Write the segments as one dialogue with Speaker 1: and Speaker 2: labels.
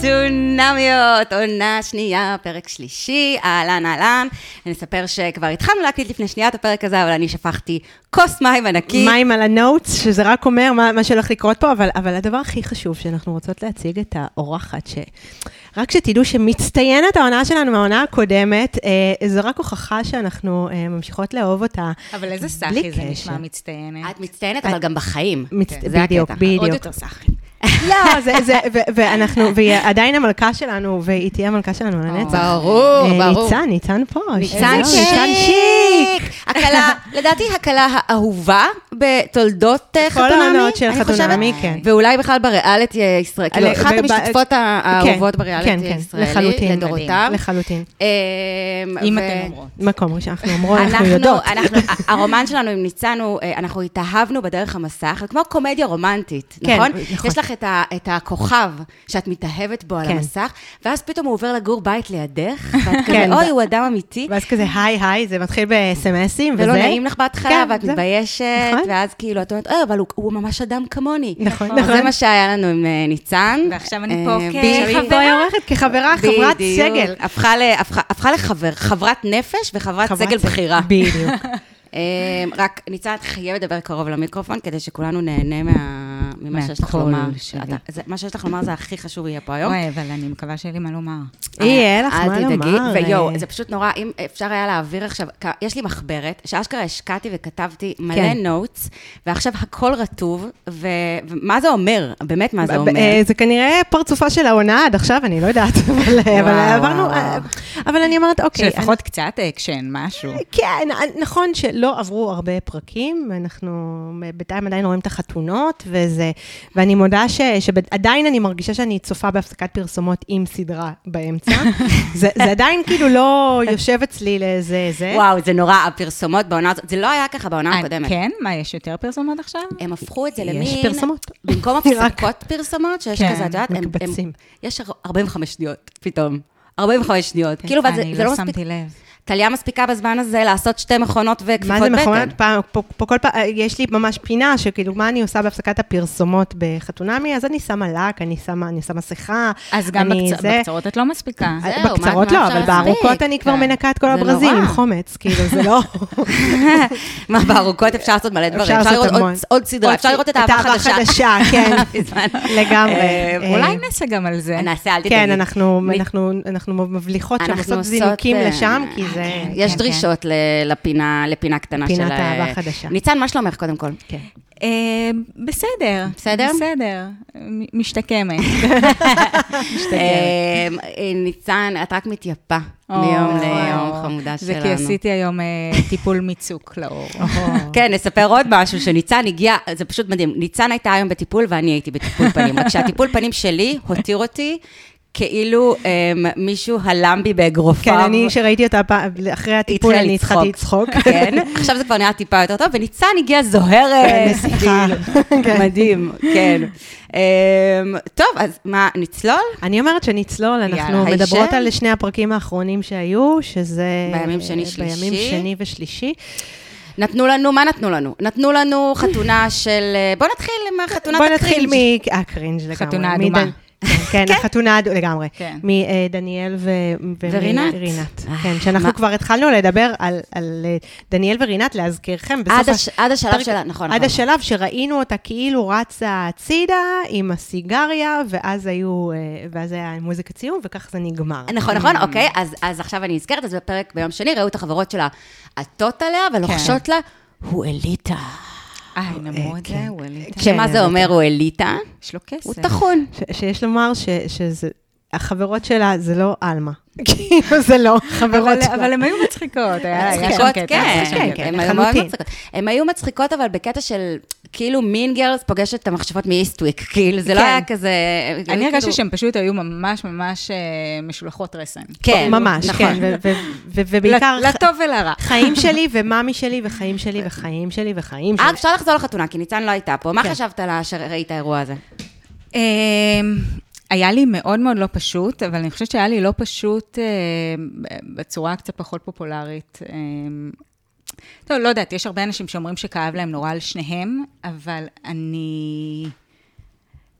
Speaker 1: צונמיות, עונה שנייה, פרק שלישי, אהלן אהלן. אני אספר שכבר התחלנו להקליט לפני שנייה את הפרק הזה, אבל אני שפכתי כוס מים ענקית.
Speaker 2: מים על הנוטס, שזה רק אומר מה, מה שהולך לקרות פה, אבל, אבל הדבר הכי חשוב שאנחנו רוצות להציג את האורחת, שרק שתדעו שמצטיינת העונה שלנו מהעונה הקודמת, אה, זו רק הוכחה שאנחנו אה, ממשיכות לאהוב אותה.
Speaker 3: אבל איזה
Speaker 2: בלי
Speaker 3: סאחי זה נשמע
Speaker 2: קשר.
Speaker 3: מצטיינת.
Speaker 1: את מצטיינת, אבל גם בחיים.
Speaker 2: מצ...
Speaker 1: כן. זה
Speaker 2: בדיוק,
Speaker 1: הקטע.
Speaker 2: בדיוק.
Speaker 3: עוד יותר סאחי.
Speaker 2: לא, זה, זה, ו- ואנחנו, והיא עדיין המלכה שלנו, והיא תהיה המלכה שלנו לנצח.
Speaker 1: ברור,
Speaker 2: אה,
Speaker 1: ברור.
Speaker 2: ניצן, ניצן פה.
Speaker 1: ניצן
Speaker 2: שלום, ניצן שיק.
Speaker 1: שיק! הכלה, לדעתי הכלה האהובה בתולדות אה,
Speaker 2: כל
Speaker 1: חתונמי,
Speaker 2: העונות של
Speaker 1: אני חושבת.
Speaker 2: חתונמי, כן.
Speaker 1: ואולי בכלל בריאליטי הישראלי, כאילו,
Speaker 2: אה,
Speaker 1: אחת
Speaker 2: וב-
Speaker 1: המשתתפות ה- האהובות בריאליטי הישראלי,
Speaker 2: כן, לחלוטין.
Speaker 1: לדורותיו.
Speaker 2: לחלוטין.
Speaker 1: אמ,
Speaker 3: אם
Speaker 1: ו-
Speaker 3: אתן אומרות.
Speaker 2: מקום ראשון, אנחנו אומרות, אנחנו יודעות.
Speaker 1: אנחנו, ה- הרומן שלנו עם ניצן הוא, אה, אנחנו התאהבנו בדרך המסך, זה כמו קומדיה רומנטית,
Speaker 2: כן,
Speaker 1: נכון?
Speaker 2: נכון.
Speaker 1: יש לך את, ה, את הכוכב שאת מתאהבת בו על
Speaker 2: כן.
Speaker 1: המסך, ואז פתאום הוא עובר לגור בית לידך, ואת
Speaker 2: כן,
Speaker 1: כזה, אוי,
Speaker 2: ו-
Speaker 1: הוא אדם אמיתי.
Speaker 2: ואז כזה היי היי, זה מתחיל בסמסים וזה.
Speaker 1: ולא נעים לך בהתחלה,
Speaker 2: כן,
Speaker 1: ואת
Speaker 2: זה-
Speaker 1: מתביישת,
Speaker 2: נכון.
Speaker 1: ואז כאילו, את אומרת, אוי, אבל הוא- הוא ממש אדם כמוני.
Speaker 2: נכון,
Speaker 1: אז זה
Speaker 2: נכון.
Speaker 1: מה שהיה לנו עם אה, ניצן.
Speaker 3: ועכשיו אני פה כן,
Speaker 1: אה,
Speaker 3: כ-
Speaker 1: בדיוק.
Speaker 2: עכשיו היא פה עורכת כחברה, חברת סגל.
Speaker 1: בדיוק. הפכה ל- הפכה- הפכה לחבר- חברת נפש וחברת
Speaker 2: חברת
Speaker 1: סגל בכירה.
Speaker 2: בדיוק.
Speaker 1: אמ, רק, ניצן, את חייבת לדבר קרוב למיקרופון, כדי שכולנו נהנה מה- ממה שיש לך
Speaker 2: מהקול
Speaker 1: לומר.
Speaker 2: שלי.
Speaker 1: אתה- זה- מה שיש לך לומר זה הכי חשוב יהיה פה היום.
Speaker 3: אוי, אבל אני מקווה שיהיה לי מה לומר.
Speaker 2: אה, יהיה לך
Speaker 1: אל
Speaker 2: מה
Speaker 1: תדאגי.
Speaker 2: לומר.
Speaker 1: ויואו,
Speaker 2: אה,
Speaker 1: זה פשוט נורא, אם אפשר היה להעביר עכשיו, כ- יש לי מחברת, שאשכרה השקעתי וכתבתי מלא
Speaker 2: כן.
Speaker 1: נוטס, ועכשיו הכל רטוב, ו- ומה זה אומר? באמת, מה זה
Speaker 2: ב-
Speaker 1: אומר?
Speaker 2: ב- אה, זה כנראה פרצופה של העונה עד עכשיו, אני לא יודעת, אבל אבל
Speaker 1: וואו,
Speaker 2: עברנו... אה, אבל אני אומרת, אוקיי.
Speaker 3: שלפחות קצת אקשן, משהו.
Speaker 2: אני- כן, אה, נכון שלא עברו הרבה פרקים, אנחנו בינתיים עדיין רואים את החתונות, וזה... ואני מודה ש- שעדיין אני מרגישה שאני צופה בהפסקת פרסומות עם סדרה באמצע. זה זה עדיין כאילו לא יושב אצלי לאיזה זה.
Speaker 1: וואו, זה נורא, הפרסומות בעונה הזאת, זה לא היה ככה בעונה
Speaker 3: אה,
Speaker 1: הקודמת.
Speaker 3: כן? מה, יש יותר פרסומות עכשיו?
Speaker 1: הם הפכו את זה
Speaker 2: יש
Speaker 1: למין...
Speaker 2: פרסומות.
Speaker 1: במקום הפסקות פרסומות, שיש
Speaker 3: כן,
Speaker 1: כזה, את יודעת, הם- הם-
Speaker 2: מקבצים.
Speaker 1: יש 45 שניות פתאום. 45 שניות.
Speaker 2: כן,
Speaker 1: כאילו, ואז זה-
Speaker 3: אה, אני
Speaker 1: זה לא
Speaker 3: שמתי
Speaker 1: מספיק.
Speaker 3: לב.
Speaker 1: טליה מספיקה בזמן הזה לעשות שתי מכונות וכפיפות
Speaker 2: מה
Speaker 1: בטן.
Speaker 2: זה מכונת פעם, פה, פה כל פעם, אה, יש לי ממש פינה שכאילו, מה אני עושה בהפסקת הפרסומות בחתונמי, אז אני שמה לק, אני שמה, אני שמה מסכה,
Speaker 3: אז גם
Speaker 2: אני
Speaker 3: בקצ-
Speaker 2: זה-
Speaker 3: בקצרות את לא מספיקה.
Speaker 1: זהו, מה-
Speaker 2: בקצרות
Speaker 1: מה
Speaker 2: לא,
Speaker 1: אפשר להספיק?
Speaker 2: אבל בארוכות אני כבר
Speaker 3: כן.
Speaker 2: מנקה את כל
Speaker 1: זה
Speaker 2: הברזים
Speaker 1: נורא.
Speaker 2: עם חומץ, כאילו, זה לא...
Speaker 1: מה, בארוכות אפשר לעשות מלא דברים.
Speaker 2: אפשר
Speaker 1: אפשר
Speaker 2: לעשות
Speaker 1: לראות עוד-
Speaker 2: המון.
Speaker 1: עוד סדרה, אפשר לראות את האהבה החדשה.
Speaker 2: חדשה, כן,
Speaker 1: מזמן.
Speaker 2: לגמרי.
Speaker 1: אה,
Speaker 2: אה,
Speaker 3: אולי נעשה גם על זה.
Speaker 1: נעשה, אל תדאגי.
Speaker 2: כן, אנחנו
Speaker 1: מ-
Speaker 2: אנחנו- אנחנו מבליחות שם,
Speaker 1: אנחנו
Speaker 2: עושות זינוקים
Speaker 1: אה,
Speaker 2: לשם, כי זה...
Speaker 1: יש
Speaker 3: כן,
Speaker 1: דרישות ל- לפינה לפינה קטנה של...
Speaker 2: פינת
Speaker 1: אה,
Speaker 2: אהבה חדשה.
Speaker 1: ניצן, מה שלומך קודם כל?
Speaker 2: כן.
Speaker 3: אה, בסדר.
Speaker 1: בסדר?
Speaker 3: בסדר. מ- משתקמת. משתקמת.
Speaker 1: אה, אה, ניצן, את רק מתייפה
Speaker 3: או,
Speaker 1: מיום
Speaker 3: נכון.
Speaker 1: ליום, חמודה
Speaker 3: זה
Speaker 1: שלנו.
Speaker 3: כי עשיתי היום אה, טיפול מיצוק לאור.
Speaker 1: כן, נספר עוד משהו, שניצן הגיע, זה פשוט מדהים. ניצן הייתה היום בטיפול ואני הייתי בטיפול פנים, רק שהטיפול פנים שלי הותיר אותי כאילו אמ, מישהו הלם בי באגרופיו.
Speaker 2: כן, אני, שראיתי אותה פעם, אחרי הטיפול,
Speaker 1: התחילה
Speaker 2: אני התחלתי לצחוק.
Speaker 1: כן, עכשיו זה כבר נראה טיפה יותר טוב, וניצן הגיעה זוהרת.
Speaker 2: נסיכה.
Speaker 1: כאילו, מדהים, כן. אמ, טוב, אז מה, נצלול?
Speaker 2: אני אומרת שנצלול, אנחנו
Speaker 1: יאללה,
Speaker 2: מדברות
Speaker 1: הישן.
Speaker 2: על שני הפרקים האחרונים שהיו, שזה...
Speaker 1: בימים שני,
Speaker 2: בימים
Speaker 1: שלישי.
Speaker 2: שני ושלישי.
Speaker 1: נתנו לנו, מה נתנו לנו? נתנו לנו חתונה של... אה, בוא נתחיל עם החתונת
Speaker 2: בוא
Speaker 1: הקרינג'.
Speaker 2: נתחיל מ... הקרינג' לגמרי.
Speaker 3: חתונה
Speaker 2: מדנ-
Speaker 3: אדומה.
Speaker 2: כן, כן, החתונה אדומה, לגמרי.
Speaker 3: כן.
Speaker 2: מדניאל ו...
Speaker 1: ורינת.
Speaker 2: ורינת.
Speaker 1: אה,
Speaker 2: כן,
Speaker 1: מה-
Speaker 2: שאנחנו כבר התחלנו לדבר על- על אה, דניאל ורינת, להזכירכם, בסוף...
Speaker 1: עד הש-
Speaker 2: הש-
Speaker 1: עד השלב
Speaker 2: פרק-
Speaker 1: שלה, נכון,
Speaker 2: עד
Speaker 1: נכון.
Speaker 2: השלב שראינו אותה כאילו רצה הצידה עם הסיגריה, ואז היו... אה, ואז היה מוזיקת סיום, וכך זה נגמר.
Speaker 1: נכון, נכון, אוקיי, אז, אז עכשיו אני נזכרת, אז בפרק ביום שני ראו את החברות שלה עטות עליה ולוחשות
Speaker 2: כן.
Speaker 1: לה, הוא אליטה.
Speaker 3: אה, הם אמרו את זה, ווליד.
Speaker 2: כן,
Speaker 1: שמה זה
Speaker 2: אליטה.
Speaker 1: אומר הוא אליטה?
Speaker 3: יש לו כסף.
Speaker 1: הוא טחון.
Speaker 2: ש- שיש לומר ש- שזה, החברות שלה זה לא עלמה. כאילו זה לא חברות
Speaker 3: אבל- אבל
Speaker 2: שלה.
Speaker 3: הן היו מצחיקות, היה היה שם
Speaker 1: מצחיקות,
Speaker 3: קטע.
Speaker 1: כן,
Speaker 3: היה שם
Speaker 2: כן,
Speaker 3: קטע.
Speaker 1: הן היו מאוד
Speaker 2: לחלוטין.
Speaker 1: מצחיקות. הן היו מצחיקות, אבל בקטע של, כאילו, מין גרלס פוגשת את המכשפות מאיסטוויק, כאילו, זה לא
Speaker 2: כן.
Speaker 1: היה כזה...
Speaker 3: אני הרגשתי
Speaker 1: כאילו-
Speaker 3: שהן פשוט היו ממש ממש אה, משולחות רסן.
Speaker 1: כן,
Speaker 2: ממש,
Speaker 1: נכון.
Speaker 2: כן, ו- ו- ו- ובעיקר
Speaker 3: ל- לטוב ולרע.
Speaker 2: ח- חיים שלי ומאמי שלי וחיים שלי וחיים שלי וחיים
Speaker 1: אה,
Speaker 2: שלי.
Speaker 1: אפשר לחזור לחתונה, כי ניצן לא הייתה פה. מה
Speaker 2: כן.
Speaker 1: חשבת לה שראית האירוע הזה?
Speaker 3: אמ, היה לי מאוד מאוד לא פשוט, אבל אני חושבת שהיה לי לא פשוט אמ, בצורה קצת פחות פופולרית. אמ, טוב, לא יודעת, יש הרבה אנשים שאומרים שכאב להם נורא על שניהם, אבל אני...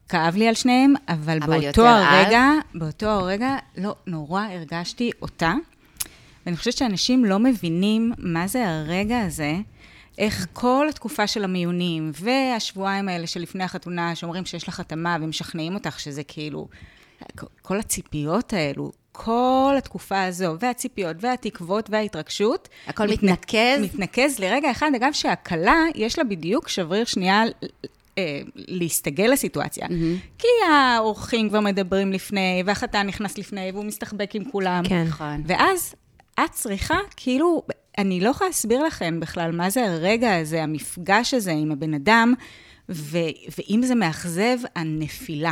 Speaker 3: כאב לי על שניהם, אבל,
Speaker 1: אבל
Speaker 3: אבל באותו
Speaker 1: יותר על?
Speaker 3: הרגע, באותו הרגע, לא, נורא הרגשתי אותה. ואני חושבת שאנשים לא מבינים מה זה הרגע הזה, איך כל התקופה של המיונים, והשבועיים האלה שלפני החתונה, שאומרים שיש לך התאמה ומשכנעים אותך שזה כאילו, כל הציפיות האלו, כל התקופה הזו, והציפיות, והתקוות, וההתרגשות,
Speaker 1: הכל
Speaker 3: מת-
Speaker 1: מתנקז?
Speaker 3: מתנקז לרגע אחד. אגב, שהכלה, יש לה בדיוק שבריר שנייה אה, להסתגל לסיטואציה. Mm-hmm. כי האורחים כבר מדברים לפני, והחתן נכנס לפני, והוא מסתחבק עם כולם.
Speaker 2: כן.
Speaker 1: נכון.
Speaker 3: ואז את צריכה, כאילו, אני לא יכולה להסביר לכם בכלל מה זה הרגע הזה, המפגש הזה עם הבן אדם, ו- ואם זה מאכזב, הנפילה.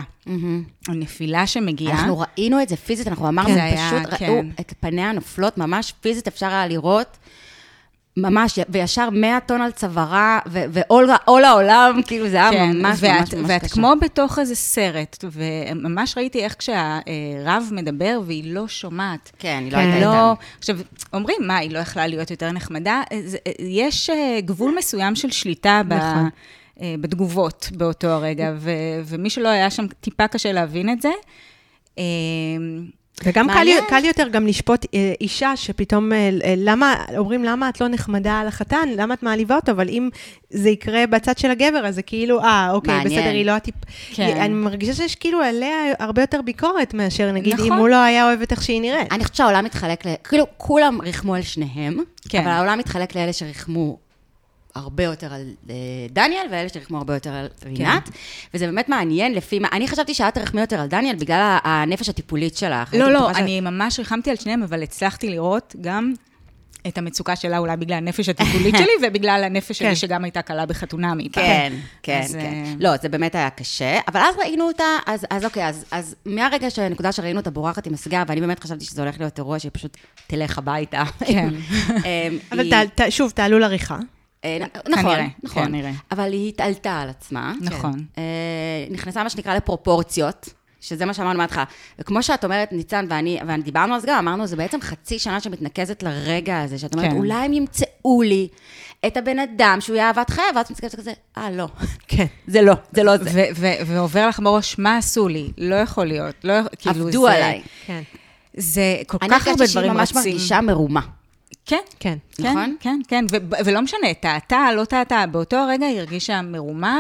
Speaker 3: הנפילה שמגיעה.
Speaker 1: אנחנו ראינו את זה פיזית, אנחנו אמרנו,
Speaker 3: זה היה,
Speaker 1: פשוט
Speaker 3: כן.
Speaker 1: ראו את פניה הנופלות, ממש פיזית אפשר היה לראות. ממש, וישר 100 טון על צווארה, ו- ועול עול העולם, כאילו זה היה
Speaker 3: כן,
Speaker 1: ממש
Speaker 3: ואת,
Speaker 1: ממש ממש
Speaker 3: ואת
Speaker 1: קשה.
Speaker 3: כמו בתוך איזה סרט, וממש ראיתי איך כשהרב מדבר והיא לא שומעת.
Speaker 1: כן, היא לא
Speaker 2: כן.
Speaker 1: הייתה
Speaker 3: לא,
Speaker 1: איתנו.
Speaker 3: עכשיו, אומרים, מה, היא לא יכלה להיות יותר נחמדה? זה- יש אה, גבול מסוים של שליטה ב...
Speaker 2: נכון.
Speaker 3: אה, בתגובות באותו הרגע, ו, ומי שלא היה שם, טיפה קשה להבין את זה. אה,
Speaker 2: וגם קל,
Speaker 1: מעניין.
Speaker 2: קל יותר גם לשפוט אה, אישה שפתאום, אה, אה, למה, אומרים למה את לא נחמדה על החתן, למה את מעליבה אותו, אבל אם זה יקרה בצד של הגבר, אז זה כאילו, אה, אוקיי,
Speaker 1: מעניין.
Speaker 2: בסדר, היא לא הטיפ...
Speaker 3: כן.
Speaker 2: כן. אני מרגישה שיש כאילו עליה הרבה יותר ביקורת מאשר, נגיד, נכון. אם
Speaker 3: נכון.
Speaker 2: הוא לא היה אוהב את איך שהיא נראית.
Speaker 1: אני חושבת שהעולם מתחלק, ל- כאילו, כולם ריחמו על שניהם,
Speaker 3: כן.
Speaker 1: אבל העולם מתחלק לאלה שריחמו הרבה יותר על אה, דניאל, ואלה שריחמו הרבה יותר על
Speaker 3: כן.
Speaker 1: רינת, וזה באמת מעניין לפי מה, אני חשבתי שאת תרחמי יותר על דניאל בגלל ה- הנפש הטיפולית שלך.
Speaker 3: לא,
Speaker 1: הייתי
Speaker 3: לא,
Speaker 1: בטוחה ש-
Speaker 3: אני ממש ריחמתי על שניהם, אבל הצלחתי לראות גם... את המצוקה שלה אולי בגלל הנפש הטיפולית שלי, ובגלל הנפש
Speaker 2: כן.
Speaker 3: שלי שגם הייתה קלה בחתונה מאי פעם.
Speaker 1: כן, כן,
Speaker 3: אז,
Speaker 1: כן.
Speaker 3: אה,
Speaker 1: לא, זה באמת היה קשה, אבל אז ראינו אותה, אז, אז אוקיי, אז, אז מהרגע שהנקודה שראינו אותה בורחת עם הסגר, ואני באמת חשבתי שזה הולך להיות אירוע שהיא פשוט תלך הביתה.
Speaker 3: כן.
Speaker 1: אמ,
Speaker 2: אבל
Speaker 1: היא-
Speaker 2: תעל- ת, שוב, תעלו לריחה.
Speaker 1: אה, נ- נכון,
Speaker 3: כנראה,
Speaker 1: נכון.
Speaker 3: כנראה.
Speaker 1: אבל היא התעלתה על עצמה.
Speaker 3: נכון.
Speaker 1: אה, נכנסה, מה שנקרא, לפרופורציות. שזה מה שאמרנו מההתחלה. וכמו שאת אומרת, ניצן ואני, ודיברנו על זה גם, אמרנו, זה בעצם חצי שנה שמתנקזת לרגע הזה, שאת אומרת,
Speaker 3: כן.
Speaker 1: אולי הם ימצאו לי את הבן אדם שהוא יהיה אהבת חייו, ואז את מסתכלת כזה, אה, לא.
Speaker 2: כן.
Speaker 1: זה לא, זה לא זה.
Speaker 3: ו- ו- ועובר לך בראש, מה עשו לי? לא יכול להיות. לא, יכול- כאילו,
Speaker 1: עבדו
Speaker 3: זה-
Speaker 1: עליי.
Speaker 2: כן.
Speaker 3: זה כל
Speaker 1: אני
Speaker 3: כך הרבה דברים רצים.
Speaker 1: הרגשתי שהיא ממש מרגישה מרומה.
Speaker 3: כן,
Speaker 2: כן.
Speaker 3: כן,
Speaker 1: נכון?
Speaker 3: נכון? כן, כן, ו- ולא משנה, טעתה, לא טעתה, באותו הרגע היא הרגישה מרומה,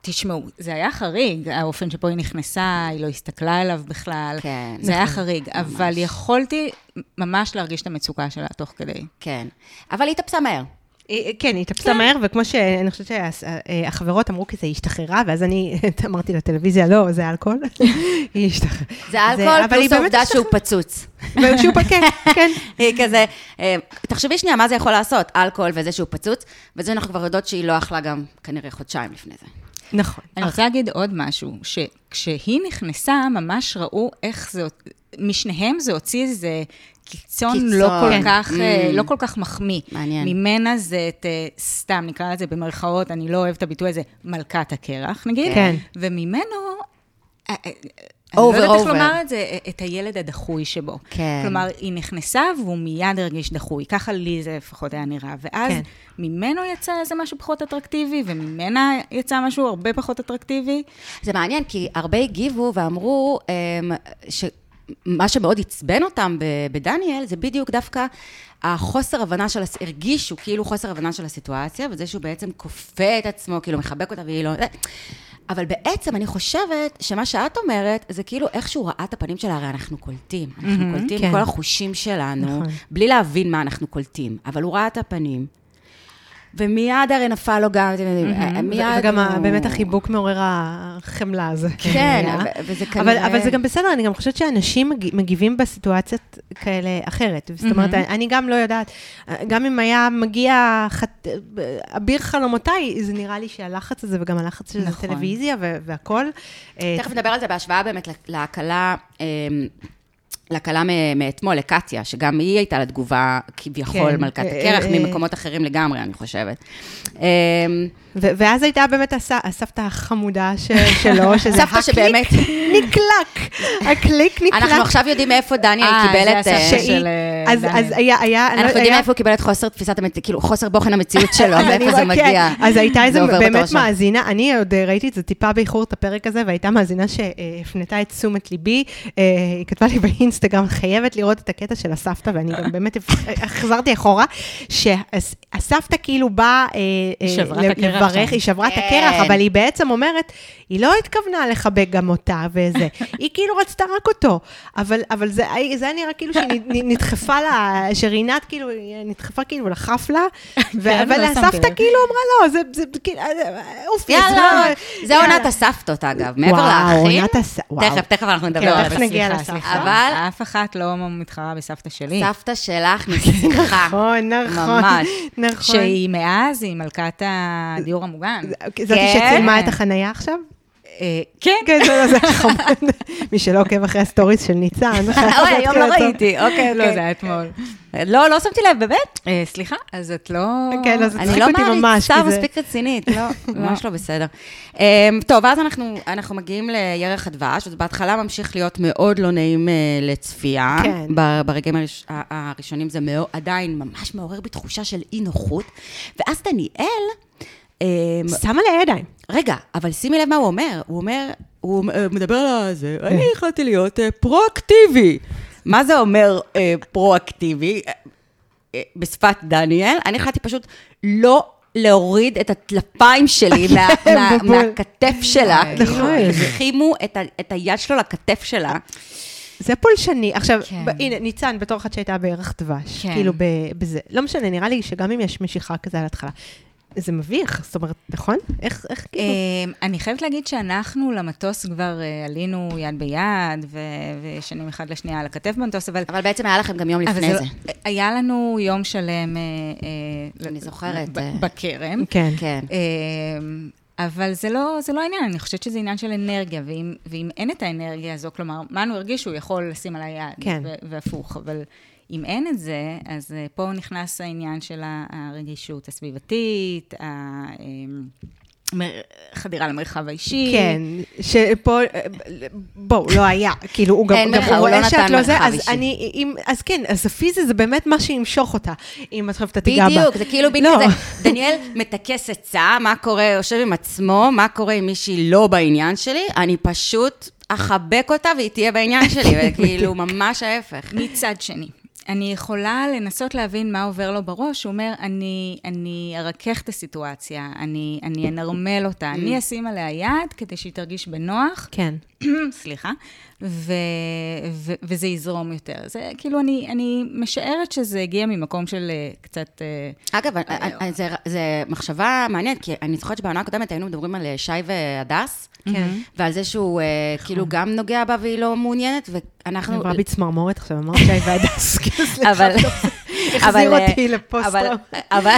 Speaker 3: ותשמעו, זה היה חריג, האופן שבו היא נכנסה, היא לא הסתכלה עליו בכלל.
Speaker 1: כן,
Speaker 3: זה היה חריג, אבל יכולתי ממש להרגיש את המצוקה שלה תוך כדי.
Speaker 1: כן. אבל היא התאפסה מהר.
Speaker 2: היא- כן, היא תפסה מהר, וכמו שאני חושבת שהחברות אמרו כזה, היא השתחררה, ואז אני אמרתי לטלוויזיה, לא, זה אלכוהול. היא השתחררה.
Speaker 1: זה
Speaker 2: אבל
Speaker 1: אלכוהול
Speaker 2: היא
Speaker 1: פלוס
Speaker 2: באמת
Speaker 1: העובדה שהוא
Speaker 2: השתחררה.
Speaker 1: פצוץ.
Speaker 2: ושהוא פקק, כן.
Speaker 1: היא כזה, אה, תחשבי שנייה, מה זה יכול לעשות? אלכוהול וזה שהוא פצוץ, וזה אנחנו כבר יודעות שהיא לא אכלה גם כנראה חודשיים לפני זה.
Speaker 2: נכון.
Speaker 3: אני רוצה להגיד עוד משהו, שכשהיא נכנסה, ממש ראו איך זה, משניהם זה הוציא איזה קיצון,
Speaker 1: קיצון.
Speaker 3: קיצון. לא,
Speaker 1: כן.
Speaker 3: כל כך, אה,
Speaker 1: Mm.
Speaker 3: לא כל כך מחמיא.
Speaker 1: מעניין.
Speaker 3: ממנה זה את, אה, סתם נקרא לזה במרכאות, אני לא אוהבת את הביטוי הזה, מלכת הקרח, נגיד.
Speaker 2: כן.
Speaker 3: וממנו, אה, אה, אני
Speaker 1: Over,
Speaker 3: לא יודעת איך
Speaker 1: over.
Speaker 3: לומר את זה, אה, את הילד הדחוי שבו.
Speaker 1: כן.
Speaker 3: כלומר, היא נכנסה והוא מיד הרגיש דחוי. ככה לי זה לפחות היה נראה. ואז
Speaker 2: כן.
Speaker 3: כן. ממנו יצא איזה משהו פחות אטרקטיבי, וממנה יצא משהו הרבה פחות אטרקטיבי.
Speaker 1: זה מעניין, כי הרבה הגיבו ואמרו אמ, שמה שמאוד עצבן אותם ב- בדניאל, זה בדיוק דווקא החוסר הבנה של, הס- הרגישו כאילו חוסר הבנה של הסיטואציה, וזה שהוא בעצם כופה את עצמו, כאילו מחבק אותה והיא לא... זה. אבל בעצם אני חושבת שמה שאת אומרת, זה כאילו איך שהוא ראה את הפנים שלה, הרי אנחנו קולטים. אנחנו קולטים
Speaker 2: כן.
Speaker 1: כל החושים שלנו,
Speaker 2: נכון.
Speaker 1: בלי להבין מה אנחנו קולטים. אבל הוא ראה את הפנים, ומיד הרי נפל לו גם, אתם יודעים, אה, מיד...
Speaker 2: ו- Mm-hmm. וגם ה-
Speaker 1: הוא-
Speaker 2: באמת החיבוק מעורר החמלה הזה.
Speaker 1: כן, ו- וזה
Speaker 2: אבל,
Speaker 1: כנראה...
Speaker 2: אבל זה גם בסדר, אני גם חושבת שאנשים מגיב- מגיבים בסיטואציות כאלה אחרת. זאת אומרת, אני גם לא יודעת, גם אם היה מגיע חת... אביר חלומותיי, זה נראה לי שהלחץ הזה, וגם הלחץ של
Speaker 3: נכון.
Speaker 2: הטלוויזיה ו- והכול. אה,
Speaker 1: תכף נדבר על זה בהשוואה באמת להקלה... אמ, לקלה מ- מאתמול, לקטיה, שגם היא הייתה לה תגובה כביכול
Speaker 2: כן.
Speaker 1: מלכת
Speaker 2: אה,
Speaker 1: הקרח,
Speaker 2: אה,
Speaker 1: ממקומות אחרים לגמרי, אני חושבת. אמ,
Speaker 2: ו- ואז הייתה באמת הס... הסבתא החמודה ש... שלו, שזה
Speaker 1: סבתא שבאמת-
Speaker 2: נקלק, הקליק נקלק.
Speaker 1: אנחנו עכשיו יודעים מאיפה דניאל
Speaker 3: אה,
Speaker 1: קיבל
Speaker 3: זה
Speaker 1: את...
Speaker 3: הסבתא
Speaker 1: אה,
Speaker 3: של-
Speaker 2: שהיא אז,
Speaker 3: דניאל.
Speaker 2: אז היה, היה... אני לא-
Speaker 1: אנחנו יודעים
Speaker 2: היה-
Speaker 1: מאיפה הוא קיבל את חוסר תפיסת המציאות, כאילו חוסר בוחן המציאות שלו,
Speaker 2: אז אני-
Speaker 1: מאיפה זה
Speaker 2: כן,
Speaker 1: מגיע.
Speaker 2: אז הייתה איזה
Speaker 1: זה עובר
Speaker 2: באמת
Speaker 1: בתור שם.
Speaker 2: מאזינה, אני עוד אה, ראיתי את זה טיפה באיחור את הפרק הזה, והייתה מאזינה שהפנתה את תשומת ליבי. אה, היא כתבה לי באינסטגרם, חייבת לראות את הקטע של הסבתא, ואני גם באמת החזרתי אחורה, שהסבתא כאילו באה אה, אה,
Speaker 3: שברה את
Speaker 2: ל-
Speaker 3: הקרח
Speaker 2: לברך,
Speaker 3: שם.
Speaker 2: היא שברה את
Speaker 1: כן.
Speaker 2: הקרח, אבל היא בעצם אומרת, היא לא התכוונה לחבק גם אותה וזה, היא כאילו רצתה רק אותו, אבל, אבל זה, זה היה נראה כאילו שהיא נ- נדחפה לה, שרינת כאילו נדחפה כאילו לחף לה, ו-
Speaker 3: כן,
Speaker 2: אבל
Speaker 3: לא
Speaker 2: הסבתא
Speaker 3: שמתי לב.
Speaker 2: כאילו אמרה לא, זה, זה כאילו, אה, אופי, אז
Speaker 1: יאללה,
Speaker 2: לא-
Speaker 1: זה
Speaker 2: יאללה."
Speaker 1: עונת הסבתות אגב, מעבר
Speaker 2: וואו,
Speaker 1: לאחים.
Speaker 2: עונת הס- וואו.
Speaker 1: תכף, תכף אנחנו נדבר
Speaker 2: כן,
Speaker 1: על זה.
Speaker 2: תכף
Speaker 3: לא, אבל
Speaker 2: נגיע
Speaker 3: סליחה,
Speaker 2: לסבתא.
Speaker 3: סליחה.
Speaker 1: אבל-
Speaker 3: אף אחת לא מתחרה בסבתא שלי.
Speaker 1: סבתא
Speaker 2: כן.
Speaker 1: שלך נסיכה.
Speaker 2: נכון, נכון,
Speaker 1: ממש.
Speaker 2: נכון.
Speaker 3: שהיא מאז, היא מלכת הדיור המוגן.
Speaker 2: זאת
Speaker 1: כן.
Speaker 2: אוקיי, שצילמה את החנייה עכשיו?
Speaker 3: אה, כן,
Speaker 2: כן, זה זה חמוד. מי שלא עוקב אחרי הסטוריס של ניצן, חייב
Speaker 1: אוי,
Speaker 2: להתחיל
Speaker 1: היום לא
Speaker 2: אותו.
Speaker 1: ראיתי, אוקיי,
Speaker 3: לא, זה
Speaker 1: אוקיי.
Speaker 3: היה אתמול. כן.
Speaker 1: לא, לא שמתי לב, באמת.
Speaker 3: אה, סליחה, אז את לא...
Speaker 2: כן, אז זה
Speaker 1: אני
Speaker 2: צחיק
Speaker 1: לא
Speaker 2: אותי ממש,
Speaker 1: מעריצה
Speaker 2: כי זה-
Speaker 1: מספיק רצינית, לא, ממש לא בסדר. אמ, טוב, ואז אנחנו אנחנו מגיעים לירח הדבש, וזה בהתחלה ממשיך להיות מאוד לא נעים אה, לצפייה.
Speaker 2: כן.
Speaker 1: ב- ברגעים הראש- ה- הראשונים זה מאו- עדיין ממש מעורר בי תחושה של אי-נוחות. ואז דניאל, אמ,
Speaker 2: שמה לה ידיים.
Speaker 1: רגע, אבל שימי לב מה הוא אומר. הוא אומר, הוא אה, מדבר על זה, אני החלטתי להיות אה, פרואקטיבי. מה זה אומר אה, פרואקטיבי? אה, אה, בשפת דניאל, אני החלטתי פשוט לא להוריד את הטלפיים שלי מה- מה-
Speaker 2: בול.
Speaker 1: מהכתף שלה. כאילו,
Speaker 2: נכון.
Speaker 1: הרחימו את ה- את היד שלו לכתף שלה.
Speaker 2: זה פולשני. עכשיו,
Speaker 3: כן.
Speaker 2: ב- הנה, ניצן, בתור אחת שהייתה בערך דבש,
Speaker 3: כן.
Speaker 2: כאילו ב- בזה, לא משנה, נראה לי שגם אם יש משיכה כזה על ההתחלה, זה מביך, זאת אומרת, נכון? איך, איך, כאילו...
Speaker 3: אמ, אני חייבת להגיד שאנחנו למטוס כבר אה, עלינו יד ביד, ו- וישנים אחד לשנייה על הכתף במטוס, אבל...
Speaker 1: אבל בעצם היה לכם גם יום
Speaker 3: אבל
Speaker 1: לפני
Speaker 3: לא-
Speaker 1: זה.
Speaker 3: היה לנו יום שלם... אה, אה,
Speaker 1: אני
Speaker 3: ל-
Speaker 1: זוכרת,
Speaker 3: ב-
Speaker 1: אה.
Speaker 3: בכרם.
Speaker 2: כן.
Speaker 1: כן.
Speaker 3: אמ, אבל זה לא, זה לא העניין, אני חושבת שזה עניין של אנרגיה, ואם, ואם אין את האנרגיה הזו, כלומר, מה הוא הרגיש שהוא יכול לשים עליי יד,
Speaker 2: כן.
Speaker 3: ו- והפוך, אבל אם אין את זה, אז אה, פה נכנס העניין של ה- הרגישות הסביבתית, ה- אמ, מר- חדירה למרחב האישי.
Speaker 2: כן, שפה, אה, בואו, לא היה, כאילו, הוא גם,
Speaker 1: אין
Speaker 2: גם
Speaker 1: מרחב,
Speaker 2: הוא
Speaker 1: הוא
Speaker 2: רואה
Speaker 1: לא
Speaker 2: שאת
Speaker 1: נתן
Speaker 2: לא זה,
Speaker 1: מרחב
Speaker 2: אז
Speaker 1: אישי.
Speaker 2: אני, אם, אז כן, אז הפיזי זה באמת מה שימשוך אותה, אם את חייבת תיגע בה.
Speaker 1: בדיוק, זה כאילו בדיוק
Speaker 2: לא.
Speaker 1: כזה, דניאל מטכס עצה, מה קורה, יושב עם עצמו, מה קורה אם מישהי לא בעניין שלי, אני פשוט אחבק אותה והיא תהיה בעניין שלי, וכאילו, ממש ההפך.
Speaker 3: מצד שני, אני יכולה לנסות להבין מה עובר לו בראש, הוא אומר, אני, אני ארכך את הסיטואציה, אני, אני אנרמל אותה,
Speaker 2: Mm.
Speaker 3: אני אשים עליה יד כדי שהיא תרגיש בנוח,
Speaker 2: כן.
Speaker 3: סליחה, ו, ו, וזה יזרום יותר. זה כאילו, אני, אני משערת שזה הגיע ממקום של אה, קצת... אה,
Speaker 1: אגב, זו מחשבה מעניינת, כי אני זוכרת שבעונה הקודמת היינו מדברים על אה, שי והדס,
Speaker 2: כן.
Speaker 1: ועל זה שהוא אה, כאילו גם נוגע בה והיא לא מעוניינת, ואנחנו...
Speaker 2: עברה בי צמרמורת עכשיו, אמרת שי והדס, כאילו, סליחה,
Speaker 1: אבל...
Speaker 2: החזיר
Speaker 1: אבל,
Speaker 2: אותי
Speaker 1: אה,
Speaker 2: לפוסט
Speaker 1: אבל-
Speaker 2: טראומה.
Speaker 1: אבל-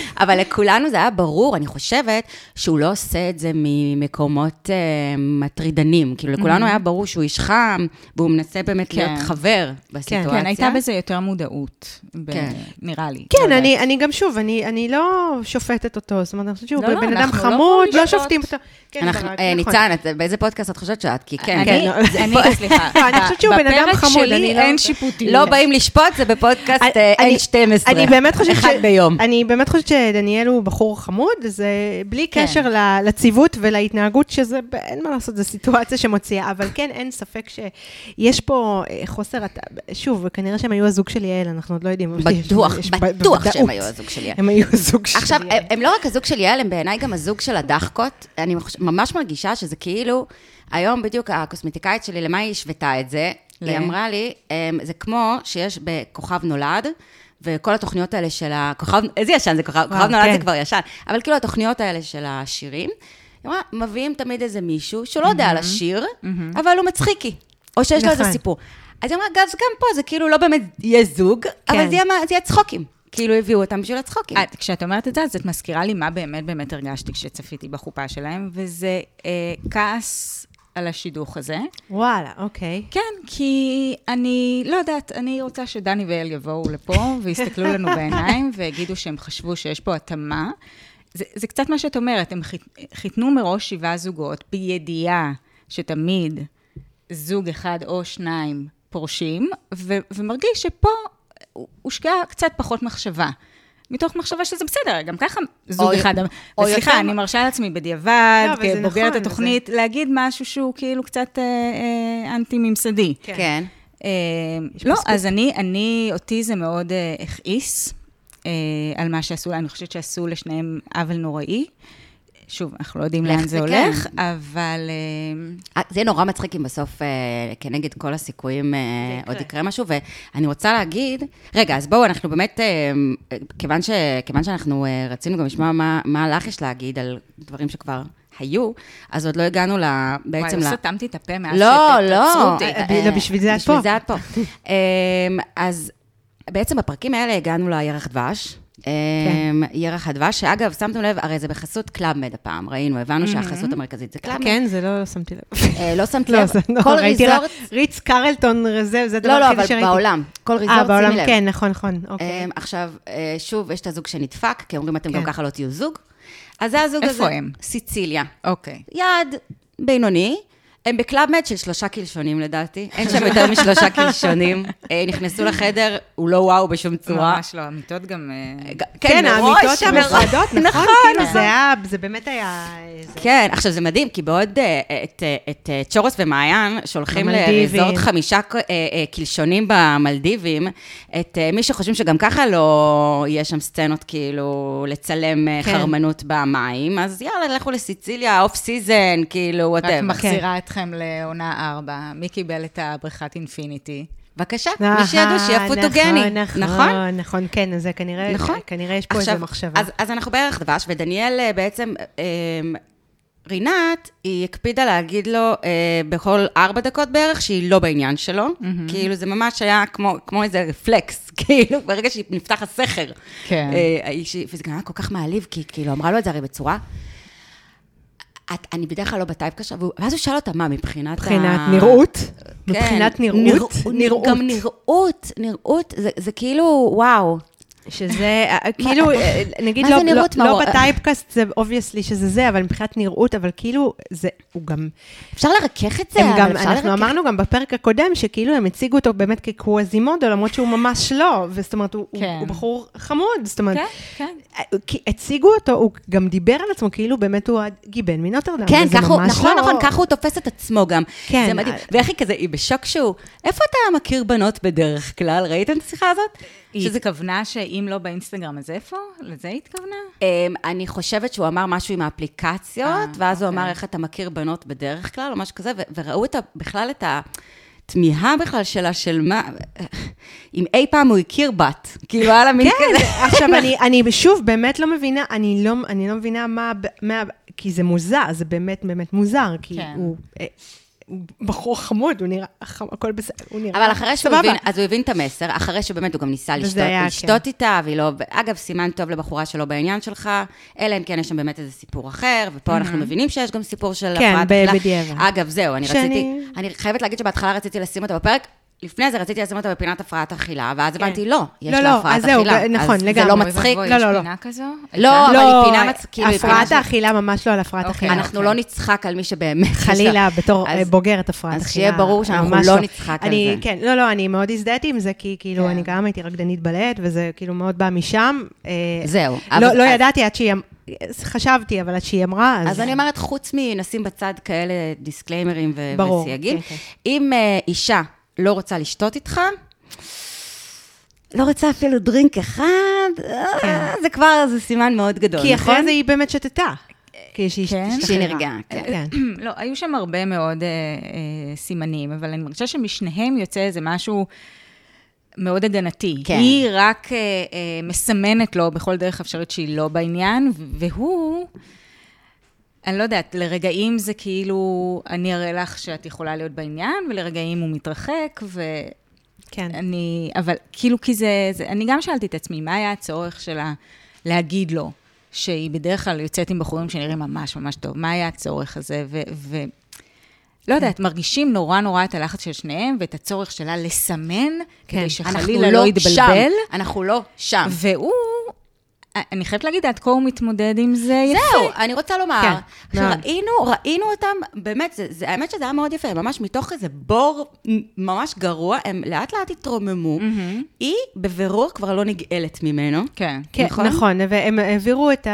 Speaker 1: אבל לכולנו זה היה ברור, אני חושבת, שהוא לא עושה את זה ממקומות אה, מטרידנים. כאילו, לכולנו היה ברור שהוא איש חם, והוא מנסה באמת להיות
Speaker 3: Mm-hmm. כן.
Speaker 1: חבר בסיטואציה.
Speaker 3: כן, הייתה בזה יותר מודעות, ב,
Speaker 1: כן.
Speaker 3: נראה לי. לא
Speaker 2: כן,
Speaker 3: יודעת.
Speaker 2: אני, אני גם שוב, אני, אני לא שופטת אותו, זאת אומרת, אני חושבת שהוא
Speaker 3: לא, לא,
Speaker 2: בן אדם
Speaker 3: אנחנו לא
Speaker 2: חמוד,
Speaker 3: פה
Speaker 2: לא,
Speaker 3: לשפוט.
Speaker 2: שופטים אותו. כן,
Speaker 1: אנחנו-
Speaker 2: ברק,
Speaker 1: אה,
Speaker 2: נכון.
Speaker 1: ניצן, את- באיזה פודקאסט את חושבת שאת? כי כן,
Speaker 3: אני,
Speaker 1: כן.
Speaker 2: כן,
Speaker 3: אני, סליחה,
Speaker 2: לא, אני חושבת שהוא בן אדם חמוד,
Speaker 3: בפרק
Speaker 2: אני
Speaker 3: שלי
Speaker 2: לא-
Speaker 3: אין שיפוטיות.
Speaker 1: לא באים לשפוט, זה בפודקאסט אה,
Speaker 2: אני-
Speaker 1: N12.
Speaker 2: אני באמת חושבת
Speaker 1: אחד ביום.
Speaker 2: אני באמת חושבת שדניאל הוא בחור חמוד, זה בלי
Speaker 3: כן.
Speaker 2: קשר ל- לציוות ולהתנהגות, שזה, ב- אין מה לעשות, זו סיטואציה שמוציאה, אבל כן, אין ספק שיש פה אה, חוסר, הת- שוב, כנראה שהם היו הזוג של יעל, אנחנו עוד לא יודעים. אבל יש-
Speaker 1: בטוח,
Speaker 2: יש ב-
Speaker 1: בטוח שהם
Speaker 2: בוודאות.
Speaker 1: היו הזוג שלי.
Speaker 2: הם היו הזוג של
Speaker 1: עכשיו,
Speaker 2: יעל.
Speaker 1: הם, הם לא רק הזוג של יעל, הם בעיניי גם הזוג של הדחקות. אני מחוש... ממש מרגישה שזה כאילו, היום בדיוק הקוסמטיקאית שלי, למה היא השוותה את זה?
Speaker 3: ל-
Speaker 1: היא אמרה לי, אמ, זה כמו שיש בכוכב נולד, וכל התוכניות האלה של הכוכב, איזה ישן זה כוכב, כוכב נולד
Speaker 2: כן.
Speaker 1: זה כבר ישן, אבל כאילו התוכניות האלה של השירים, היא אמרה, מביאים תמיד איזה מישהו שלא יודע על השיר, אבל הוא מצחיקי, או שיש לו איזה
Speaker 2: Mm-hmm. נכון.
Speaker 1: סיפור. אז היא אמרה, גם, גם פה זה כאילו לא באמת יהיה זוג,
Speaker 2: כן. אה,
Speaker 1: אבל זה יהיה מה- זה יהיה צחוקים. כאילו הביאו אותם בשביל הצחוקים.
Speaker 3: את, כשאת אומרת את זה, אז את מזכירה לי מה באמת באמת הרגשתי כשצפיתי בחופה שלהם, וזה אה, כעס על השידוך הזה.
Speaker 2: וואלה, אוקיי.
Speaker 3: כן, כי אני, לא יודעת, אני רוצה שדני ואל יבואו לפה ויסתכלו לנו בעיניים ויגידו שהם חשבו שיש פה התאמה. זה, זה קצת מה שאת אומרת, הם חית, חיתנו מראש שבעה זוגות בידיעה שתמיד זוג אחד או שניים פורשים, ו, ומרגיש שפה הושקעה קצת פחות מחשבה. מתוך מחשבה שזה בסדר, גם ככה זוג
Speaker 1: או-
Speaker 3: אחד.
Speaker 1: או
Speaker 3: וסליחה,
Speaker 1: יותר-
Speaker 3: אני מרשה לעצמי בדיעבד,
Speaker 2: לא, אבל זה
Speaker 3: כבוגרת
Speaker 2: נכון,
Speaker 3: התוכנית, להגיד משהו שהוא כאילו קצת אה, אה, אנטי-ממסדי.
Speaker 2: כן.
Speaker 1: כן.
Speaker 3: אה, לא, אז אני, אני, אותי זה מאוד אה, הכעיס אה, על מה שעשו לה, אני חושבת שעשו לשניהם עוול נוראי. שוב, אנחנו לא יודעים
Speaker 1: לך
Speaker 3: לאן זה
Speaker 1: זה
Speaker 3: הולך,
Speaker 1: כן.
Speaker 3: אבל... אה,
Speaker 1: אה, זה יהיה נורא מצחיק אם בסוף, אה, כנגד כל הסיכויים, אה,
Speaker 2: יקרה.
Speaker 1: עוד יקרה משהו. ואני רוצה להגיד, רגע, אז בואו, אנחנו באמת, אה, אה, כיוון, ש, כיוון שאנחנו אה, רצינו גם לשמוע מה, מה לך יש להגיד על דברים שכבר היו, אז עוד לא הגענו ל, בעצם
Speaker 3: וואי,
Speaker 1: ל...
Speaker 3: לא סתמתי את הפה מאז
Speaker 1: לא,
Speaker 3: שתעצרו
Speaker 1: לא.
Speaker 3: אותי.
Speaker 2: אה, לא, בשביל זה את פה.
Speaker 1: בשביל זה את פה. אמ, אז בעצם בפרקים האלה הגענו לירח דבש.
Speaker 2: כן.
Speaker 1: אמ, ירח הדבש, שאגב, שמתם לב, הרי זה בחסות קלאבמד הפעם, ראינו, הבנו שהחסות המרכזית זה קלאבמד.
Speaker 2: Mm-hmm. כן, זה לא שמתי לב.
Speaker 1: אה, לא שמת
Speaker 2: לא,
Speaker 1: לב,
Speaker 2: זה לא,
Speaker 1: כל
Speaker 2: ראיתי רק
Speaker 1: ריזורט,
Speaker 2: ריץ קרלטון רזב, זה הדבר
Speaker 1: לא, לא,
Speaker 2: היחידי
Speaker 1: אבל
Speaker 2: שראיתי.
Speaker 1: בעולם, כל
Speaker 2: אה,
Speaker 1: ריזורט,
Speaker 2: בעולם,
Speaker 1: שימי לב.
Speaker 2: כן, נכון, נכון, אוקיי.
Speaker 1: אמ, עכשיו, אה, שוב, יש את הזוג שנדפק, כי אומרים, אתם גם
Speaker 2: כן.
Speaker 1: ככה לא תהיו זוג. אז זה הזוג
Speaker 3: איפה
Speaker 1: הזה.
Speaker 3: הם?
Speaker 1: סיציליה.
Speaker 3: אוקיי.
Speaker 1: יעד בינוני. הם בקלאבמט של שלושה קלשונים לדעתי, אין שם יותר משלושה קלשונים. אה, נכנסו לחדר, הוא לא וואו בשום צורה.
Speaker 3: ממש לא, המיטות גם... אה,
Speaker 1: ג-
Speaker 2: כן,
Speaker 1: מראש, מראש.
Speaker 2: האמיתות המאוחדות, נכון? כאילו, זה היה, זה באמת היה... זה-
Speaker 1: כן, עכשיו זה מדהים, כי בעוד אה, את, אה, את אה, צ'ורוס ומעיין שולחים
Speaker 2: במלדיבים.
Speaker 1: לריזורט חמישה ק- אה, אה, קלשונים במלדיבים, את אה, מי שחושבים שגם ככה לא יהיה שם סצנות כאילו לצלם אה,
Speaker 2: כן.
Speaker 1: חרמנות במים, אז יאללה, לכו לסיציליה, אוף סיזן, כאילו,
Speaker 3: רק
Speaker 1: וואטאבר.
Speaker 3: מחזירה אתכם לעונה 4. מי קיבל את הבריכת אינפיניטי?
Speaker 1: בבקשה, מי שידעו שיהיה
Speaker 2: אהה,
Speaker 1: פוטוגני,
Speaker 2: נכון,
Speaker 1: נכון?
Speaker 2: נכון, נכון, כן, אז זה כנראה,
Speaker 1: נכון.
Speaker 2: כנראה יש פה
Speaker 1: עכשיו,
Speaker 2: איזו מחשבה.
Speaker 1: אז, אז אנחנו בערך דבש, ודניאל אה, בעצם, אה, אה, רינת, היא הקפידה להגיד לו אה, בכל ארבע דקות בערך שהיא לא בעניין שלו. Mm-hmm. כאילו, זה ממש היה כמו, כמו איזה רפלקס, כאילו, ברגע שנפתח הסכר.
Speaker 3: כן.
Speaker 1: אה, האיש- וזה גם היה כל כך מעליב, כי כאילו, אמרה לו את זה הרי בצורה... את, אני בדרך כלל לא בטייפ קשה, והוא- ואז הוא שאל אותה, מה, מבחינת...
Speaker 2: מבחינת
Speaker 1: ה-
Speaker 2: נראות?
Speaker 1: כן.
Speaker 2: מבחינת נראות?
Speaker 1: נרא-
Speaker 2: נראות.
Speaker 1: גם נראות, נראות, זה, זה כאילו, וואו.
Speaker 2: שזה, אה, כאילו, אה, נגיד,
Speaker 1: מה
Speaker 2: לא,
Speaker 1: זה נראות,
Speaker 2: לא,
Speaker 1: מאור?
Speaker 2: לא בטייפקאסט זה אובייסלי שזה זה, אבל מבחינת נראות, אבל כאילו, זה, הוא גם,
Speaker 1: אפשר לרכך את זה,
Speaker 2: הם
Speaker 1: אבל
Speaker 2: גם,
Speaker 1: אפשר
Speaker 2: אנחנו
Speaker 1: לרכך
Speaker 2: אמרנו גם בפרק הקודם, שכאילו הם הציגו אותו באמת כקוואזימודו, למרות שהוא ממש לא, וזאת אומרת, הוא,
Speaker 3: כן.
Speaker 2: הוא, הוא בחור חמוד, זאת אומרת,
Speaker 3: כן.
Speaker 2: כי הציגו אותו, הוא גם דיבר על עצמו, כאילו באמת הוא הגיבן מנוטרדם.
Speaker 1: כן,
Speaker 2: וזה
Speaker 1: ככה הוא,
Speaker 2: ממש
Speaker 1: נכון,
Speaker 2: לא-
Speaker 1: נכון, ככה הוא תופס את עצמו גם.
Speaker 2: כן.
Speaker 1: זה מדהים. ואיך היא כזה, היא בשוק שהוא, איפה אתה מכיר בנות בדרך כלל? ראיתם את השיחה הזאת?
Speaker 3: היא
Speaker 1: שזה-
Speaker 3: התכוונה שאם לא באינסטגרם, אז איפה? לזה היא התכוונה?
Speaker 1: אמ, אני חושבת שהוא אמר משהו עם
Speaker 3: אה,
Speaker 1: האפליקציות, ואז הוא
Speaker 3: אוקיי.
Speaker 1: אמר איך אתה מכיר בנות בדרך כלל, או משהו כזה, ו- וראו את ה- בכלל את התמיהה בכלל שלה, של מה, אם אי פעם הוא הכיר בת. כאילו, היה לה מין כזה.
Speaker 2: כן, עכשיו, אני, אני שוב באמת לא מבינה, אני לא, אני לא מבינה מה, ב- מה... כי זה מוזר, זה באמת באמת מוזר, כי
Speaker 3: כן.
Speaker 2: הוא... אה, הוא בחור חמוד, הוא נראה, חמ- הכל בסדר, הוא נראה
Speaker 1: אבל אחרי שהוא
Speaker 2: סבבה.
Speaker 1: הבין, אז הוא הבין את המסר, אחרי שבאמת הוא גם ניסה
Speaker 2: וזה
Speaker 1: לשתות,
Speaker 2: היה,
Speaker 1: לשתות איתה, והיא לא... אגב, סימן טוב לבחורה שלא בעניין שלך, אלא אם כן יש שם באמת איזה סיפור אחר, ופה אנחנו מבינים שיש גם סיפור של
Speaker 2: Mhm. כן,
Speaker 1: הפרעת
Speaker 2: ב-
Speaker 1: אכילה.
Speaker 2: בדיעבד.
Speaker 1: אגב, זהו, אני
Speaker 2: שאני-
Speaker 1: רציתי... אני חייבת להגיד שבהתחלה רציתי לשים אותה בפרק. לפני זה רציתי לשים אותה בפינת הפרעת אכילה, ואז הבנתי, לא, יש
Speaker 2: לא,
Speaker 1: לה
Speaker 2: לא,
Speaker 1: הפרעת
Speaker 2: אז
Speaker 1: אכילה.
Speaker 2: זהו, ב- נכון,
Speaker 1: זה לא
Speaker 2: לגמרי.
Speaker 1: מצחיק.
Speaker 2: לא, לא, לא.
Speaker 3: פינה כזו?
Speaker 1: לא,
Speaker 3: הייתה?
Speaker 1: אבל היא פינה מצ- כאילו, היא פינה
Speaker 2: הפרעת
Speaker 1: של-
Speaker 2: האכילה ממש לא על הפרעת
Speaker 3: אוקיי,
Speaker 2: אכילה.
Speaker 1: אנחנו לא נצחק על מי שבאמת... יש לה-
Speaker 2: חלילה, בתור אה,
Speaker 1: אז-
Speaker 2: בוגרת הפרעת אכילה.
Speaker 1: אז שיהיה ברור שאנחנו
Speaker 2: ממש
Speaker 1: לא נצחק על
Speaker 2: אני-
Speaker 1: זה.
Speaker 2: כן, לא, לא, אני מאוד הזדהיתי עם זה, כי כאילו,
Speaker 3: כן.
Speaker 2: אני גם הייתי רקדנית בלט, וזה כאילו מאוד בא משם. אה,
Speaker 1: זהו,
Speaker 2: לא-
Speaker 1: אבל-
Speaker 2: לא
Speaker 1: אז-
Speaker 2: ידעתי עד שהיא... אמ- חשבתי, אבל עד שהיא אמרה,
Speaker 1: אז אה, אני אומרת, חוץ מנשים בצד כאלה דיסקליימרים ו-
Speaker 2: ברור,
Speaker 1: וסייגים,
Speaker 2: כן, כן.
Speaker 1: אם אה, אישה לא רוצה לשתות איתך, לא רוצה אפילו דרינק אחד, אה, זה כבר, זה סימן מאוד גדול,
Speaker 2: כי
Speaker 1: נכון?
Speaker 2: אחרי זה היא באמת שתתה. כי שהיא
Speaker 3: כן?
Speaker 2: השתחררה.
Speaker 1: שהיא נרגעה, כן.
Speaker 2: כן.
Speaker 3: לא, היו שם הרבה מאוד אה, אה, סימנים, אבל אני מרגישה שמשניהם יוצא איזה משהו מאוד הגנתי.
Speaker 1: כן.
Speaker 3: היא רק אה, אה, מסמנת לו בכל דרך אפשרית שהיא לא בעניין, ו- והוא, אני לא יודעת, לרגעים זה כאילו, אני אראה לך שאת יכולה להיות בעניין, ולרגעים הוא מתרחק, ו...
Speaker 2: כן.
Speaker 3: אני, אבל כאילו, כי זה, זה, אני גם שאלתי את עצמי, מה היה הצורך שלה להגיד לו, שהיא בדרך כלל יוצאת עם בחורים שנראים ממש ממש טוב, מה היה הצורך הזה, ו... ו לא יודעת, מרגישים נורא נורא את הלחץ של שניהם ואת הצורך שלה לסמן,
Speaker 2: כן,
Speaker 3: כדי
Speaker 1: אנחנו
Speaker 3: שחלילה לא
Speaker 1: שם,
Speaker 3: יתבלבל.
Speaker 1: אנחנו לא שם.
Speaker 3: והוא, אני חייבת להגיד, עד כה הוא מתמודד עם זה יפה.
Speaker 1: זהו, אני רוצה לומר,
Speaker 2: כן, מאוד.
Speaker 1: שראינו, ראינו אותם, באמת, זה, זה, האמת שזה היה מאוד יפה, ממש מתוך איזה בור ממש גרוע, הם לאט לאט התרוממו.
Speaker 3: מהמם.
Speaker 1: היא בבירור כבר לא נגאלת ממנו.
Speaker 3: כן.
Speaker 2: כן,
Speaker 1: נכון?
Speaker 2: נכון? נכון, והם העבירו את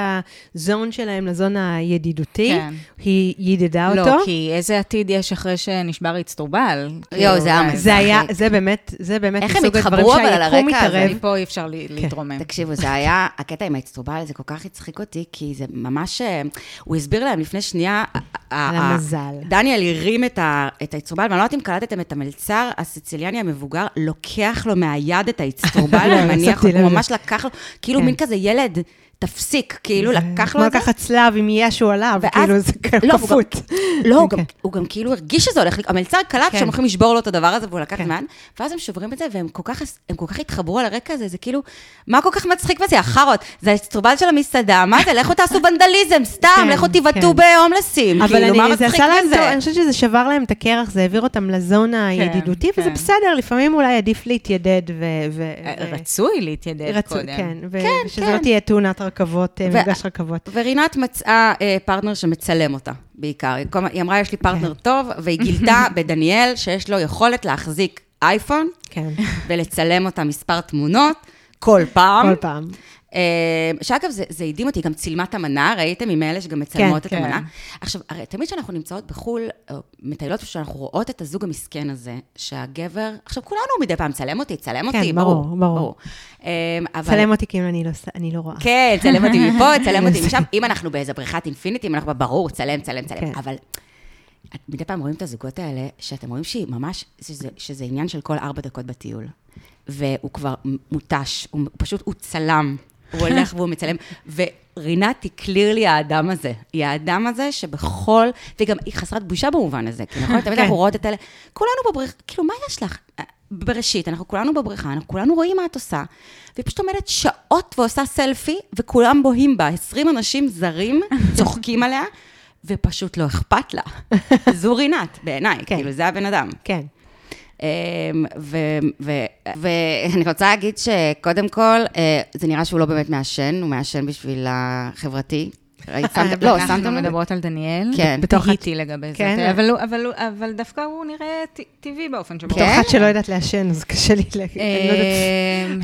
Speaker 2: הזון שלהם לזון הידידותי,
Speaker 3: כן.
Speaker 2: היא ידידה
Speaker 3: לא,
Speaker 2: אותו.
Speaker 3: כי איזה עתיד יש אחרי שנשבר אצטרובל?
Speaker 1: יואו, זה היה
Speaker 3: כאילו,
Speaker 1: מזל.
Speaker 2: זה היה, זה באמת, זה באמת
Speaker 1: איך הם
Speaker 2: מסוג הדברים
Speaker 1: התחברו אבל על
Speaker 2: שהיקום
Speaker 1: הרקע הזה?
Speaker 2: מתערב.
Speaker 3: מפה אי אפשר לי- להתרומם.
Speaker 1: תקשיבו, זה היה, הקטע עם האצטרובל, זה כל כך הצחיק אותי, כי זה ממש, אה, הוא הסביר להם לפני שנייה, ה- ה- ה-
Speaker 2: המזל.
Speaker 1: דניאל הרים את ה- את האצטרובל, ואני לא יודעת אם קלטתם את המלצר הסיציליאני המבוגר, לוקח לו מהיד את האצטרובל
Speaker 2: לא,
Speaker 1: ומניח,
Speaker 2: שמתי לב
Speaker 1: הוא
Speaker 2: לזה.
Speaker 1: ממש לקח לו, כאילו
Speaker 2: כן.
Speaker 1: מין כזה ילד, תפסיק, כאילו לקח
Speaker 2: כמו
Speaker 1: לו את זה.
Speaker 2: לקחת צלב עם ישו עליו,
Speaker 1: ואז-
Speaker 2: כאילו זה
Speaker 1: לא, הוא
Speaker 2: כפות.
Speaker 1: לא, הוא גם-
Speaker 2: אוקיי.
Speaker 1: הוא גם כאילו הרגיש שזה הולך, לק- המלצר קלט
Speaker 2: כן.
Speaker 1: שהם הולכים לשבור לו את הדבר הזה, והוא לקח
Speaker 2: כן.
Speaker 1: זמן, ואז הם שוברים את זה, והם כל כך, הם כל כך התחברו על הרקע הזה, זה כאילו, מה כל כך מצחיק בזה, החארות, זה האצטרובל של המסעדה, מה זה, לכו תעשו ונדליזם, סתם,
Speaker 2: כן,
Speaker 1: לכו תבעטו
Speaker 2: כן.
Speaker 1: בהומלסים,
Speaker 2: אבל
Speaker 1: כאילו, מה
Speaker 2: אני, זה
Speaker 1: מצחיק
Speaker 2: עשה להם, טוב,
Speaker 1: בזה?
Speaker 2: אני חושבת שזה שבר להם את הקרח, זה העביר אותם לזון הידידותי, וזה
Speaker 3: כן.
Speaker 2: בסדר, לפעמים אולי עדיף להתיידד ו... ו- ו-
Speaker 3: אה, רצוי להתיידד
Speaker 2: רצו-
Speaker 3: קודם.
Speaker 2: אה, כן, ו-
Speaker 1: אה, כן,
Speaker 2: ושזה
Speaker 1: כן.
Speaker 2: לא תהיה תאונת רכבות, אה,
Speaker 1: ו-
Speaker 2: מפגש רכבות.
Speaker 1: ורינת מצאה אה, פרטנר שמצלם אותה, בעיקר. היא כל הזמן- היא אמרה, יש
Speaker 2: כן.
Speaker 1: לי פרטנר טוב, והיא גילתה בדניאל שיש לו יכולת להחזיק אייפון
Speaker 2: כן,
Speaker 1: ולצלם אותה מספר תמונות, כל פעם.
Speaker 2: כל פעם.
Speaker 1: אה, שאגב, זה, זה הדהים אותי, היא גם צילמה את המנה, ראיתם? היא מאלה שגם מצלמות
Speaker 2: כן,
Speaker 1: את
Speaker 3: כן.
Speaker 1: המנה. עכשיו, הרי תמיד כשאנחנו נמצאות בחו"ל, או מטיילות, כשאנחנו רואות את הזוג המסכן הזה, שהגבר, עכשיו כולנו מדי פעם, צלם אותי, צלם
Speaker 2: כן,
Speaker 1: אותי,
Speaker 2: ברור, ברור.
Speaker 1: אה, אבל...
Speaker 2: צלם אותי כאילו אני לא ס- אני לא רואה.
Speaker 1: כן, צלם אותי מפה, צלם אותי משם. אם אנחנו באיזה בריכת אינפיניטי, אם אנחנו ברור, צלם, צלם, צלם.
Speaker 2: כן.
Speaker 1: אבל את מדי פעם רואים את הזוגות האלה, שאתם רואים שהיא ממש, שזה, שזה עניין של כל ארבע דקות בטיול. והוא כבר מותש, הוא פשוט, הוא צלם. הוא הולך והוא מצלם. ורינת היא קלירלי האדם הזה. היא האדם הזה שבכל, והיא גם, היא חסרת בושה במובן הזה, כי נכון? תמיד
Speaker 2: כן.
Speaker 1: אנחנו רואות את אלה, כולנו בבריכה, כאילו, מה יש לך? בראשית, אנחנו כולנו בבריכה, אנחנו כולנו רואים מה את עושה, והיא פשוט עומדת שעות ועושה סלפי, וכולם בוהים בה, 20 אנשים זרים צוחקים עליה, ופשוט לא אכפת לה. זו רינת, בעיניי,
Speaker 2: כן.
Speaker 1: כאילו, זה הבן אדם.
Speaker 2: כן.
Speaker 1: אמ, ו- ו- ואני רוצה להגיד שקודם כל, אה, זה נראה שהוא לא באמת מעשן, הוא מעשן בשביל החברתי.
Speaker 2: אה,
Speaker 1: ראית, שמתם- לא,
Speaker 3: אנחנו
Speaker 1: שמתם לב?
Speaker 3: מדברות על דניאל.
Speaker 1: כן.
Speaker 2: בתוך
Speaker 3: תהיתי לגבי זה.
Speaker 2: כן.
Speaker 3: אבל הוא- אבל הוא- אבל דווקא הוא נראה ט- טבעי באופן שבו. אה,
Speaker 1: כן? אה,
Speaker 2: בתור אחת שלא יודעת לעשן, אז קשה לי, ל- אני לא יודעת.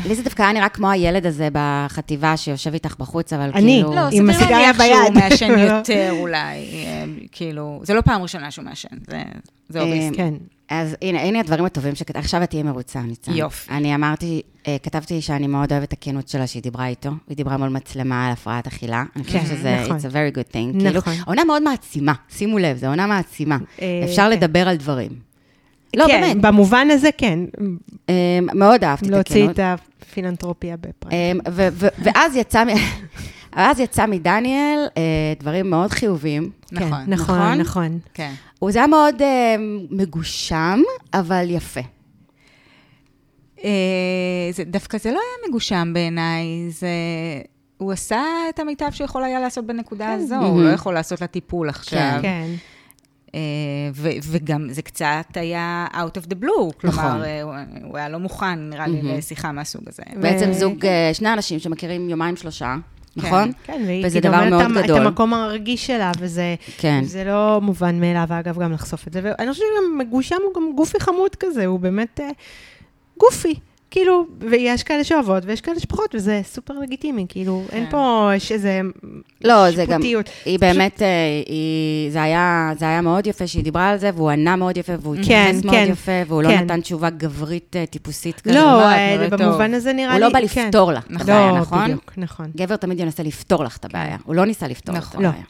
Speaker 3: אמ,
Speaker 1: לי זה דווקא היה נראה כמו הילד הזה בחטיבה שיושב איתך בחוץ, אבל
Speaker 2: אני.
Speaker 1: כאילו...
Speaker 3: לא,
Speaker 2: עם
Speaker 3: סביר
Speaker 2: הסיגריה
Speaker 3: להניח שהוא
Speaker 2: ביד.
Speaker 3: מעשן יותר אולי, אה, כאילו, זה לא פעם ראשונה שהוא מעשן, זה- זה אוביסט.
Speaker 1: אה,
Speaker 2: כן.
Speaker 1: אז הנה, הנה הדברים הטובים שכתבתי. עכשיו את תהיי מרוצה, ניצן.
Speaker 3: יופי.
Speaker 1: אני אמרתי, אה, כתבתי שאני מאוד אוהבת את הכנות שלה שהיא דיברה איתו. היא דיברה מול מצלמה על הפרעת אכילה. אני חושבת
Speaker 2: כן,
Speaker 1: שזה,
Speaker 2: נכון.
Speaker 1: it's a very good thing.
Speaker 2: נכון.
Speaker 1: כאילו, עונה מאוד מעצימה, שימו לב, זו עונה מעצימה.
Speaker 2: אה,
Speaker 1: אפשר
Speaker 2: כן.
Speaker 1: לדבר על דברים. לא,
Speaker 2: כן,
Speaker 1: באמת.
Speaker 2: במובן הזה כן,
Speaker 1: אה, מאוד אהבתי את
Speaker 2: להוציא
Speaker 1: הכנות.
Speaker 2: את הפילנטרופיה בפריים.
Speaker 1: אמ, ו- ו- ואז יצא, מ- ואז יצא מדניאל אה, דברים מאוד חיוביים.
Speaker 2: כן,
Speaker 3: נכון,
Speaker 1: נכון?
Speaker 2: נכון, נכון.
Speaker 3: כן.
Speaker 1: הוא זה היה מאוד אה, מגושם, אבל יפה.
Speaker 3: אה, זה- דווקא זה לא היה מגושם בעיניי, זה... הוא עשה את המיטב שהוא יכול היה לעשות בנקודה הזו, הוא
Speaker 1: מהמם.
Speaker 3: לא יכול לעשות לה טיפול עכשיו.
Speaker 2: כן.
Speaker 3: אה, ו- וגם זה קצת היה out of the blue,
Speaker 1: נכון.
Speaker 3: כלומר, אה, הוא- הוא היה לא מוכן, נראה לי, לשיחה מהסוג הזה.
Speaker 1: בעצם זוג, אה, שני אנשים שמכירים יומיים שלושה, נכון?
Speaker 2: כן, והיא
Speaker 1: וזה
Speaker 2: כאילו
Speaker 1: דבר
Speaker 2: אומרת
Speaker 1: מאוד
Speaker 2: את המ-
Speaker 1: גדול.
Speaker 2: את המקום הרגיש שלה, וזה
Speaker 1: כן.
Speaker 2: זה לא מובן מאליו, אגב, גם לחשוף את זה. ואני חושבת שגם מגושם הוא גם גופי חמוד כזה, הוא באמת אה, גופי. כאילו, ויש כאלה שאוהבות ויש כאלה שפחות, וזה סופר לגיטימי, כאילו, אין פה יש איזה
Speaker 1: כן. לא, זה גם,
Speaker 2: שיפוטיות.
Speaker 1: היא באמת, אה, היא- זה היה זה היה מאוד יפה שהיא דיברה על זה, והוא ענה מאוד יפה, והוא
Speaker 2: כן,
Speaker 1: התייחס מאוד
Speaker 2: כן,
Speaker 1: יפה, והוא לא
Speaker 2: כן.
Speaker 1: נתן תשובה גברית אה, טיפוסית כזאת.
Speaker 2: לא,
Speaker 3: לא, את
Speaker 2: אה,
Speaker 3: נראית
Speaker 2: במובן
Speaker 3: טוב.
Speaker 2: הזה נראה
Speaker 1: הוא
Speaker 2: לי...
Speaker 1: לא בא
Speaker 2: כן.
Speaker 1: לפתור לך את הבעיה,
Speaker 2: לא,
Speaker 1: נכון?
Speaker 2: בדיוק, נכון.
Speaker 1: גבר תמיד ינסה לפתור לך את הבעיה, הוא לא ניסה לפתור את
Speaker 3: נכון.
Speaker 1: הבעיה.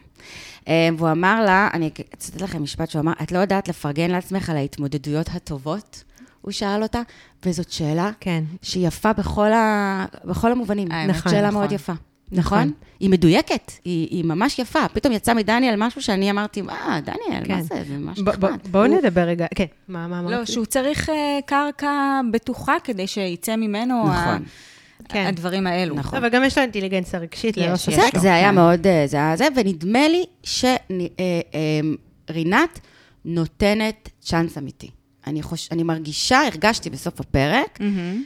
Speaker 1: אה, והוא אמר לה, אני אצטט לכם משפט שהוא אמר, את לא יודעת לפרגן לעצמך על ההתמודדויות הטובות? הוא שאל אותה, וזאת שאלה
Speaker 2: כן.
Speaker 1: שהיא יפה בכל, ה... בכל המובנים.
Speaker 3: האמת
Speaker 1: נכון.
Speaker 2: נכון,
Speaker 1: שאלה
Speaker 3: נכון.
Speaker 1: מאוד יפה. נכון?
Speaker 2: נכון.
Speaker 1: היא מדויקת, היא, היא ממש יפה. פתאום יצא מדניאל משהו שאני אמרתי, מה, דניאל, מה
Speaker 2: כן.
Speaker 1: זה? זה ממש
Speaker 2: ב- ב-
Speaker 1: נחמד.
Speaker 2: בואו נדבר רגע, כן, מה מה אמרת?
Speaker 3: לא, שהוא צריך אה, קרקע בטוחה כדי שיצא ממנו ה-
Speaker 1: נכון.
Speaker 2: כן.
Speaker 3: הדברים האלו.
Speaker 1: נכון.
Speaker 2: אבל גם יש לו אינטליגנציה רגשית,
Speaker 3: יש,
Speaker 2: ללא
Speaker 3: יש.
Speaker 2: ספק.
Speaker 1: זה,
Speaker 3: לו,
Speaker 1: זה היה
Speaker 3: כן.
Speaker 1: מאוד, אה, זה היה זה, ונדמה אה, לי שרינת נותנת צ'אנס אמיתי. אני, חוש... אני מרגישה, הרגשתי בסוף הפרק,
Speaker 3: מהמם.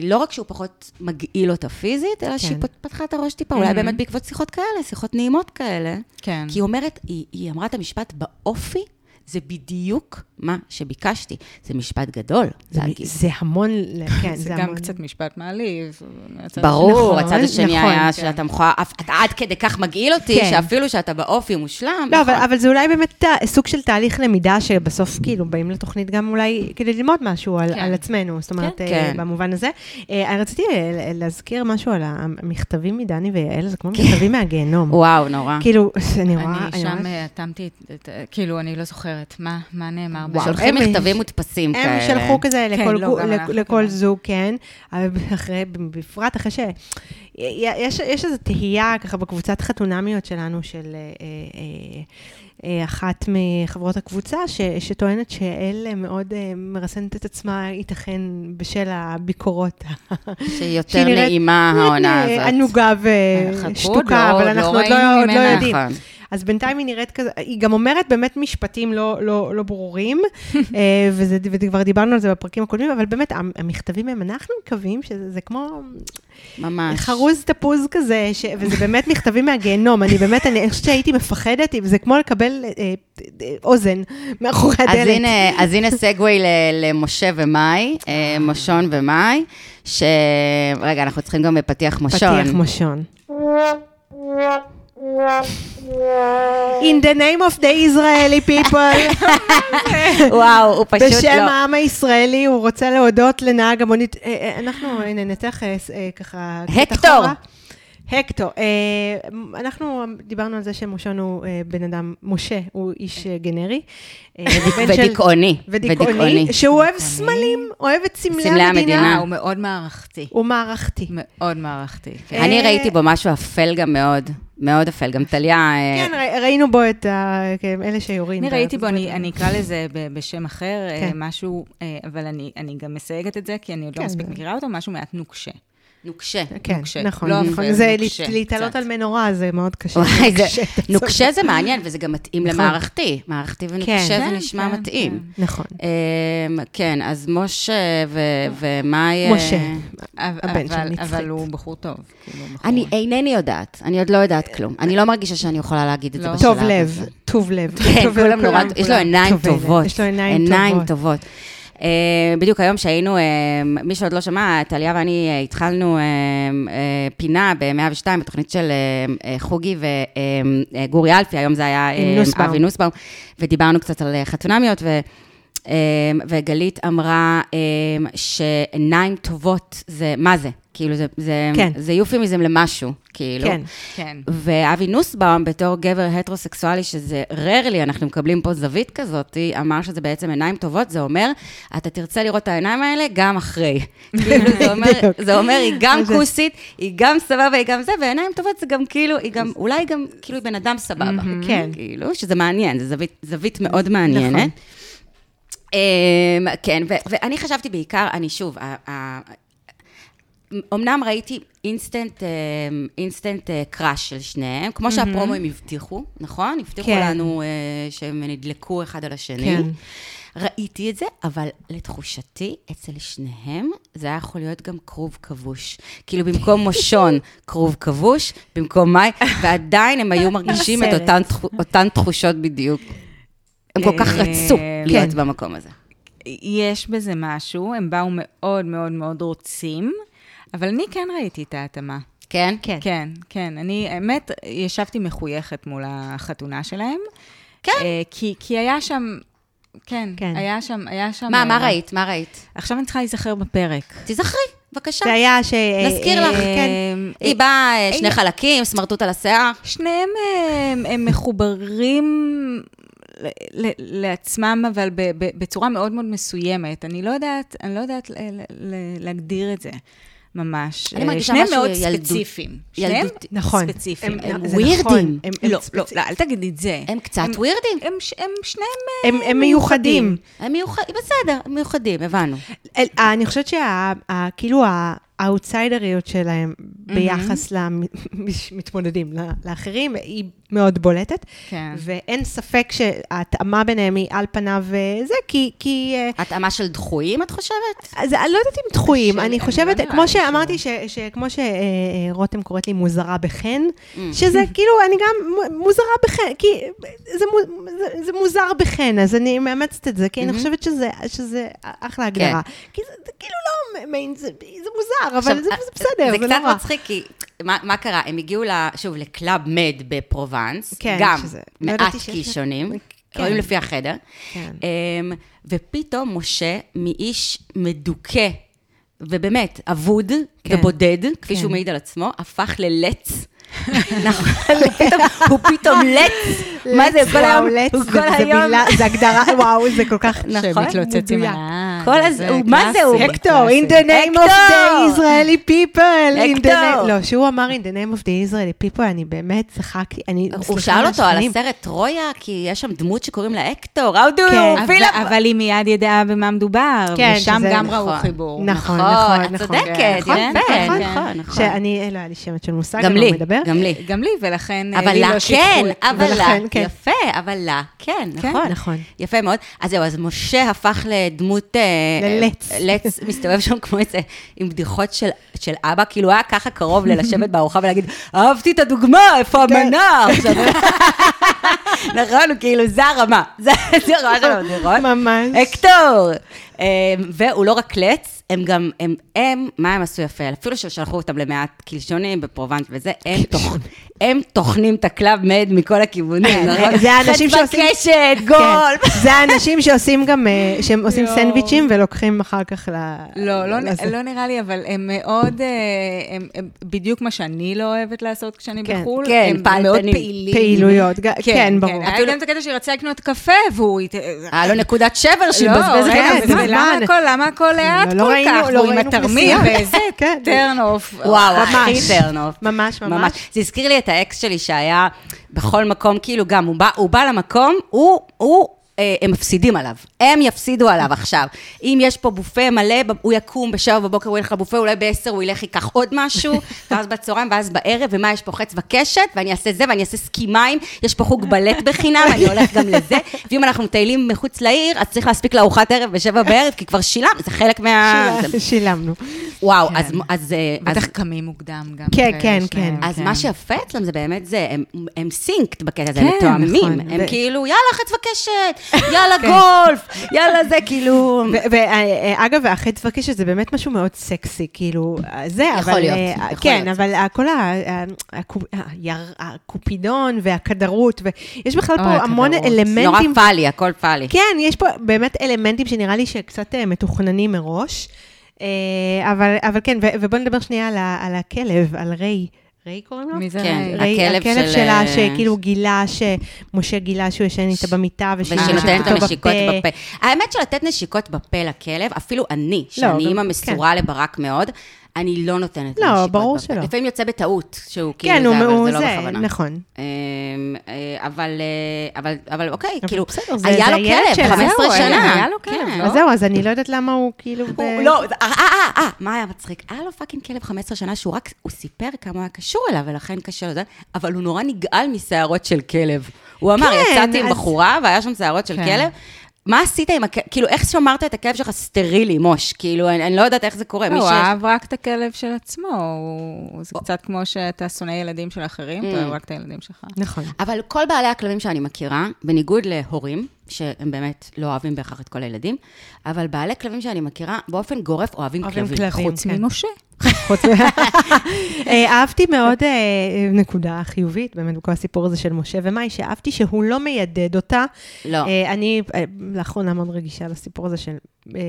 Speaker 1: שלא רק שהוא פחות מגעיל אותה פיזית, אלא שהיא פות- פתחה את הראש טיפה, אולי
Speaker 3: Mhm.
Speaker 1: באמת בעקבות שיחות כאלה, שיחות נעימות כאלה.
Speaker 3: כן.
Speaker 1: כי היא אומרת, היא, היא אמרה את המשפט באופי, זה בדיוק מה שביקשתי. זה משפט גדול,
Speaker 2: זה-
Speaker 1: להגיד.
Speaker 2: זה המון, ל- כן,
Speaker 3: זה
Speaker 2: זה
Speaker 3: גם
Speaker 2: המון.
Speaker 3: קצת משפט מעליב. מהצד
Speaker 1: ברור,
Speaker 2: נכון,
Speaker 1: הצד השני
Speaker 2: נכון,
Speaker 1: היה
Speaker 2: כן.
Speaker 1: שאתה מכוער, אף- אתה עד כדי כך מגעיל אותי,
Speaker 2: כן.
Speaker 1: שאפילו שאתה באופי מושלם.
Speaker 2: לא, אבל,
Speaker 1: נכון.
Speaker 2: אבל זה אולי באמת ת- סוג של תהליך למידה שבסוף כאילו באים לתוכנית גם אולי כדי ללמוד משהו על,
Speaker 3: כן.
Speaker 2: כן. על עצמנו, זאת אומרת,
Speaker 1: כן,
Speaker 2: כן,
Speaker 1: כן.
Speaker 2: כן. במובן הזה. אה, אני רציתי אה, ל- להזכיר משהו על המכתבים מדני ויעל, זה כמו מכתבים מהגיהנום.
Speaker 1: וואו, נורא.
Speaker 2: כאילו, אני רואה...
Speaker 3: כן. אני שם
Speaker 2: רואה-
Speaker 3: אה, אטמתי, את- את- כאילו, אני לא זוכרת מה מה נאמר.
Speaker 2: וואו.
Speaker 3: בה.
Speaker 1: שולחים
Speaker 2: הם-
Speaker 1: מכתבים מודפסים כאלה.
Speaker 2: הם שלחו כזה
Speaker 3: כן,
Speaker 2: לכל,
Speaker 3: לא,
Speaker 2: גו,
Speaker 3: גם
Speaker 2: לכ-
Speaker 3: אנחנו
Speaker 2: לכל
Speaker 3: קיבלנו.
Speaker 2: זוג, כן, אבל אחרי, בפרט אחרי ש... יש, יש איזו תהייה ככה בקבוצת חתונמיות שלנו, של אה, אה, אה, אחת מחברות הקבוצה, ש, שטוענת שאל מאוד אה, מרסנת את עצמה, ייתכן בשל הביקורות.
Speaker 1: שהיא יותר
Speaker 2: שהיא נראית-
Speaker 1: נעימה, העונה
Speaker 2: אה,
Speaker 1: הזאת.
Speaker 2: ענוגה
Speaker 3: חכו,
Speaker 2: ושתוקה,
Speaker 3: לא-
Speaker 2: אבל
Speaker 3: לא
Speaker 2: אנחנו עוד
Speaker 3: ראינו
Speaker 2: לא- עוד לא
Speaker 3: ממנה.
Speaker 2: יודעים.
Speaker 1: נכון.
Speaker 2: אז בינתיים היא נראית כזה, היא גם אומרת באמת משפטים לא, לא, לא ברורים, אה, וזה, וכבר דיברנו על זה בפרקים הקודמים, אבל באמת, המ- המכתבים הם, אנחנו מקווים שזה זה כמו
Speaker 1: ממש.
Speaker 2: חרוז תפוז כזה, ש, וזה באמת מכתבים מהגיהנום, אני באמת, אני חושבת שהייתי מפחדת, אם- זה כמו לקבל אה, אה, אוזן מאחורי הדלת.
Speaker 1: אז הנה, אז הנה סגווי ל- למשה ומאי, אה, מושון ומאי, ש... רגע, אנחנו צריכים גם בפתיח מושון.
Speaker 2: פתיח מושון. In the name of the Israeli people.
Speaker 1: וואו, הוא פשוט לא...
Speaker 2: בשם העם הישראלי, הוא רוצה להודות לנהג המונית. אה, אה, אנחנו, הנה, נתח אה, ס- אה, ככה... קצת
Speaker 1: הקטור.
Speaker 2: אחורה. הקטור. אה, מ- אנחנו דיברנו על זה שמושון הוא אה, בן אדם, משה הוא איש אה, גנרי. אה, הוא בן של-
Speaker 1: כן. ודיכאוני. ודיכאוני.
Speaker 2: ודיכאוני. שהוא אוהב סמלים, אוהב את
Speaker 1: סמלי
Speaker 2: סמלי
Speaker 1: המדינה.
Speaker 2: המדינה.
Speaker 3: אה, הוא מאוד מערכתי.
Speaker 2: הוא מערכתי.
Speaker 3: מאוד מערכתי. כן.
Speaker 1: אני
Speaker 2: אה,
Speaker 1: ראיתי בו משהו אפל גם מאוד, מאוד אפל. גם טליה... אה,
Speaker 2: כן, ר- ראינו בו את ה- כן, אלה שיורים.
Speaker 3: אני
Speaker 2: ב-
Speaker 3: ראיתי בו,
Speaker 2: ב-
Speaker 3: אני אני אקרא לזה ב- בשם אחר, אה,
Speaker 2: כן.
Speaker 3: משהו, אה, אבל אני אני גם מסייגת את זה, כי אני עוד לא
Speaker 2: כן,
Speaker 3: מספיק
Speaker 2: זה-
Speaker 3: מכירה אותו, משהו מעט נוקשה.
Speaker 1: נוקשה.
Speaker 2: כן,
Speaker 3: נוקשה.
Speaker 2: נכון,
Speaker 3: לא
Speaker 2: נכון.
Speaker 3: אפל,
Speaker 2: זה
Speaker 3: נוקשה,
Speaker 2: להתעלות
Speaker 3: קצת.
Speaker 2: על מנורה, זה מאוד קשה.
Speaker 1: וואי, זה...
Speaker 2: נוקשה, אתה צודק.
Speaker 1: נוקשה זה מעניין, וזה גם מתאים
Speaker 2: נכון.
Speaker 1: למערכתי. מערכתי ונוקשה
Speaker 2: כן,
Speaker 1: זה
Speaker 3: כן,
Speaker 1: נשמע
Speaker 3: כן,
Speaker 1: מתאים.
Speaker 2: נכון.
Speaker 1: אמ, כן, אז משה ו- ומאי... אה,
Speaker 2: משה.
Speaker 3: אבל-
Speaker 2: הבן של
Speaker 3: אבל-
Speaker 2: מצחית.
Speaker 3: אבל הוא בחור טוב. כאילו, הוא בחור-
Speaker 1: אני אינני יודעת, אני עוד לא יודעת כלום. אני לא מרגישה שאני יכולה להגיד את זה
Speaker 3: לא.
Speaker 1: בשלב
Speaker 2: טוב
Speaker 1: הזה.
Speaker 2: לב, טוב לב.
Speaker 1: כן,
Speaker 2: טוב לב,
Speaker 1: כולם נורא, יש לו
Speaker 2: כולם.
Speaker 1: עיניים
Speaker 2: טוב לב,
Speaker 1: טובות.
Speaker 2: יש לו עיניים טובות.
Speaker 1: עיניים טובות. אה, בדיוק היום שהיינו, אה, מי שעוד לא שמע, טליה ואני אה, התחלנו אה, אה, פינה ב-102, בתוכנית של אה, אה, חוגי וגורי אלפי, היום זה היה אה,
Speaker 2: עם נוסבאום.
Speaker 1: אבי נוסבאום, ודיברנו קצת על אה, חתונמיות, ו- אה, וגלית אמרה אה, שעיניים טובות זה, מה זה? כאילו, זה- זה-
Speaker 2: כן.
Speaker 1: זה יופימיזם למשהו, כאילו.
Speaker 2: כן.
Speaker 3: כן.
Speaker 1: ואבי נוסבאום, בתור גבר הטרוסקסואלי, שזה ררלי, אנחנו מקבלים פה זווית כזאת, אמר שזה בעצם עיניים טובות, זה אומר, אתה תרצה לראות את העיניים האלה גם אחרי. כאילו, זה אומר,
Speaker 2: בדיוק.
Speaker 1: זה אומר, היא גם
Speaker 2: אז זה-
Speaker 1: כוסית, היא גם סבבה, היא גם זה, ועיניים טובות זה גם כאילו, היא גם, אולי גם, כאילו, היא בן אדם סבבה.
Speaker 2: כן.
Speaker 1: כאילו, שזה מעניין, זו זווית, זווית מאוד
Speaker 2: נכון.
Speaker 1: מעניינת. אמ, כן, ו- ואני חשבתי בעיקר, אני שוב, ה- ה- אמנם ראיתי אינסטנט, אה, אינסטנט אה, קראש של שניהם, כמו שהפרומואים הבטיחו, נכון? הבטיחו
Speaker 2: כן.
Speaker 1: לנו אה, שהם נדלקו אחד על השני.
Speaker 2: כן.
Speaker 1: ראיתי את זה, אבל לתחושתי, אצל שניהם, זה היה יכול להיות גם כרוב כבוש. כאילו, במקום מושון, כרוב כבוש, במקום מאי, ועדיין הם היו מרגישים את
Speaker 2: הסרט.
Speaker 1: אותן, תחו- אותן תחושות בדיוק. הם כל כך
Speaker 3: אה,
Speaker 1: רצו להיות
Speaker 2: כן.
Speaker 1: במקום הזה.
Speaker 3: יש בזה משהו, הם באו מאוד מאוד מאוד רוצים, אבל אני כן ראיתי את ההתאמה.
Speaker 1: כן?
Speaker 2: כן.
Speaker 3: כן, כן. אני, האמת, ישבתי מחויכת מול החתונה שלהם. כן. כי, כי היה שם, כן,
Speaker 2: כן.
Speaker 3: היה שם, היה שם...
Speaker 1: מה, מה
Speaker 3: אה,
Speaker 1: ראית? מה ראית?
Speaker 3: עכשיו אני צריכה להיזכר בפרק.
Speaker 1: תיזכרי, בבקשה.
Speaker 2: זה היה ש...
Speaker 1: נזכיר לך,
Speaker 2: אה, כן.
Speaker 3: אה,
Speaker 1: היא באה אה, שני חלקים, סמרטוט על השיער.
Speaker 3: שניהם אה, הם, הם מחוברים ל, ל, לעצמם, אבל ב, ב, בצורה מאוד מאוד מסוימת. אני לא יודעת, אני לא יודעת ל, ל, ל, להגדיר את זה ממש.
Speaker 1: אני
Speaker 3: אה,
Speaker 1: מרגישה
Speaker 3: שניהם
Speaker 1: משהו
Speaker 3: מאוד
Speaker 1: ילדות-
Speaker 3: ספציפיים. שניהם
Speaker 1: ילדותי.
Speaker 2: נכון.
Speaker 3: ספציפיים.
Speaker 2: הם-
Speaker 1: הם
Speaker 2: זה
Speaker 1: ווירדים.
Speaker 2: נכון, הם- הם
Speaker 3: לא, לא,
Speaker 2: ספציפיים.
Speaker 3: לא, אל תגידי את זה.
Speaker 1: הם קצת ווירדים.
Speaker 3: הם, ש- הם שניהם... אה,
Speaker 2: הם- הם מיוחדים.
Speaker 1: הם מיוחדים, בסדר, הם מיוחדים, הבנו.
Speaker 2: אל- אה, אני חושבת כאילו שכאילו
Speaker 1: Mm-hmm.
Speaker 2: האאוטסיידריות שלהם ביחס למתמודדים, לאחרים, היא מאוד בולטת.
Speaker 3: כן.
Speaker 2: ואין ספק שההתאמה ביניהם היא על פניו אה, זה, כי... כי אה,
Speaker 1: התאמה של דחויים, את חושבת?
Speaker 2: אז אני לא יודעת אם דחויים,
Speaker 3: של-
Speaker 2: אני
Speaker 3: אני
Speaker 2: חושבת,
Speaker 3: לא נראה
Speaker 2: כמו
Speaker 3: לי
Speaker 2: שאמרתי, ש- ש- כמו שרותם קוראת לי מוזרה בחן,
Speaker 1: Mm.
Speaker 2: שזה כאילו, אני גם מ- מוזרה בחן, כי זה מו- זה- זה מוזר בחן, אז אני מאמצת את זה, כי
Speaker 1: Mm-hmm.
Speaker 2: אני חושבת שזה- שזה
Speaker 1: כן.
Speaker 2: אחלה הגדרה. כי זה זה כאילו לא, מ- מ- זה זה מוזר, אבל
Speaker 1: עכשיו, אה,
Speaker 2: זה זה בסדר, זה לא
Speaker 1: זה
Speaker 2: רע.
Speaker 1: קצת מצחיק, כי מה, מה קרה? הם הגיעו, ל, שוב, לקלאב מד בפרובנס,
Speaker 2: כן,
Speaker 1: גם
Speaker 2: שזה- לא
Speaker 1: מעט
Speaker 2: ידעתי שיש
Speaker 1: קישונים,
Speaker 2: לה- כן.
Speaker 1: קוראים לפי החדר,
Speaker 2: כן.
Speaker 1: אמ, ופתאום משה, מאיש מדוכא, ובאמת, אבוד
Speaker 2: כן.
Speaker 1: ובודד, כפי
Speaker 2: כן.
Speaker 1: שהוא מעיד על עצמו, הפך ללץ. נכון, פתאום- הוא פתאום לץ, מה זה, כל היום,
Speaker 2: לץ,
Speaker 1: הוא
Speaker 2: זה-
Speaker 1: כל
Speaker 2: זה
Speaker 1: היום,
Speaker 2: מילה- זה הגדרה, וואו, זה כל כך
Speaker 1: נכון,
Speaker 3: שמתלוצצים
Speaker 2: מדויק.
Speaker 3: עליו.
Speaker 1: כל הז- הוא- מה זה, הוא-
Speaker 2: Hector, in the name of the
Speaker 1: Hector!
Speaker 2: Israeli people. in the
Speaker 1: Hector!
Speaker 2: name- לא, שהוא אמר in the name of the Israeli people, אני באמת צחקתי, אני...
Speaker 1: הוא
Speaker 2: סליחה
Speaker 1: שאל אותו על
Speaker 2: מהשכנים.
Speaker 1: הסרט טרויה, כי יש שם דמות שקוראים לה אקטור, how do
Speaker 2: כן,
Speaker 1: you feel about-
Speaker 3: אבל היא מיד ידעה במה מדובר,
Speaker 2: כן,
Speaker 3: ושם
Speaker 2: שזה-
Speaker 3: גם ראו
Speaker 1: נכון.
Speaker 3: חיבור.
Speaker 2: נכון, נכון,
Speaker 1: את
Speaker 2: נכון.
Speaker 1: צודקת,
Speaker 3: נכון,
Speaker 1: יפה,
Speaker 3: נכון,
Speaker 1: נכון, נכון.
Speaker 2: שאני, אה, לא היה לי שמץ של מושג,
Speaker 1: גם
Speaker 2: על מה
Speaker 1: לי,
Speaker 2: הוא מדבר.
Speaker 1: גם לי.
Speaker 3: גם לי, ולכן אה,
Speaker 1: אבל
Speaker 3: לי
Speaker 1: לה
Speaker 3: לא
Speaker 1: כן,
Speaker 3: שיתפו את-
Speaker 1: אבל לה,
Speaker 2: ולכן, כן.
Speaker 1: יפה, אבל לה כן,
Speaker 3: כן,
Speaker 1: נכון.
Speaker 2: נכון.
Speaker 1: יפה מאוד. אז זהו, אז משה הפך לדמות... אה,
Speaker 2: ללץ.
Speaker 1: אה, לץ, מסתובב שם כמו איזה, עם בדיחות של- של אבא, כאילו הוא היה ככה קרוב ללשבת בארוחה ולהגיד, אהבתי את הדוגמה, איפה
Speaker 2: כן."
Speaker 1: המנה? עכשיו- נכון, הוא כאילו, זה הרמה, זה זה הרמה שלו, נכון?
Speaker 2: ממש.
Speaker 1: הקטור. אמ, והוא לא רק לץ, הם גם, הם, הם, מה הם עשו יפה? אפילו ששלחו אותם למעט קלשונים בפרובנט וזה, הם, תוכ, הם טוחנים את הקלאב מד מכל הכיוונים. נכון?
Speaker 2: אה, זה האנשים
Speaker 1: חץ
Speaker 2: שעושים-
Speaker 1: בקשת, גול.
Speaker 2: כן, זה האנשים שעושים גם, אה, שהם עושים
Speaker 3: יואו.
Speaker 2: סנדוויצ'ים ולוקחים אחר כך ל...
Speaker 3: לא, לא,
Speaker 2: לזה.
Speaker 3: לא נראה לי, אבל הם מאוד, אה, הם, הם בדיוק מה שאני לא אוהבת לעשות כשאני
Speaker 2: כן,
Speaker 3: בחו"ל,
Speaker 1: כן,
Speaker 3: הם
Speaker 1: פעלתנים.
Speaker 3: מאוד פעילים.
Speaker 2: פעילויות, ג- כן, ברור. אה, לא,
Speaker 3: היה גם את הקטע שהיא רצתה לקנות קפה, והוא... הת-
Speaker 1: היה לו נקודת שבר שהיא
Speaker 3: לא,
Speaker 1: מבזבזת
Speaker 3: רגע,
Speaker 1: את
Speaker 2: כן,
Speaker 3: זה-
Speaker 1: הזמן.
Speaker 3: למה
Speaker 2: זמן.
Speaker 3: הכל, למה הכל לאט
Speaker 2: לא
Speaker 3: כל
Speaker 2: ראינו-
Speaker 3: כך?
Speaker 2: לא
Speaker 3: והוא עם
Speaker 2: ראינו
Speaker 3: התרמיל
Speaker 2: כנסייה.
Speaker 3: ואיזה
Speaker 2: כן.
Speaker 3: turn off.
Speaker 1: וואו, הכי
Speaker 2: ממש.
Speaker 1: טרנוף.
Speaker 2: ממש, ממש.
Speaker 1: זה הזכיר לי את האקס שלי שהיה בכל מקום, כאילו גם, הוא בא, הוא בא למקום, הוא, הוא, אה, הם מפסידים עליו. הם יפסידו עליו עכשיו. אם יש פה בופה מלא, ב- הוא יקום בשבע בבוקר, הוא ילך לבופה, אולי בעשר הוא ילך, ייקח עוד משהו, ואז בצהריים, ואז בערב, ומה, יש פה חץ וקשת, ואני אעשה זה, ואני אעשה סקי מים, יש פה חוג בלט בחינם, אני הולך גם לזה. ואם אנחנו מטיילים מחוץ לעיר, אז צריך להספיק לארוחת ערב בשבע בערב, כי כבר שילם, זה חלק מה...
Speaker 2: שילה-
Speaker 1: זה-
Speaker 2: אה, שילמנו.
Speaker 1: וואו, אז... אז, אה, אז-
Speaker 3: בטח קמים מוקדם גם.
Speaker 2: כן,
Speaker 3: כאלה
Speaker 2: כן,
Speaker 3: שלהם,
Speaker 2: כן.
Speaker 1: אז מה שיפה אצלם זה באמת זה, הם- הם סינקט בקטע הזה, הם
Speaker 3: כן,
Speaker 1: מתואמים.
Speaker 2: נכון,
Speaker 1: הם
Speaker 2: ו- כן.
Speaker 1: כאילו, יאללה, חץ וקשת, יאללה, גולף, יאללה, זה כאילו...
Speaker 2: ואגב, החץ וקשת זה באמת משהו מאוד סקסי, כאילו, אה, זה, אבל...
Speaker 1: יכול להיות,
Speaker 2: אה,
Speaker 1: יכול
Speaker 2: כן,
Speaker 1: להיות.
Speaker 2: אבל אה, כל ה- ה- הקופ- היר- הקופידון והכדרות, ויש בכלל
Speaker 3: אוי,
Speaker 2: פה המון
Speaker 3: הכדרות.
Speaker 1: נורא
Speaker 2: אלמנטים.
Speaker 1: פאלי, הכל פאלי.
Speaker 2: כן, יש פה באמת אלמנטים שנראה לי שקצת אה, מתוכננים מראש. אה, אבל, אבל כן, ו- ובואו נדבר שנייה על, ה- על הכלב, על ריי. ריי קוראים לו?
Speaker 3: מי זה
Speaker 1: כן,
Speaker 3: ראי?
Speaker 2: ריי,
Speaker 1: הכלב
Speaker 2: הכלב
Speaker 1: של- אה,
Speaker 2: שלה, שכאילו גילה, שמשה גילה שהוא ישן איתה במיטה, ושהיא
Speaker 1: ושנותן
Speaker 2: נושקת
Speaker 1: את
Speaker 2: לו
Speaker 1: הנשיקות בפה. האמת שלתת נשיקות בפה לכלב, אפילו אני,
Speaker 2: גם-
Speaker 1: שאני אימא מסורה לברק מאוד, אני לא נותנת לו
Speaker 2: כן. לא,
Speaker 1: נשיקות בפה.
Speaker 2: ברור שלא.
Speaker 1: לפעמים יוצא בטעות, שהוא כאילו
Speaker 2: כן,
Speaker 1: זה,
Speaker 2: הוא, הוא
Speaker 1: אבל
Speaker 2: זה,
Speaker 1: זה לא בכוונה.
Speaker 2: נכון.
Speaker 1: אמ, אה, אבל, אה, אבל, אבל אוקיי,
Speaker 2: אבל
Speaker 1: כאילו,
Speaker 2: בסדר, זה-
Speaker 1: היה
Speaker 2: זה
Speaker 1: לו
Speaker 2: הילד
Speaker 1: כלב,
Speaker 2: שלה.
Speaker 1: 15
Speaker 3: זהו,
Speaker 1: שנה.
Speaker 3: היה לו כלב,
Speaker 1: כן.
Speaker 3: לא?
Speaker 2: אז זהו, אז אני לא יודעת למה הוא כאילו... ב-
Speaker 1: הוא, לא, זה- אה, אה, אה, אה, מה היה מצחיק? היה לו פאקינג כלב 15 שנה שהוא רק, הוא סיפר כמה הוא היה קשור אליו, ולכן קשה לו זה, אבל הוא נורא נגעל משערות של כלב. הוא אמר,
Speaker 2: כן,
Speaker 1: יצאתי עם
Speaker 2: אז-
Speaker 1: בחורה והיה שם שערות של
Speaker 3: כן.
Speaker 1: כלב. מה עשית עם הכלב? כאילו, איך שמרת את הכלב שלך סטרילי, מוש? כאילו, אני אני לא יודעת איך זה קורה.
Speaker 3: לא,
Speaker 1: מי
Speaker 3: הוא
Speaker 1: שיש-
Speaker 3: אהב רק את הכלב של עצמו, הוא- זה קצת כמו שאתה שונא ילדים של אחרים,
Speaker 1: Mm.
Speaker 3: אתה אוהב רק את הילדים שלך.
Speaker 2: נכון.
Speaker 1: אבל כל בעלי הכלבים שאני מכירה, בניגוד להורים, שהם באמת לא אוהבים בהכרח את כל הילדים, אבל בעלי כלבים שאני מכירה, באופן גורף אוהבים
Speaker 2: אוהבים
Speaker 1: כלבים.
Speaker 2: כלבים.
Speaker 3: חוץ
Speaker 2: כן.
Speaker 3: ממשה.
Speaker 2: חוץ מ- אה, אהבתי מאוד אה, נקודה חיובית, באמת, בכל הסיפור הזה של משה ומאי, שאהבתי שהוא לא מיידד אותה.
Speaker 1: לא.
Speaker 2: אה, אני אה, לאחרונה מאוד רגישה לסיפור הזה של אה,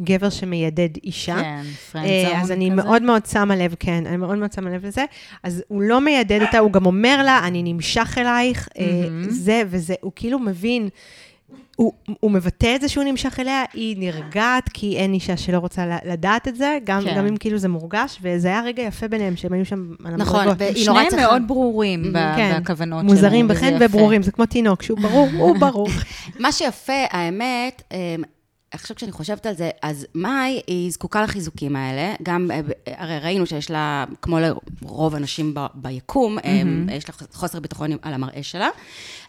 Speaker 2: גבר שמיידד אישה.
Speaker 3: כן, פרנד
Speaker 2: אה,
Speaker 3: זון
Speaker 2: אז אני
Speaker 3: כזה.
Speaker 2: מאוד מאוד שמה לב, כן, אני מאוד מאוד שמה לב לזה. אז הוא לא מיידד אותה, הוא גם אומר לה, אני נמשך אלייך, אה, זה וזה, הוא כאילו מבין. הוא, הוא מבטא את זה שהוא נמשך אליה, היא נרגעת, כי אין אישה שלא רוצה ל- לדעת את זה, גם,
Speaker 3: כן.
Speaker 2: כן. גם אם כאילו זה מורגש, וזה היה רגע יפה ביניהם, שהם היו שם על
Speaker 1: נכון,
Speaker 2: המדרגות.
Speaker 1: והיא נורא
Speaker 3: שניהם
Speaker 1: צריכה-
Speaker 3: מאוד ברורים ב-
Speaker 2: כן.
Speaker 3: בכוונות שלהם.
Speaker 2: מוזרים
Speaker 3: וזה
Speaker 2: בחן
Speaker 3: יפה.
Speaker 2: וברורים, זה כמו תינוק, שהוא ברור, הוא ברור.
Speaker 1: מה שיפה, האמת, אמ, עכשיו כשאני חושבת על זה, אז מאי, היא זקוקה לחיזוקים האלה. גם, אה, ב- אה, הרי ראינו שיש לה, כמו לרוב הנשים ב- ביקום, אה, יש לה חוסר ביטחון על המראה שלה,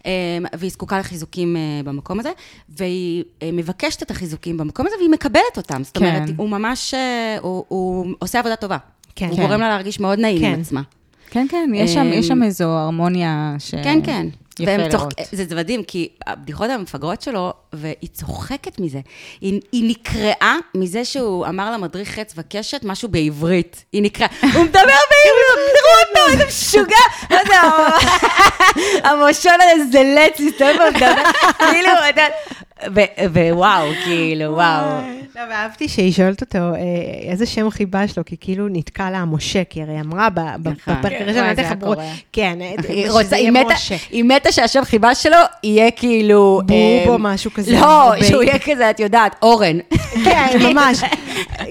Speaker 1: אה, והיא זקוקה לחיזוקים אה, במקום הזה, והיא אה, מבקשת את החיזוקים במקום הזה, והיא מקבלת אותם. זאת
Speaker 3: כן.
Speaker 1: אומרת, הוא ממש, אה, הוא- הוא עושה עבודה טובה.
Speaker 2: כן.
Speaker 1: הוא
Speaker 2: כן.
Speaker 1: גורם לה להרגיש מאוד נעים עם
Speaker 2: כן.
Speaker 1: עצמה.
Speaker 3: כן, כן, יש שם,
Speaker 1: אמ,
Speaker 3: יש
Speaker 2: אה,
Speaker 3: שם איזו הרמוניה ש...
Speaker 1: כן,
Speaker 2: אמ,
Speaker 1: כן.
Speaker 3: יפה
Speaker 1: והם
Speaker 3: לראות.
Speaker 1: צוחק- זה זה מדהים, כי הבדיחות המפגרות שלו, והיא צוחקת מזה. היא, היא נקרעה מזה שהוא אמר למדריך חץ וקשת משהו בעברית. היא נקרעה. הוא מדבר בעברית, תראו אותו, איזה משוגע. מה זה, המ- המושון הזה זלץ, מסתובב ומדבר, כאילו, אתה יודע... ו- ווואו, כאילו, וואו.
Speaker 2: לא, ואהבתי שהיא שואלת אותו אה, איזה שם חיבה שלו, כי כאילו נתקע לה משה, כי הרי היא אמרה ב- ב-
Speaker 1: נכון.
Speaker 2: בפרק
Speaker 3: כן,
Speaker 2: הראשון,
Speaker 3: וואי,
Speaker 2: אני אתן
Speaker 3: זה
Speaker 2: לך
Speaker 3: היה
Speaker 2: ברור.
Speaker 3: קורע.
Speaker 2: כן,
Speaker 1: היא
Speaker 2: שזה
Speaker 1: רוצה,
Speaker 2: יהיה
Speaker 1: היא מתה,
Speaker 2: משה.
Speaker 1: היא מתה שהשם חיבה שלו יהיה כאילו...
Speaker 2: בוב
Speaker 1: אה,
Speaker 2: או משהו כזה,
Speaker 1: לא,
Speaker 2: בוב.
Speaker 1: שהוא יהיה כזה, את יודעת, אורן.
Speaker 2: כן, ממש.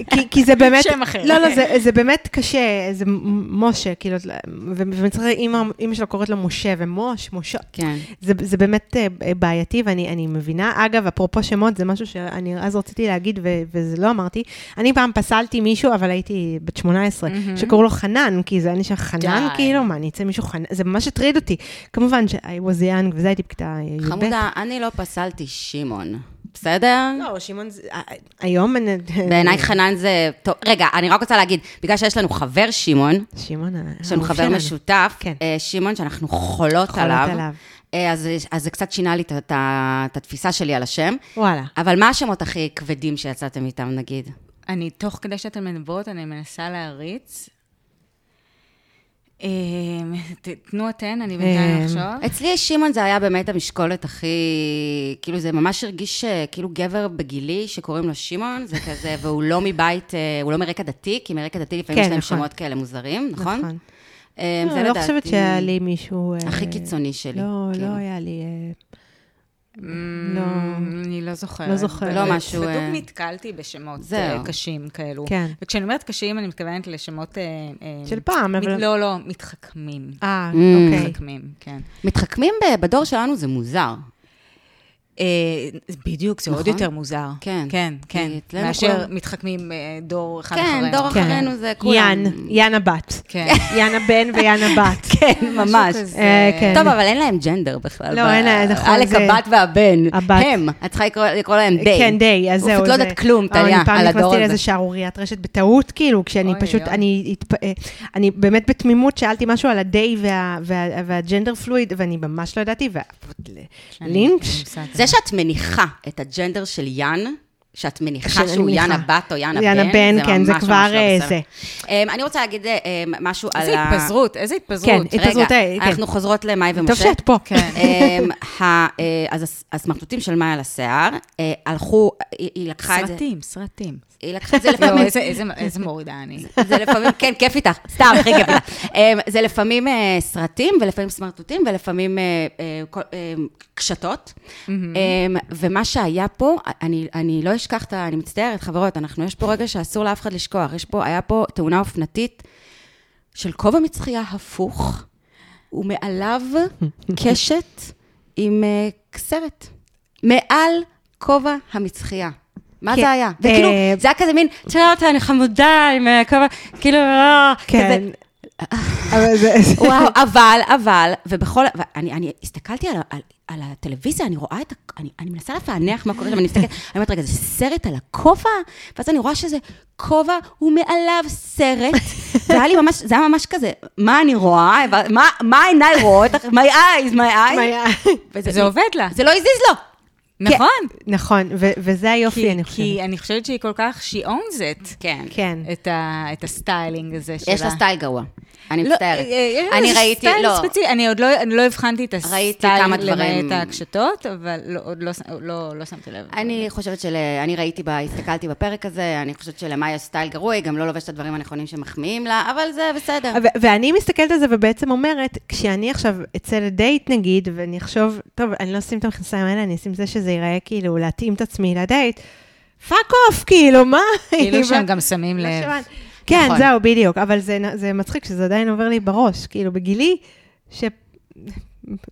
Speaker 2: כי, כי זה באמת...
Speaker 3: שם אחר. כן.
Speaker 2: לא, לא, זה, זה באמת קשה, זה מ- משה, כאילו, את- ו- ומצחיק, אימא, אימא שלו קוראת לו משה, ומוש, משה.
Speaker 1: כן.
Speaker 2: זה, זה באמת אה, אה, בעייתי, ואני אני מבינה. אגב, אפרופו שמות, זה משהו שאני אז רציתי להגיד, ו, וזה לא אמרתי. אני פעם פסלתי מישהו, אבל הייתי בת 18, mm-hmm. שקראו לו חנן, כי זה היה נשאר חנן,
Speaker 1: די.
Speaker 2: כאילו, מה, אני אצא מישהו חנן? זה ממש הטריד אותי. כמובן ש- I was young, וזה הייתי בכיתה י"ב.
Speaker 1: חמודה, אני לא פסלתי שמעון, בסדר?
Speaker 2: לא, שמעון, זה- אה, אה, היום... אני-
Speaker 1: בעיניי חנן זה... טוב, רגע, אני רק רוצה להגיד, בגלל שיש לנו חבר שמעון,
Speaker 2: שמעון, ה-
Speaker 1: יש לנו
Speaker 2: האהוב
Speaker 1: חבר
Speaker 2: שלנו.
Speaker 1: משותף,
Speaker 2: אה, כן.
Speaker 1: אה, שמעון, שאנחנו חולות
Speaker 2: חולות
Speaker 1: עליו,
Speaker 2: עליו.
Speaker 1: אה, אז אז זה קצת שינה לי את- את ה- את התפיסה שלי על השם.
Speaker 2: וואלה.
Speaker 1: אבל מה השמות הכי כבדים שיצאתם איתם, נגיד?
Speaker 3: אני, תוך כדי שאתן מדברות, אני מנסה להריץ. אמ, ת- תנו אתן, אני בינתיים
Speaker 2: אמ,
Speaker 3: אחשוב.
Speaker 1: אצלי שמעון זה היה באמת המשקולת הכי... כאילו, זה ממש הרגיש אה, כאילו גבר בגילי שקוראים לו שמעון, זה כזה, והוא לא מבית, אה, הוא לא מרקע דתי, כי מרקע דתי לפעמים
Speaker 2: כן,
Speaker 1: יש להם
Speaker 2: נכון.
Speaker 1: שמות כאלה מוזרים, נכון?
Speaker 2: נכון.
Speaker 1: אה,
Speaker 2: לא,
Speaker 1: זה
Speaker 2: אני לא
Speaker 1: לדעתי...
Speaker 2: חושבת שהיה לי מישהו... אה,
Speaker 1: הכי קיצוני שלי.
Speaker 2: לא,
Speaker 1: כאילו.
Speaker 2: לא היה לי... אה,
Speaker 3: אמ,
Speaker 2: לא.
Speaker 3: אני לא זוכרת.
Speaker 2: לא זוכרת.
Speaker 1: לא משהו,
Speaker 3: בדיוק
Speaker 1: אה,
Speaker 3: נתקלתי בשמות
Speaker 1: זהו.
Speaker 3: אה, קשים כאלו.
Speaker 2: כן.
Speaker 3: וכשאני אומרת קשים, אני מתכוונת לשמות... אה, אה,
Speaker 2: של פעם,
Speaker 3: מת-
Speaker 2: אבל...
Speaker 3: לא, לא, מתחכמים.
Speaker 2: אה,
Speaker 1: Mm.
Speaker 2: אוקיי.
Speaker 3: מתחכמים, כן.
Speaker 1: מתחכמים ב- בדור שלנו זה מוזר.
Speaker 3: אה, בדיוק, זה עוד
Speaker 1: נכון?
Speaker 3: יותר מוזר.
Speaker 1: כן.
Speaker 3: כן, כן.
Speaker 1: כי אצלנו
Speaker 3: מאשר
Speaker 1: כולם-
Speaker 3: מתחכמים אה, דור אחד אחרינו.
Speaker 1: כן, דור
Speaker 2: כן.
Speaker 1: אחרינו זה כולם.
Speaker 2: יאן, יאן הבת.
Speaker 3: כן.
Speaker 2: יאן הבן ויאן הבת.
Speaker 1: כן, ממש.
Speaker 3: משהו כזה.
Speaker 2: אה, כן.
Speaker 1: טוב, אבל אין להם ג'נדר בכלל.
Speaker 2: לא,
Speaker 1: ב-
Speaker 2: אין להם, נכון,
Speaker 1: עלק
Speaker 2: זה-
Speaker 1: הבת והבן.
Speaker 2: הבת.
Speaker 1: הם. את צריכה לקרוא- לקרוא להם די.
Speaker 2: כן, די, אז זהו.
Speaker 1: פשוט לא
Speaker 2: זה-
Speaker 1: יודעת כלום,
Speaker 2: אבל
Speaker 1: טליה,
Speaker 2: אני פעם
Speaker 1: על הדור
Speaker 2: נכנסתי לאיזה
Speaker 1: הזה.
Speaker 2: שערוריית רשת בטעות, כאילו, כשאני
Speaker 3: אוי,
Speaker 2: פשוט,
Speaker 3: אוי.
Speaker 2: אני התפ- אה, אני באמת בתמימות שאלתי משהו על הדי וה- וה- והג'נדר פלואיד, ואני ממש לא ידעתי, ולינץ'.
Speaker 1: זה שאת מניחה את הג'נדר של יאן, שאת מניחה
Speaker 2: שאני
Speaker 1: שהוא
Speaker 2: מניחה.
Speaker 1: יאן הבת או יאן הבן,
Speaker 2: יאן הבן, כן, זה
Speaker 1: ממש
Speaker 2: כבר,
Speaker 1: ממש לא
Speaker 2: אה,
Speaker 1: בסדר.
Speaker 2: זה.
Speaker 1: אמ, אני רוצה להגיד אה, אמ, משהו על ה...
Speaker 3: איזה התפזרות, איזה התפזרות.
Speaker 2: כן, התפזרות, אה,
Speaker 1: רגע,
Speaker 2: כן.
Speaker 1: אנחנו חוזרות למאי ומשה.
Speaker 2: טוב שאת פה.
Speaker 3: כן.
Speaker 1: אמ, ה- אה, אז הס- הסמרטוטים של מאי על השיער, אה, הלכו, היא היא לקחה את זה,
Speaker 3: סרטים, סרטים.
Speaker 1: היא לקחה את זה
Speaker 3: לא,
Speaker 1: לפעמים,
Speaker 3: איזה- איזה- איזה מורידה אני.
Speaker 1: זה לפעמים, כן, כיף איתך, סתם, הכי כיף איתך. אמ, זה לפעמים אה, סרטים, ולפעמים סמרטוטים, ולפעמים אה, אה, כל- אה, קשתות. אמ, ומה שהיה פה, אני- אני לא אשכח את ה... אני מצטערת, חברות, אנחנו, יש פה רגע שאסור לאף אחד לשכוח. יש פה, היה פה תאונה אופנתית של כובע מצחייה הפוך, ומעליו קשת עם אה, קסרת. מעל כובע המצחייה. מה
Speaker 2: כן,
Speaker 1: זה היה? וכאילו,
Speaker 2: אה,
Speaker 1: זה היה כזה מין, תראה אותה, אני חמודה עם אה, כובע, כאילו, אה,
Speaker 2: כן.
Speaker 1: כזה,
Speaker 2: אבל זה...
Speaker 1: וואו, אבל, אבל, ובכל, ואני אני הסתכלתי על, ה- על, על הטלוויזיה, אני רואה את, ה- אני, אני מנסה לפענח מה קורה שם, אני מסתכלת, אני אומרת, רגע, זה סרט על הכובע? ואז אני רואה שזה כובע ומעליו סרט. זה היה לי ממש, זה היה ממש כזה, מה אני רואה? מה, מה עיניי רואות? My eyes, my eyes. וזה-
Speaker 3: זה עובד לה.
Speaker 1: זה לא הזיז לו.
Speaker 3: נכון.
Speaker 2: נכון, ו- וזה היופי, אני
Speaker 3: כי-
Speaker 2: חושבת.
Speaker 3: כי אני חושבת שהיא כל כך, she owns it.
Speaker 1: כן.
Speaker 2: כן.
Speaker 3: את ה- את הסטיילינג הזה שלה.
Speaker 1: יש לה סטייל גרוע. אני
Speaker 3: לא,
Speaker 1: מצטערת.
Speaker 3: אה, אה, יש לה
Speaker 1: אני
Speaker 3: איזה
Speaker 1: ראיתי,
Speaker 3: סטייל
Speaker 1: לא.
Speaker 3: ספציפי, אני עוד לא- אני לא הבחנתי את
Speaker 1: ראיתי כמה
Speaker 3: הסטייל
Speaker 1: דברים.
Speaker 3: למעט ההקשתות, אבל לא- עוד לא ש- לא לא שמתי לב.
Speaker 1: אני חושבת של... אה, אני ראיתי, בה, הסתכלתי בפרק הזה, אני חושבת שלמאי יש סטייל גרוע, היא גם לא לובשת את הדברים הנכונים שמחמיאים לה, אבל זה בסדר.
Speaker 2: ו- ואני מסתכלת על זה ובעצם אומרת, כשאני עכשיו אצא לדייט נגיד, ואני אחשוב, טוב, אני לא אשים את המכנסיים האלה, אני אשים זה שזה ייראה כאילו להתאים את עצמי לדייט, פאק אוף, כאילו, מה?
Speaker 3: כאילו שהם גם שמים
Speaker 2: לא
Speaker 3: לב.
Speaker 2: שמעת. כן,
Speaker 1: נכון.
Speaker 2: זהו, בדיוק, אבל זה, זה מצחיק שזה עדיין עובר לי בראש, כאילו, בגילי, ש...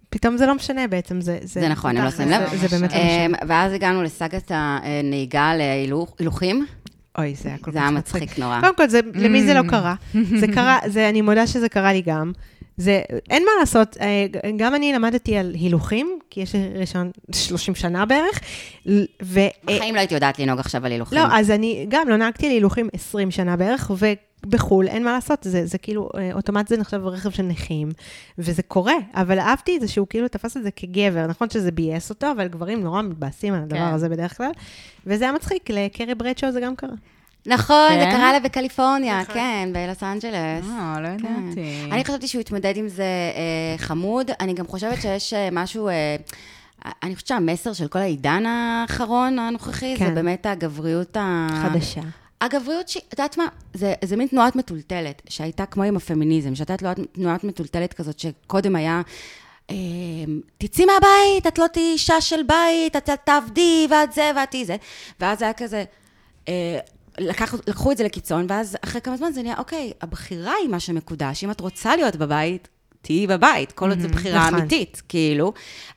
Speaker 2: פתאום זה לא משנה בעצם, זה...
Speaker 1: זה נכון, הם לא שמים לב.
Speaker 2: זה באמת לא משנה.
Speaker 1: אמ, ואז הגענו לסאגת הנהיגה להילוכים.
Speaker 2: אוי, זה היה כל כך מצחיק.
Speaker 1: זה היה מצחיק נורא.
Speaker 2: קודם כל, זה, למי זה לא קרה? זה קרה, זה, אני מודה שזה קרה לי גם. זה, אין מה לעשות, אה, גם אני למדתי על הילוכים, כי יש לי רישיון 30 שנה בערך, ו... אה,
Speaker 1: בחיים לא הייתי יודעת לנהוג עכשיו על הילוכים.
Speaker 2: לא, אז אני גם לא נהגתי על הילוכים 20 שנה בערך, ובחו"ל אין מה לעשות, זה, זה כאילו, אה, אוטומט זה נחשב רכב של נכים, וזה קורה, אבל אהבתי את זה שהוא כאילו תפס את זה כגבר, נכון שזה ביאס אותו, אבל גברים נורא מתבאסים על הדבר
Speaker 3: כן.
Speaker 2: הזה בדרך כלל, וזה היה מצחיק, לקרי ברדשו זה גם קרה.
Speaker 1: נכון, זה
Speaker 3: כן?
Speaker 1: קרה לה בקליפורניה,
Speaker 2: נכון.
Speaker 1: כן, בלוס אנג'לס.
Speaker 3: אה, לא ידעתי.
Speaker 1: כן.
Speaker 2: כן.
Speaker 1: אני חשבתי שהוא התמודד עם זה אה, חמוד. אני גם חושבת שיש אה, משהו... אה, אני חושבת שהמסר של כל העידן האחרון, הנוכחי, זה
Speaker 2: כן.
Speaker 1: באמת הגבריות ה...
Speaker 2: חדשה.
Speaker 1: הגבריות, שהיא- את יודעת מה, זה, זה מין תנועת מטולטלת, שהייתה כמו עם הפמיניזם, שהייתה תנועת, תנועת מטולטלת כזאת, שקודם היה, אה, תצאי מהבית, את לא תהיי אישה של בית, את את תעבדי, ואת זה, ואת תהיי זה. ואז היה כזה, אה, לקח, לקחו את זה לקיצון, ואז אחרי כמה זמן זה נהיה, אוקיי, הבחירה היא מה שמקודש, אם את רוצה להיות בבית... תהיי בבית, כל עוד זו בחירה
Speaker 2: נכון.
Speaker 1: אמיתית, כאילו.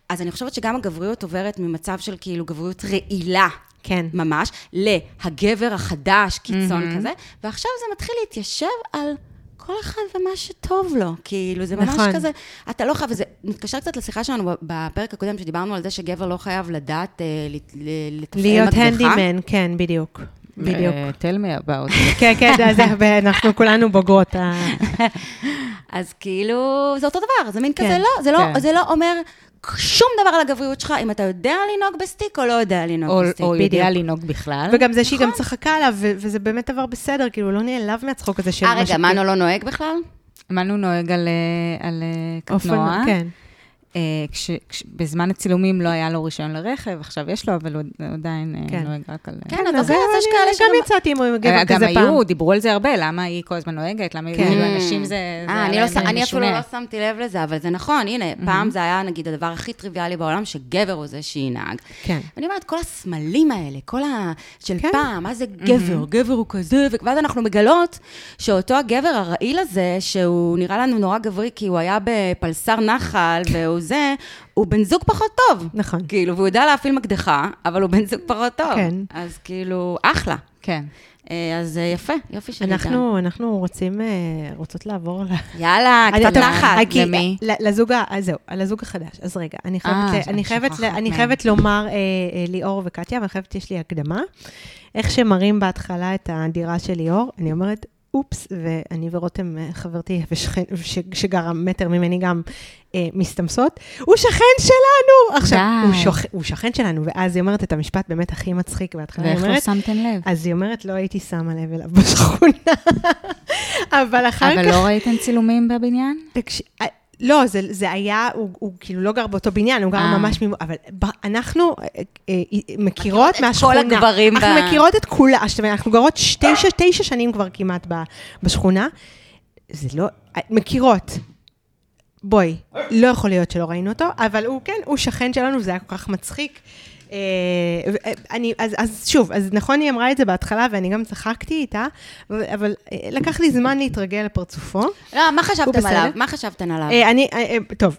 Speaker 1: אז אני חושבת שגם הגבריות עוברת ממצב של כאילו גבריות רעילה,
Speaker 2: כן.
Speaker 1: ממש, להגבר החדש, קיצון mm-hmm. כזה, ועכשיו זה מתחיל להתיישב על כל אחד ומה שטוב לו. כאילו, זה ממש נכון.
Speaker 2: נכון.
Speaker 1: כזה, אתה לא חייב, וזה מתקשר קצת לשיחה שלנו בפרק הקודם, שדיברנו על זה שגבר לא חייב לדעת אה, לת- ל- לתפעל
Speaker 2: להיות
Speaker 1: מדרכה.
Speaker 2: הנדימן, כן, בדיוק. בדיוק.
Speaker 3: אה, tell me about it.
Speaker 2: כן, כן, זה- זה, ואנחנו כולנו בוגרות. ה-
Speaker 1: אז כאילו, זה אותו דבר, זה מין
Speaker 2: כן,
Speaker 1: כזה, לא, זה לא,
Speaker 3: כן.
Speaker 1: זה לא אומר שום דבר על הגבריות שלך, אם אתה יודע לנהוג בסטיק או לא יודע לנהוג
Speaker 3: או-
Speaker 1: בסטיק.
Speaker 3: או יודע
Speaker 2: בדיוק.
Speaker 3: לנהוג
Speaker 1: אה,
Speaker 3: בכלל.
Speaker 2: וגם זה שהיא גם
Speaker 1: נכון.
Speaker 2: צחקה עליו, ו- וזה באמת עבר בסדר, כאילו, הוא לא נעלב מהצחוק הזה של
Speaker 1: אה,
Speaker 2: ש-
Speaker 1: רגע, מנו לא נוהג בכלל?
Speaker 3: מנו נוהג על אה, על, אה,
Speaker 2: אופנוע,
Speaker 3: קטנוע.
Speaker 2: כן.
Speaker 3: אה, כש- כש- בזמן הצילומים לא היה לו רישיון לרכב, עכשיו יש לו, אבל הוא עדיין אה,
Speaker 2: כן.
Speaker 3: נוהג רק על...
Speaker 1: כן, אתה זוכר, אז יש
Speaker 2: אני-
Speaker 1: כאלה
Speaker 2: אני
Speaker 1: שגם-
Speaker 2: גם יצאתי עם גבר
Speaker 3: אה, גם
Speaker 2: כזה פעם.
Speaker 3: היו, דיברו על זה הרבה, למה היא כל הזמן נוהגת, למה
Speaker 2: כן.
Speaker 3: כאילו
Speaker 1: Mm.
Speaker 3: אנשים זה... זה
Speaker 1: אה, אני,
Speaker 3: היה
Speaker 1: לא,
Speaker 3: להם
Speaker 1: ש- אני אפילו
Speaker 3: משונה.
Speaker 1: לא שמתי לב לזה, אבל זה נכון, הנה, פעם זה היה נגיד הדבר הכי טריוויאלי בעולם, שגבר הוא זה שינהג.
Speaker 2: כן.
Speaker 1: אני אומרת, כל הסמלים האלה, כל ה... של
Speaker 2: כן.
Speaker 1: פעם, מה זה גבר, גבר הוא כזה, ו- ואז אנחנו מגלות שאותו הגבר הרעיל הזה, שהוא נראה לנו נורא גברי כי הוא היה בפלסר נחל והוא זה, הוא בן זוג פחות טוב.
Speaker 2: נכון.
Speaker 1: כאילו, והוא יודע להפעיל מקדחה, אבל הוא בן זוג פחות טוב.
Speaker 2: כן.
Speaker 1: אז כאילו, אחלה.
Speaker 3: כן.
Speaker 1: אה, אז אה, יפה, יופי של עידן.
Speaker 2: אנחנו אנחנו רוצים, אה, רוצות לעבור ל...
Speaker 1: יאללה,
Speaker 2: אני-
Speaker 1: קצת
Speaker 2: טוב,
Speaker 1: נחת.
Speaker 2: אה, כי-
Speaker 3: למי?
Speaker 2: ל- לזוג ה... אז זהו, לזוג החדש. אז רגע, אני חייבת
Speaker 3: אה,
Speaker 2: ל-
Speaker 3: אז
Speaker 2: אני
Speaker 3: את
Speaker 2: חייבת ל-
Speaker 3: שוכחת
Speaker 2: אני
Speaker 3: מהם.
Speaker 2: חייבת לומר אה, אה, ליאור וקטיה, ואני חייבת, יש לי הקדמה. איך שמראים בהתחלה את הדירה של ליאור, אני אומרת, אופס, ואני ורותם, אה, חברתי, ושכן, ש- שגרה מטר ממני גם, אה, מסתמסות, הוא שכן שלנו! עכשיו,
Speaker 3: די.
Speaker 2: הוא, שוכ... הוא שכן שלנו, ואז היא אומרת את המשפט באמת הכי מצחיק בהתחלה, היא
Speaker 3: ואיך לא
Speaker 2: אומרת,
Speaker 3: שמתם לב?
Speaker 2: אז היא אומרת, לא הייתי שמה לב אליו בשכונה, אבל אחר
Speaker 3: אבל
Speaker 2: כך...
Speaker 3: לא ראיתם צילומים בבניין?
Speaker 2: תקשיב, לא, זה, זה היה, הוא, הוא כאילו לא גר באותו בניין, הוא גר
Speaker 3: אה.
Speaker 2: ממש ממ... אבל ב, אנחנו אה, אה, מכירות מהשכונה.
Speaker 1: הגברים
Speaker 2: אנחנו
Speaker 1: ב-
Speaker 2: מכירות את כולה, זאת אומרת, אנחנו גרות ש- תשע, תשע שנים כבר כמעט ב, בשכונה. זה לא... אה, מכירות. בואי, לא יכול להיות שלא ראינו אותו, אבל הוא כן, הוא שכן שלנו, וזה היה כל כך מצחיק. אה, ו- אה, אני, אז, אז שוב, אז נכון, היא אמרה את זה בהתחלה, ואני גם צחקתי איתה, אבל- אבל אה, לקח לי זמן להתרגל לפרצופו.
Speaker 1: לא, מה
Speaker 2: הוא
Speaker 1: חשבתם
Speaker 2: בסדר?
Speaker 1: עליו? מה חשבתם עליו?
Speaker 2: אה, אני, אה, אה, טוב.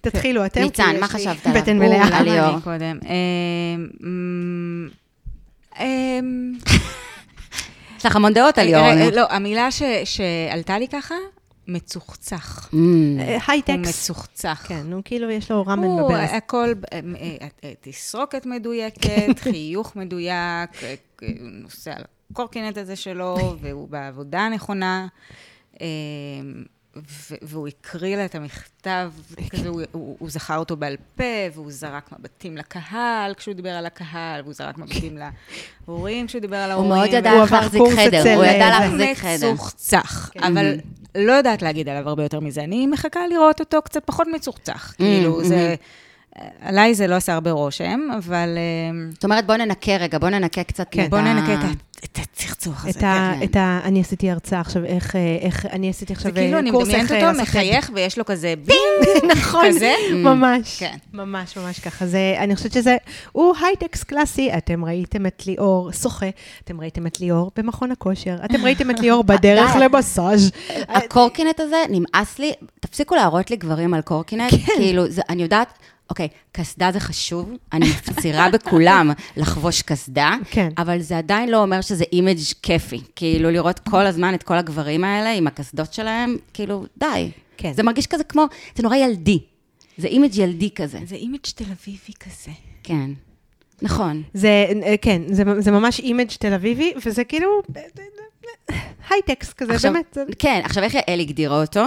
Speaker 2: תתחילו אתם.
Speaker 1: ניצן,
Speaker 2: כי יש
Speaker 1: מה
Speaker 2: לי
Speaker 1: חשבת עליו?
Speaker 2: בטן
Speaker 1: הוא
Speaker 2: מלאה.
Speaker 1: על ליאור.
Speaker 3: אני קודם. אמ, אמ,
Speaker 2: אה,
Speaker 3: אמ,
Speaker 1: יש לך המון דעות על ליאור.
Speaker 3: רגע,
Speaker 1: נו.
Speaker 3: לא, המילה ש- שעלתה לי ככה, מצוחצח.
Speaker 1: Mm.
Speaker 2: אה,
Speaker 3: הוא
Speaker 2: הייטקס.
Speaker 3: מצוחצח.
Speaker 2: כן, הוא כאילו יש לו רמן
Speaker 3: הוא,
Speaker 2: בברז.
Speaker 3: הכל, אה, אה, אה, תסרוקת מדויקת, חיוך מדויק, אה, אה, נוסע על הקורקינט הזה שלו, והוא בעבודה הנכונה, אה, ו- והוא הקריא לה את המכתב, כזה, הוא- הוא הוא זכר אותו בעל פה, והוא זרק מבטים לקהל כשהוא דיבר על הקהל, והוא זרק מבטים להורים כשהוא דיבר על
Speaker 1: הוא
Speaker 3: ההורים.
Speaker 1: מאוד ידע
Speaker 2: הוא
Speaker 1: איך
Speaker 2: עבר
Speaker 1: להחזיק
Speaker 2: קורס
Speaker 1: חדר,
Speaker 2: אצל,
Speaker 1: הוא
Speaker 2: אה,
Speaker 1: ידע
Speaker 2: זה.
Speaker 1: להחזיק חדר.
Speaker 3: מצוחצח, אבל לא יודעת להגיד עליו הרבה יותר מזה. אני מחכה לראות אותו קצת פחות
Speaker 1: Mm-hmm.
Speaker 3: מצוחצח. כאילו, זה... עליי זה לא עשה הרבה רושם, אבל... אה,
Speaker 1: זאת אומרת, בוא ננקה רגע, בוא ננקה קצת.
Speaker 2: כן.
Speaker 1: את
Speaker 3: בואו
Speaker 1: ה-
Speaker 3: ננקה את את הצחצוח הזה.
Speaker 2: את ה... את ה... אני עשיתי הרצאה עכשיו, איך... אה, איך אני עשיתי עכשיו
Speaker 3: כן, זה כאילו,
Speaker 2: אה,
Speaker 3: אני
Speaker 2: קורס
Speaker 3: מדמיינת
Speaker 2: איך, אה,
Speaker 3: אותו
Speaker 2: לעשות
Speaker 3: מחייך ויש לו כזה בינג.
Speaker 2: נכון,
Speaker 3: כזה?
Speaker 2: ממש.
Speaker 3: כן.
Speaker 2: ממש, ממש ככה. זה, אני חושבת שזה, הוא הייטקס קלאסי. אתם ראיתם את ליאור שוחה, אתם ראיתם את ליאור במכון הכושר, אתם ראיתם את ליאור בדרך למסאז'.
Speaker 1: הקורקינט הזה, נמאס לי, תפסיקו להראות לי גברים על קורקינט,
Speaker 2: כן.
Speaker 1: כאילו, זה- אני יודעת, אוקיי, קסדה זה חשוב, אני מפצירה בכולם לחבוש קסדה,
Speaker 2: כן.
Speaker 1: אבל זה עדיין לא אומר שזה אימג' כיפי, כאילו, לראות כל הזמן את כל הגברים האלה עם הקסדות שלהם, כאילו, די.
Speaker 2: כן.
Speaker 1: זה מרגיש כזה כמו, זה נורא ילדי. זה אימג' ילדי כזה,
Speaker 3: זה אימג' תל אביבי כזה.
Speaker 1: כן. נכון.
Speaker 2: זה, אה, כן, זה, זה ממש אימג' תל אביבי, וזה כאילו אה, אה, הייטקס כזה,
Speaker 1: עכשיו-
Speaker 2: באמת. זה-
Speaker 1: כן, עכשיו איך יעל הגדירה אותו?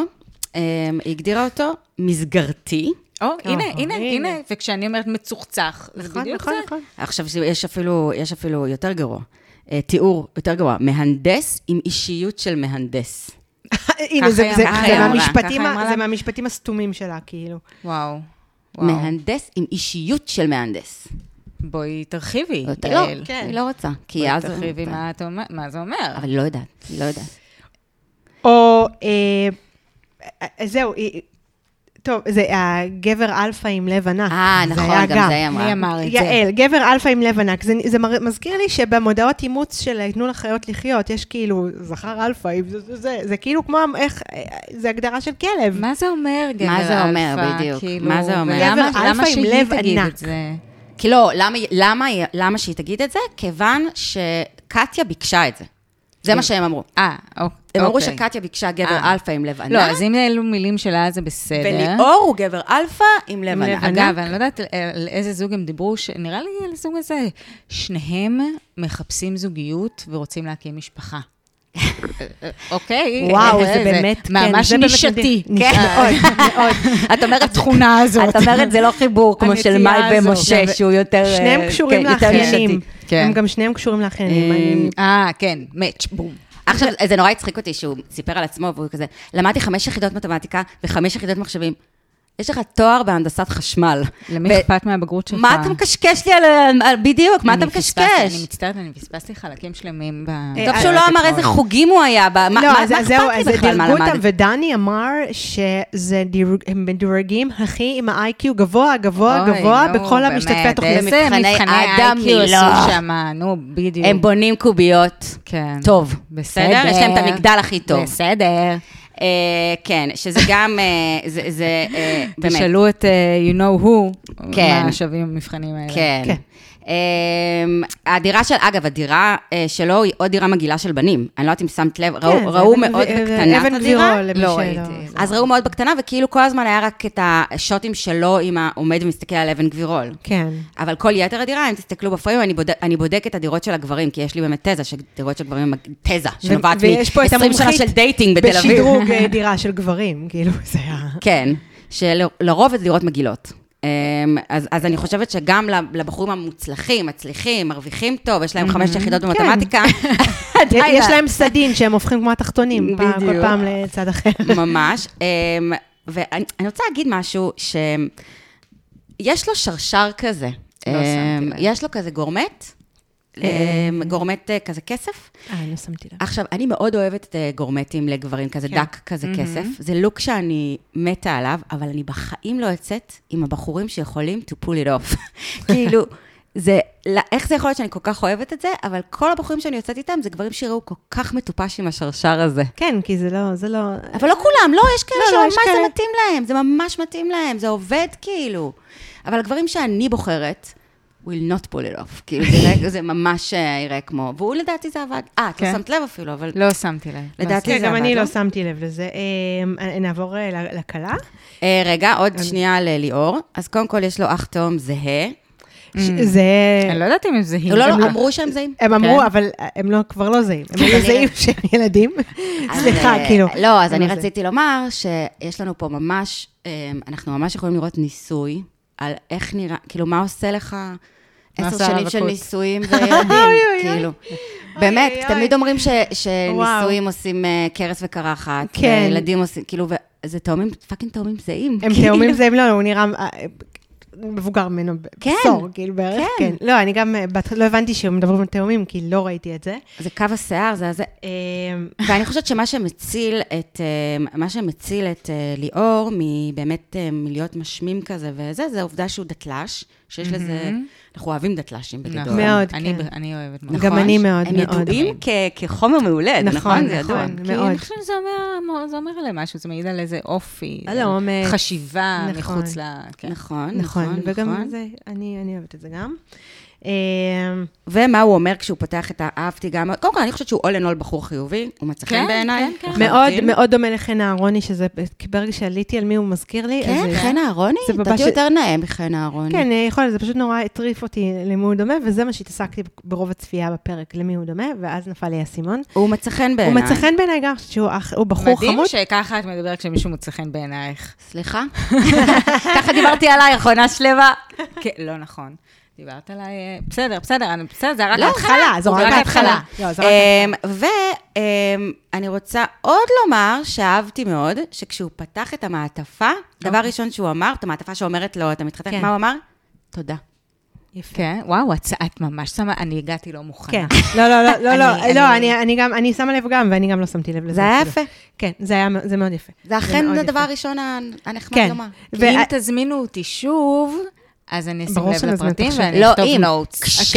Speaker 1: אמ, היא הגדירה אותו מסגרתי.
Speaker 3: או, הנה,
Speaker 2: אה,
Speaker 3: הנה,
Speaker 2: הנה.
Speaker 3: הנה. וכשאני אומרת מצוחצח, זה
Speaker 2: נכון,
Speaker 3: בדיוק זה.
Speaker 2: נכון, נכון.
Speaker 1: עכשיו, יש אפילו, יש אפילו יותר גרוע. אה, תיאור יותר גרוע, מהנדס עם אישיות של מהנדס.
Speaker 2: הנה, זה,
Speaker 3: היא
Speaker 2: זה,
Speaker 3: אמרה,
Speaker 2: זה,
Speaker 1: ככה היא
Speaker 2: מהמשפטים,
Speaker 3: אמרה.
Speaker 2: ה- זה מהמשפטים הסתומים שלה, כאילו.
Speaker 3: וואו. וואו.
Speaker 1: מהנדס עם אישיות של מהנדס.
Speaker 3: בואי תרחיבי,
Speaker 1: לא,
Speaker 3: יעל.
Speaker 2: כן.
Speaker 1: היא לא רוצה, כי
Speaker 3: בואי
Speaker 1: אז...
Speaker 3: תרחיבי מה את אומר- מה זה אומר.
Speaker 1: אבל היא לא יודעת, היא לא יודעת.
Speaker 2: או, אה, אה, זהו, היא- טוב, זה הגבר אלפא עם לב ענק.
Speaker 1: אה, נכון, גם זה היא אמרה.
Speaker 3: מי אמר את זה?
Speaker 2: יעל, גבר אלפא עם לב ענק. זה, זה מר- מזכיר לי שבמודעות אימוץ של אה, תנו לחיות לחיות, יש כאילו זכר אלפא, עם זה, זה, זה, זה כאילו כמו איך, אה, זה הגדרה של כלב.
Speaker 3: מה זה אומר גבר אלפא?
Speaker 1: מה זה אומר, בדיוק.
Speaker 3: כאילו,
Speaker 1: מה זה אומר?
Speaker 3: ולמה-
Speaker 2: גבר
Speaker 3: למה
Speaker 2: אלפא עם
Speaker 3: שהיא
Speaker 2: לב
Speaker 3: תגיד
Speaker 2: ענק.
Speaker 3: את זה?
Speaker 1: כי לא, למה, למה, למה שהיא תגיד את זה? כיוון שקטיה ביקשה את זה. זה מה שהם אמרו.
Speaker 3: אה, אוק- אוקיי.
Speaker 1: הם אמרו שקטיה ביקשה גבר
Speaker 3: אה.
Speaker 1: אלפא עם לב ענק.
Speaker 3: לא, אז אם אלו מילים שלה זה בסדר.
Speaker 1: וליאור הוא גבר אלפא עם לב
Speaker 3: עם לב
Speaker 1: ענק.
Speaker 3: אגב, אני לא יודעת על איזה זוג הם דיברו, ש- נראה לי על זוג הזה. שניהם מחפשים זוגיות ורוצים להקים משפחה. אוקיי.
Speaker 2: וואו,
Speaker 3: אה,
Speaker 2: זה כן. באמת, כן,
Speaker 3: ממש
Speaker 2: זה באמת
Speaker 3: נישתי.
Speaker 2: מדהים.
Speaker 1: כן,
Speaker 2: נישה,
Speaker 3: אה.
Speaker 2: מאוד, מאוד.
Speaker 1: את אומרת,
Speaker 3: התכונה הזאת.
Speaker 1: את אומרת, זה לא חיבור כמו של מאי
Speaker 3: הנטייה הזאת.
Speaker 1: ומשה, שהוא יותר...
Speaker 2: שניהם
Speaker 1: אה,
Speaker 2: קשורים
Speaker 1: כן, יותר
Speaker 2: לאחיינים.
Speaker 1: נישתי.
Speaker 3: כן.
Speaker 2: הם גם שניהם קשורים לאחיינים. אני-
Speaker 3: אה, כן, מאץ', בום.
Speaker 1: עכשיו, זה נורא הצחיק אותי שהוא סיפר על עצמו, והוא כזה, למדתי חמש יחידות מתמטיקה וחמש יחידות מחשבים. יש לך תואר בהנדסת חשמל.
Speaker 3: למי
Speaker 1: ו-
Speaker 3: אכפת מהבגרות שלך?
Speaker 1: מה אתה מקשקש לי על... על- בדיוק, מה אתה
Speaker 3: אני פספסתי- אני
Speaker 1: מקשקש?
Speaker 3: מצטערת, אני פספסתי חלקים שלמים ב...
Speaker 2: אה,
Speaker 1: טוב שהוא לא אמר איזה חוגים הוא היה, ב- מה מה-
Speaker 2: לא,
Speaker 1: מה
Speaker 2: אז- אז
Speaker 1: אכפת
Speaker 2: זהו,
Speaker 1: לי
Speaker 2: אז זה
Speaker 1: בכלל מה
Speaker 2: דירגו אותם,
Speaker 1: למדתי?
Speaker 2: ודני אמר שזה דירוג- הם מדורגים הכי עם ה-IQ גבוה, גבוה,
Speaker 3: אוי,
Speaker 2: גבוה,
Speaker 3: נו,
Speaker 2: בכל המשתתפי
Speaker 3: באמת,
Speaker 2: התוכנית.
Speaker 1: זה
Speaker 3: איזה
Speaker 1: מבחני לא.
Speaker 3: מבחני לא-
Speaker 1: אדם
Speaker 3: IQ עשו
Speaker 1: מילוא.
Speaker 3: שם, נו, בדיוק.
Speaker 1: הם בונים קוביות.
Speaker 3: כן.
Speaker 1: טוב.
Speaker 3: בסדר.
Speaker 1: בסדר? יש להם את המגדל הכי טוב.
Speaker 3: בסדר.
Speaker 1: אה, כן, שזה גם, אה, זה- זה אה, באמת.
Speaker 3: תשאלו את אה, you know who,
Speaker 1: כן.
Speaker 3: מה שווים המבחנים האלה.
Speaker 1: כן.
Speaker 2: כן.
Speaker 1: אמ, הדירה של, אגב, הדירה אה, שלו היא עוד דירה מגעילה של בנים. אני לא יודעת אם שמת לב, ראו-
Speaker 2: כן, זה
Speaker 1: ראו
Speaker 2: אבן
Speaker 1: מאוד
Speaker 2: גב-
Speaker 1: בקטנה את
Speaker 2: אבן
Speaker 1: הדירה.
Speaker 2: גבירול, למי
Speaker 1: לא
Speaker 2: שלא-
Speaker 1: ראיתי. אז ראו מאוד בקטנה, וכאילו כל הזמן היה רק את השוטים שלו עם העומד ומסתכל על אבן גבירול.
Speaker 2: כן.
Speaker 1: אבל כל יתר הדירה, אם תסתכלו בפריים, אני, בודק, אני בודקת את הדירות של הגברים, כי יש לי באמת תזה, שדירות של גברים, הן תזה, שנובעת
Speaker 2: ויש פה את
Speaker 1: מ-20 שנה
Speaker 2: המומחית
Speaker 1: של דייטינג בתל אביב.
Speaker 2: בשדרוג אה, דירה של גברים, כאילו, זה ה...
Speaker 1: כן, שלרוב זה דירות מגעילות. אמ, אז, אז אני חושבת שגם לב- לבחורים המוצלחים, מצליחים, מרוויחים טוב, יש להם
Speaker 3: Mm-hmm.
Speaker 1: חמש יחידות
Speaker 3: כן.
Speaker 1: במתמטיקה, עדיין
Speaker 2: יש להם סדין שהם הופכים כמו התחתונים, פעם- כל
Speaker 1: בדיוק.
Speaker 2: פעם לצד אחר.
Speaker 1: ממש. אמ, ואני אני רוצה להגיד משהו, שיש לו שרשר כזה.
Speaker 3: לא שמתי
Speaker 1: אמ,
Speaker 3: לב. אה.
Speaker 1: יש לו כזה גורמט, אמ, גורמט אה, כזה כסף.
Speaker 2: אה, אני לא שמתי לב.
Speaker 1: עכשיו, אני מאוד אוהבת את אה, גורמטים לגברים, כזה
Speaker 2: כן.
Speaker 1: דק, כזה כסף. זה לוק שאני מתה עליו, אבל אני בחיים לא יוצאת עם הבחורים שיכולים to pull it off. כאילו, זה, לא- איך זה יכול להיות שאני כל כך אוהבת את זה, אבל כל הבחורים שאני יוצאת איתם, זה גברים שיראו כל כך מטופש עם השרשר הזה.
Speaker 2: כן, כי זה לא, זה לא...
Speaker 1: אבל לא כולם, לא, יש כאלה
Speaker 2: לא, לא,
Speaker 1: שממש
Speaker 2: יש כאלה.
Speaker 1: זה מתאים להם, זה ממש מתאים להם, זה עובד כאילו. אבל הגברים שאני בוחרת, will not pull it off, כאילו, זה יראה- זה ממש אה, יראה כמו, והוא לדעתי זה עבד. אה, את לא
Speaker 3: כן.
Speaker 1: שמת לב אפילו, אבל...
Speaker 3: לא שמתי לב.
Speaker 1: לדעתי
Speaker 3: לא
Speaker 2: כן,
Speaker 1: זה
Speaker 2: גם
Speaker 1: עבד,
Speaker 2: אני
Speaker 1: לא?
Speaker 2: לא שמתי לב לזה. אה, נעבור אה, ל- לכלה.
Speaker 1: אה, רגע, עוד שנייה לליאור. אז קודם כל, יש לו אח תאום זהה.
Speaker 2: ש- זה...
Speaker 3: שמתי. אני לא יודעת אם הם זהים.
Speaker 1: לא,
Speaker 3: הם
Speaker 1: לא, אמרו שהם זהים.
Speaker 2: הם אמרו,
Speaker 3: כן.
Speaker 2: אבל הם לא, כבר לא זהים. הם היו
Speaker 1: כנראה.
Speaker 2: זהים שהם ילדים.
Speaker 1: אז,
Speaker 2: סליחה,
Speaker 1: אה,
Speaker 2: כאילו.
Speaker 1: לא, אז
Speaker 2: הם
Speaker 1: אני
Speaker 2: זה.
Speaker 1: רציתי לומר שיש לנו פה ממש, אה, אנחנו ממש יכולים לראות ניסוי על איך נראה, כאילו, מה עושה לך עשר
Speaker 3: עושה
Speaker 1: שנים של
Speaker 3: הרווקות?
Speaker 1: נישואים וילדים, כאילו. באמת,
Speaker 2: אוי, אוי.
Speaker 1: תמיד אומרים ש-
Speaker 2: וואו.
Speaker 1: שנישואים עושים אה, קרס וקרחת, אה,
Speaker 2: כן.
Speaker 1: וילדים עושים, כאילו, וזה תאומים, פאקינג תאומים זהים.
Speaker 2: הם
Speaker 1: כאילו.
Speaker 2: תאומים זהים, לא, הוא נראה... לא, אה, מבוגר ממנו ב-
Speaker 1: כן,
Speaker 2: בעשור, כאילו בערך,
Speaker 1: כן.
Speaker 2: כן. לא, אני גם, אה, בהתחלה לא הבנתי שמדברים על תאומים, כי לא ראיתי את זה.
Speaker 1: זה קו השיער, זה הזה.
Speaker 2: אמ,
Speaker 1: ואני חושבת שמה שמציל את, אה, מה שמציל את אה, ליאור מבאמת אה, מלהיות משמים כזה וזה, זה העובדה שהוא דתל"ש, שיש לזה, אנחנו אוהבים דתל"שים בגדול.
Speaker 3: נכון.
Speaker 2: מאוד,
Speaker 3: אני,
Speaker 2: כן.
Speaker 3: ב- אני אוהבת מאוד.
Speaker 1: נכון?
Speaker 2: גם אני מאוד,
Speaker 1: הם
Speaker 2: מאוד.
Speaker 1: ידועים כ- כחומר מעולה,
Speaker 2: נכון,
Speaker 1: נכון? זה ידוע.
Speaker 2: נכון.
Speaker 3: כי
Speaker 2: מאוד.
Speaker 3: אני חושבת שזה אומר, זה אומר עליהם משהו, זה מעיד על איזה אופי,
Speaker 2: על
Speaker 3: על
Speaker 2: אומץ.
Speaker 3: חשיבה
Speaker 2: נכון.
Speaker 3: מחוץ ל... כן.
Speaker 1: נכון,
Speaker 2: נכון,
Speaker 1: נכון,
Speaker 2: וגם
Speaker 1: נכון.
Speaker 2: זה, אני אני אוהבת את זה גם. אמ,
Speaker 1: ומה הוא אומר כשהוא פותח את האהבתי גם, קודם כל אני חושבת שהוא all in all בחור חיובי, הוא מצא
Speaker 3: כן,
Speaker 1: חן בעיניי.
Speaker 3: כן, כן.
Speaker 2: מאוד
Speaker 1: לחלוטין.
Speaker 2: מאוד דומה לחן אהרוני, שזה, כי ברגע שעליתי על מי הוא מזכיר לי, אז
Speaker 1: כן, חן אהרוני,
Speaker 2: זה ממש-
Speaker 1: לדעתי יותר נאה מחן אהרוני.
Speaker 2: כן, אה, יכול להיות, זה פשוט נורא הטריף אותי למי הוא דומה, וזה מה שהתעסקתי ברוב הצפייה בפרק, למי הוא דומה, ואז נפל לי האסימון.
Speaker 1: הוא מצא חן
Speaker 2: הוא
Speaker 1: בעיניי.
Speaker 2: מצא חן בעיניי גם, שהוא אח- הוא בחור
Speaker 3: מדהים
Speaker 2: חמוד.
Speaker 3: שככה את מדברת כשמישהו מוצא חן בעינייך.
Speaker 1: סליחה? ככה דיברתי עלייך, עונה שלמה.
Speaker 3: כן, לא נכון. דיברת עליי, אה, בסדר, בסדר, אני- בסדר, זה רק
Speaker 1: לא,
Speaker 3: ההתחלה.
Speaker 2: זו רק ההתחלה. לא, זה רק
Speaker 1: ואני אמ, רוצה עוד לומר שאהבתי מאוד, שכשהוא פתח את המעטפה, דבר ראשון שהוא אמר, את המעטפה שאומרת לו, אתה מתחתן,
Speaker 2: כן.
Speaker 1: מה הוא אמר? תודה.
Speaker 3: כן, וואו, את את ממש שמה, אני הגעתי לא מוכנה.
Speaker 2: כן. לא, לא, לא, לא, לא,
Speaker 3: אני-
Speaker 2: לא,
Speaker 3: אני-
Speaker 2: אני- אני גם, אני שמה לב גם, ואני גם לא שמתי לב לזה.
Speaker 1: היה
Speaker 2: אפילו.
Speaker 1: יפה.
Speaker 2: כן, זה היה, מא- זה מאוד יפה.
Speaker 1: זה אכן
Speaker 2: מאוד
Speaker 1: הדבר
Speaker 2: יפה.
Speaker 1: הראשון הנחמד
Speaker 2: כן.
Speaker 1: לומר.
Speaker 3: כי אם
Speaker 2: וה-
Speaker 3: תזמינו אותי שוב, אז אני אשים
Speaker 2: ברור
Speaker 3: לב
Speaker 2: שנזמין אותך
Speaker 3: לפרטים
Speaker 2: שוב.
Speaker 3: ואני
Speaker 1: לא,
Speaker 3: אכתוב
Speaker 1: אם.
Speaker 3: נוטס.
Speaker 1: כש-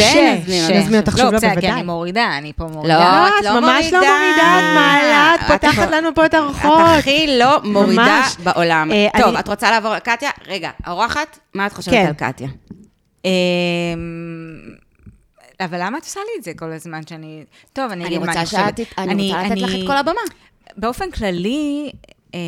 Speaker 2: נזמין אותך שוב, לא,
Speaker 3: לא, בסדר, כי
Speaker 2: בוודאי.
Speaker 3: אני מורידה, אני פה
Speaker 1: לא,
Speaker 3: מורידה.
Speaker 1: את לא
Speaker 2: ממש
Speaker 1: מורידה.
Speaker 2: לא מורידה, את מעלה, את
Speaker 1: את
Speaker 2: פותחת
Speaker 1: הכ-
Speaker 2: לנו פה את
Speaker 1: את
Speaker 2: הרוחות.
Speaker 1: הכי לא מורידה
Speaker 2: ממש.
Speaker 1: בעולם.
Speaker 2: אה,
Speaker 1: טוב,
Speaker 2: אני-
Speaker 1: את רוצה לעבור לקטיה? רגע, האורחת, מה את חושבת
Speaker 2: כן.
Speaker 1: על קטיה?
Speaker 3: אמ, אבל למה את עושה לי את זה כל הזמן שאני... טוב, אני
Speaker 1: אני
Speaker 3: אגיד מה
Speaker 1: רוצה
Speaker 3: אני חושבת.
Speaker 1: שאת, אני רוצה לתת לך את כל הבמה.
Speaker 3: באופן כללי, אמ,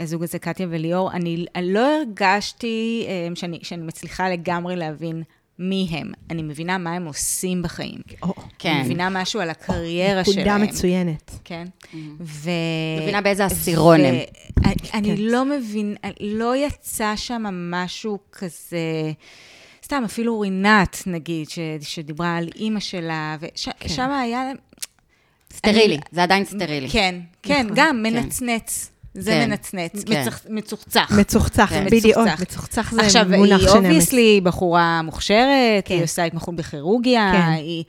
Speaker 3: הזוג הזה, קטיה וליאור, אני אני לא הרגשתי אמ, שאני שאני מצליחה לגמרי להבין מי הם. אני מבינה מה הם עושים בחיים.
Speaker 2: או,
Speaker 3: אני
Speaker 1: כן.
Speaker 3: מבינה משהו על הקריירה שלהם.
Speaker 2: נקודה מצוינת.
Speaker 3: כן. ו...
Speaker 1: מבינה באיזה עשירון הם.
Speaker 3: ו- אני- אני לא מבין, לא יצא שם משהו כזה... סתם, אפילו רינת, נגיד, ש, שדיברה על אימא שלה, ושם כן. היה...
Speaker 1: סטרילי, זה עדיין סטרילי.
Speaker 3: כן, כן, גם מנצנץ. זה
Speaker 1: כן.
Speaker 3: מנצנץ,
Speaker 1: כן.
Speaker 3: מצח- מצוחצח.
Speaker 2: מצוחצח,
Speaker 1: כן.
Speaker 2: בדיוק,
Speaker 3: מצוחצח.
Speaker 2: מצוחצח זה מונח
Speaker 3: עכשיו,
Speaker 2: שנאמץ.
Speaker 3: היא אובייסלי בחורה מוכשרת,
Speaker 2: כן.
Speaker 3: היא עושה התמחות בכירורגיה,
Speaker 2: כן.
Speaker 3: היא...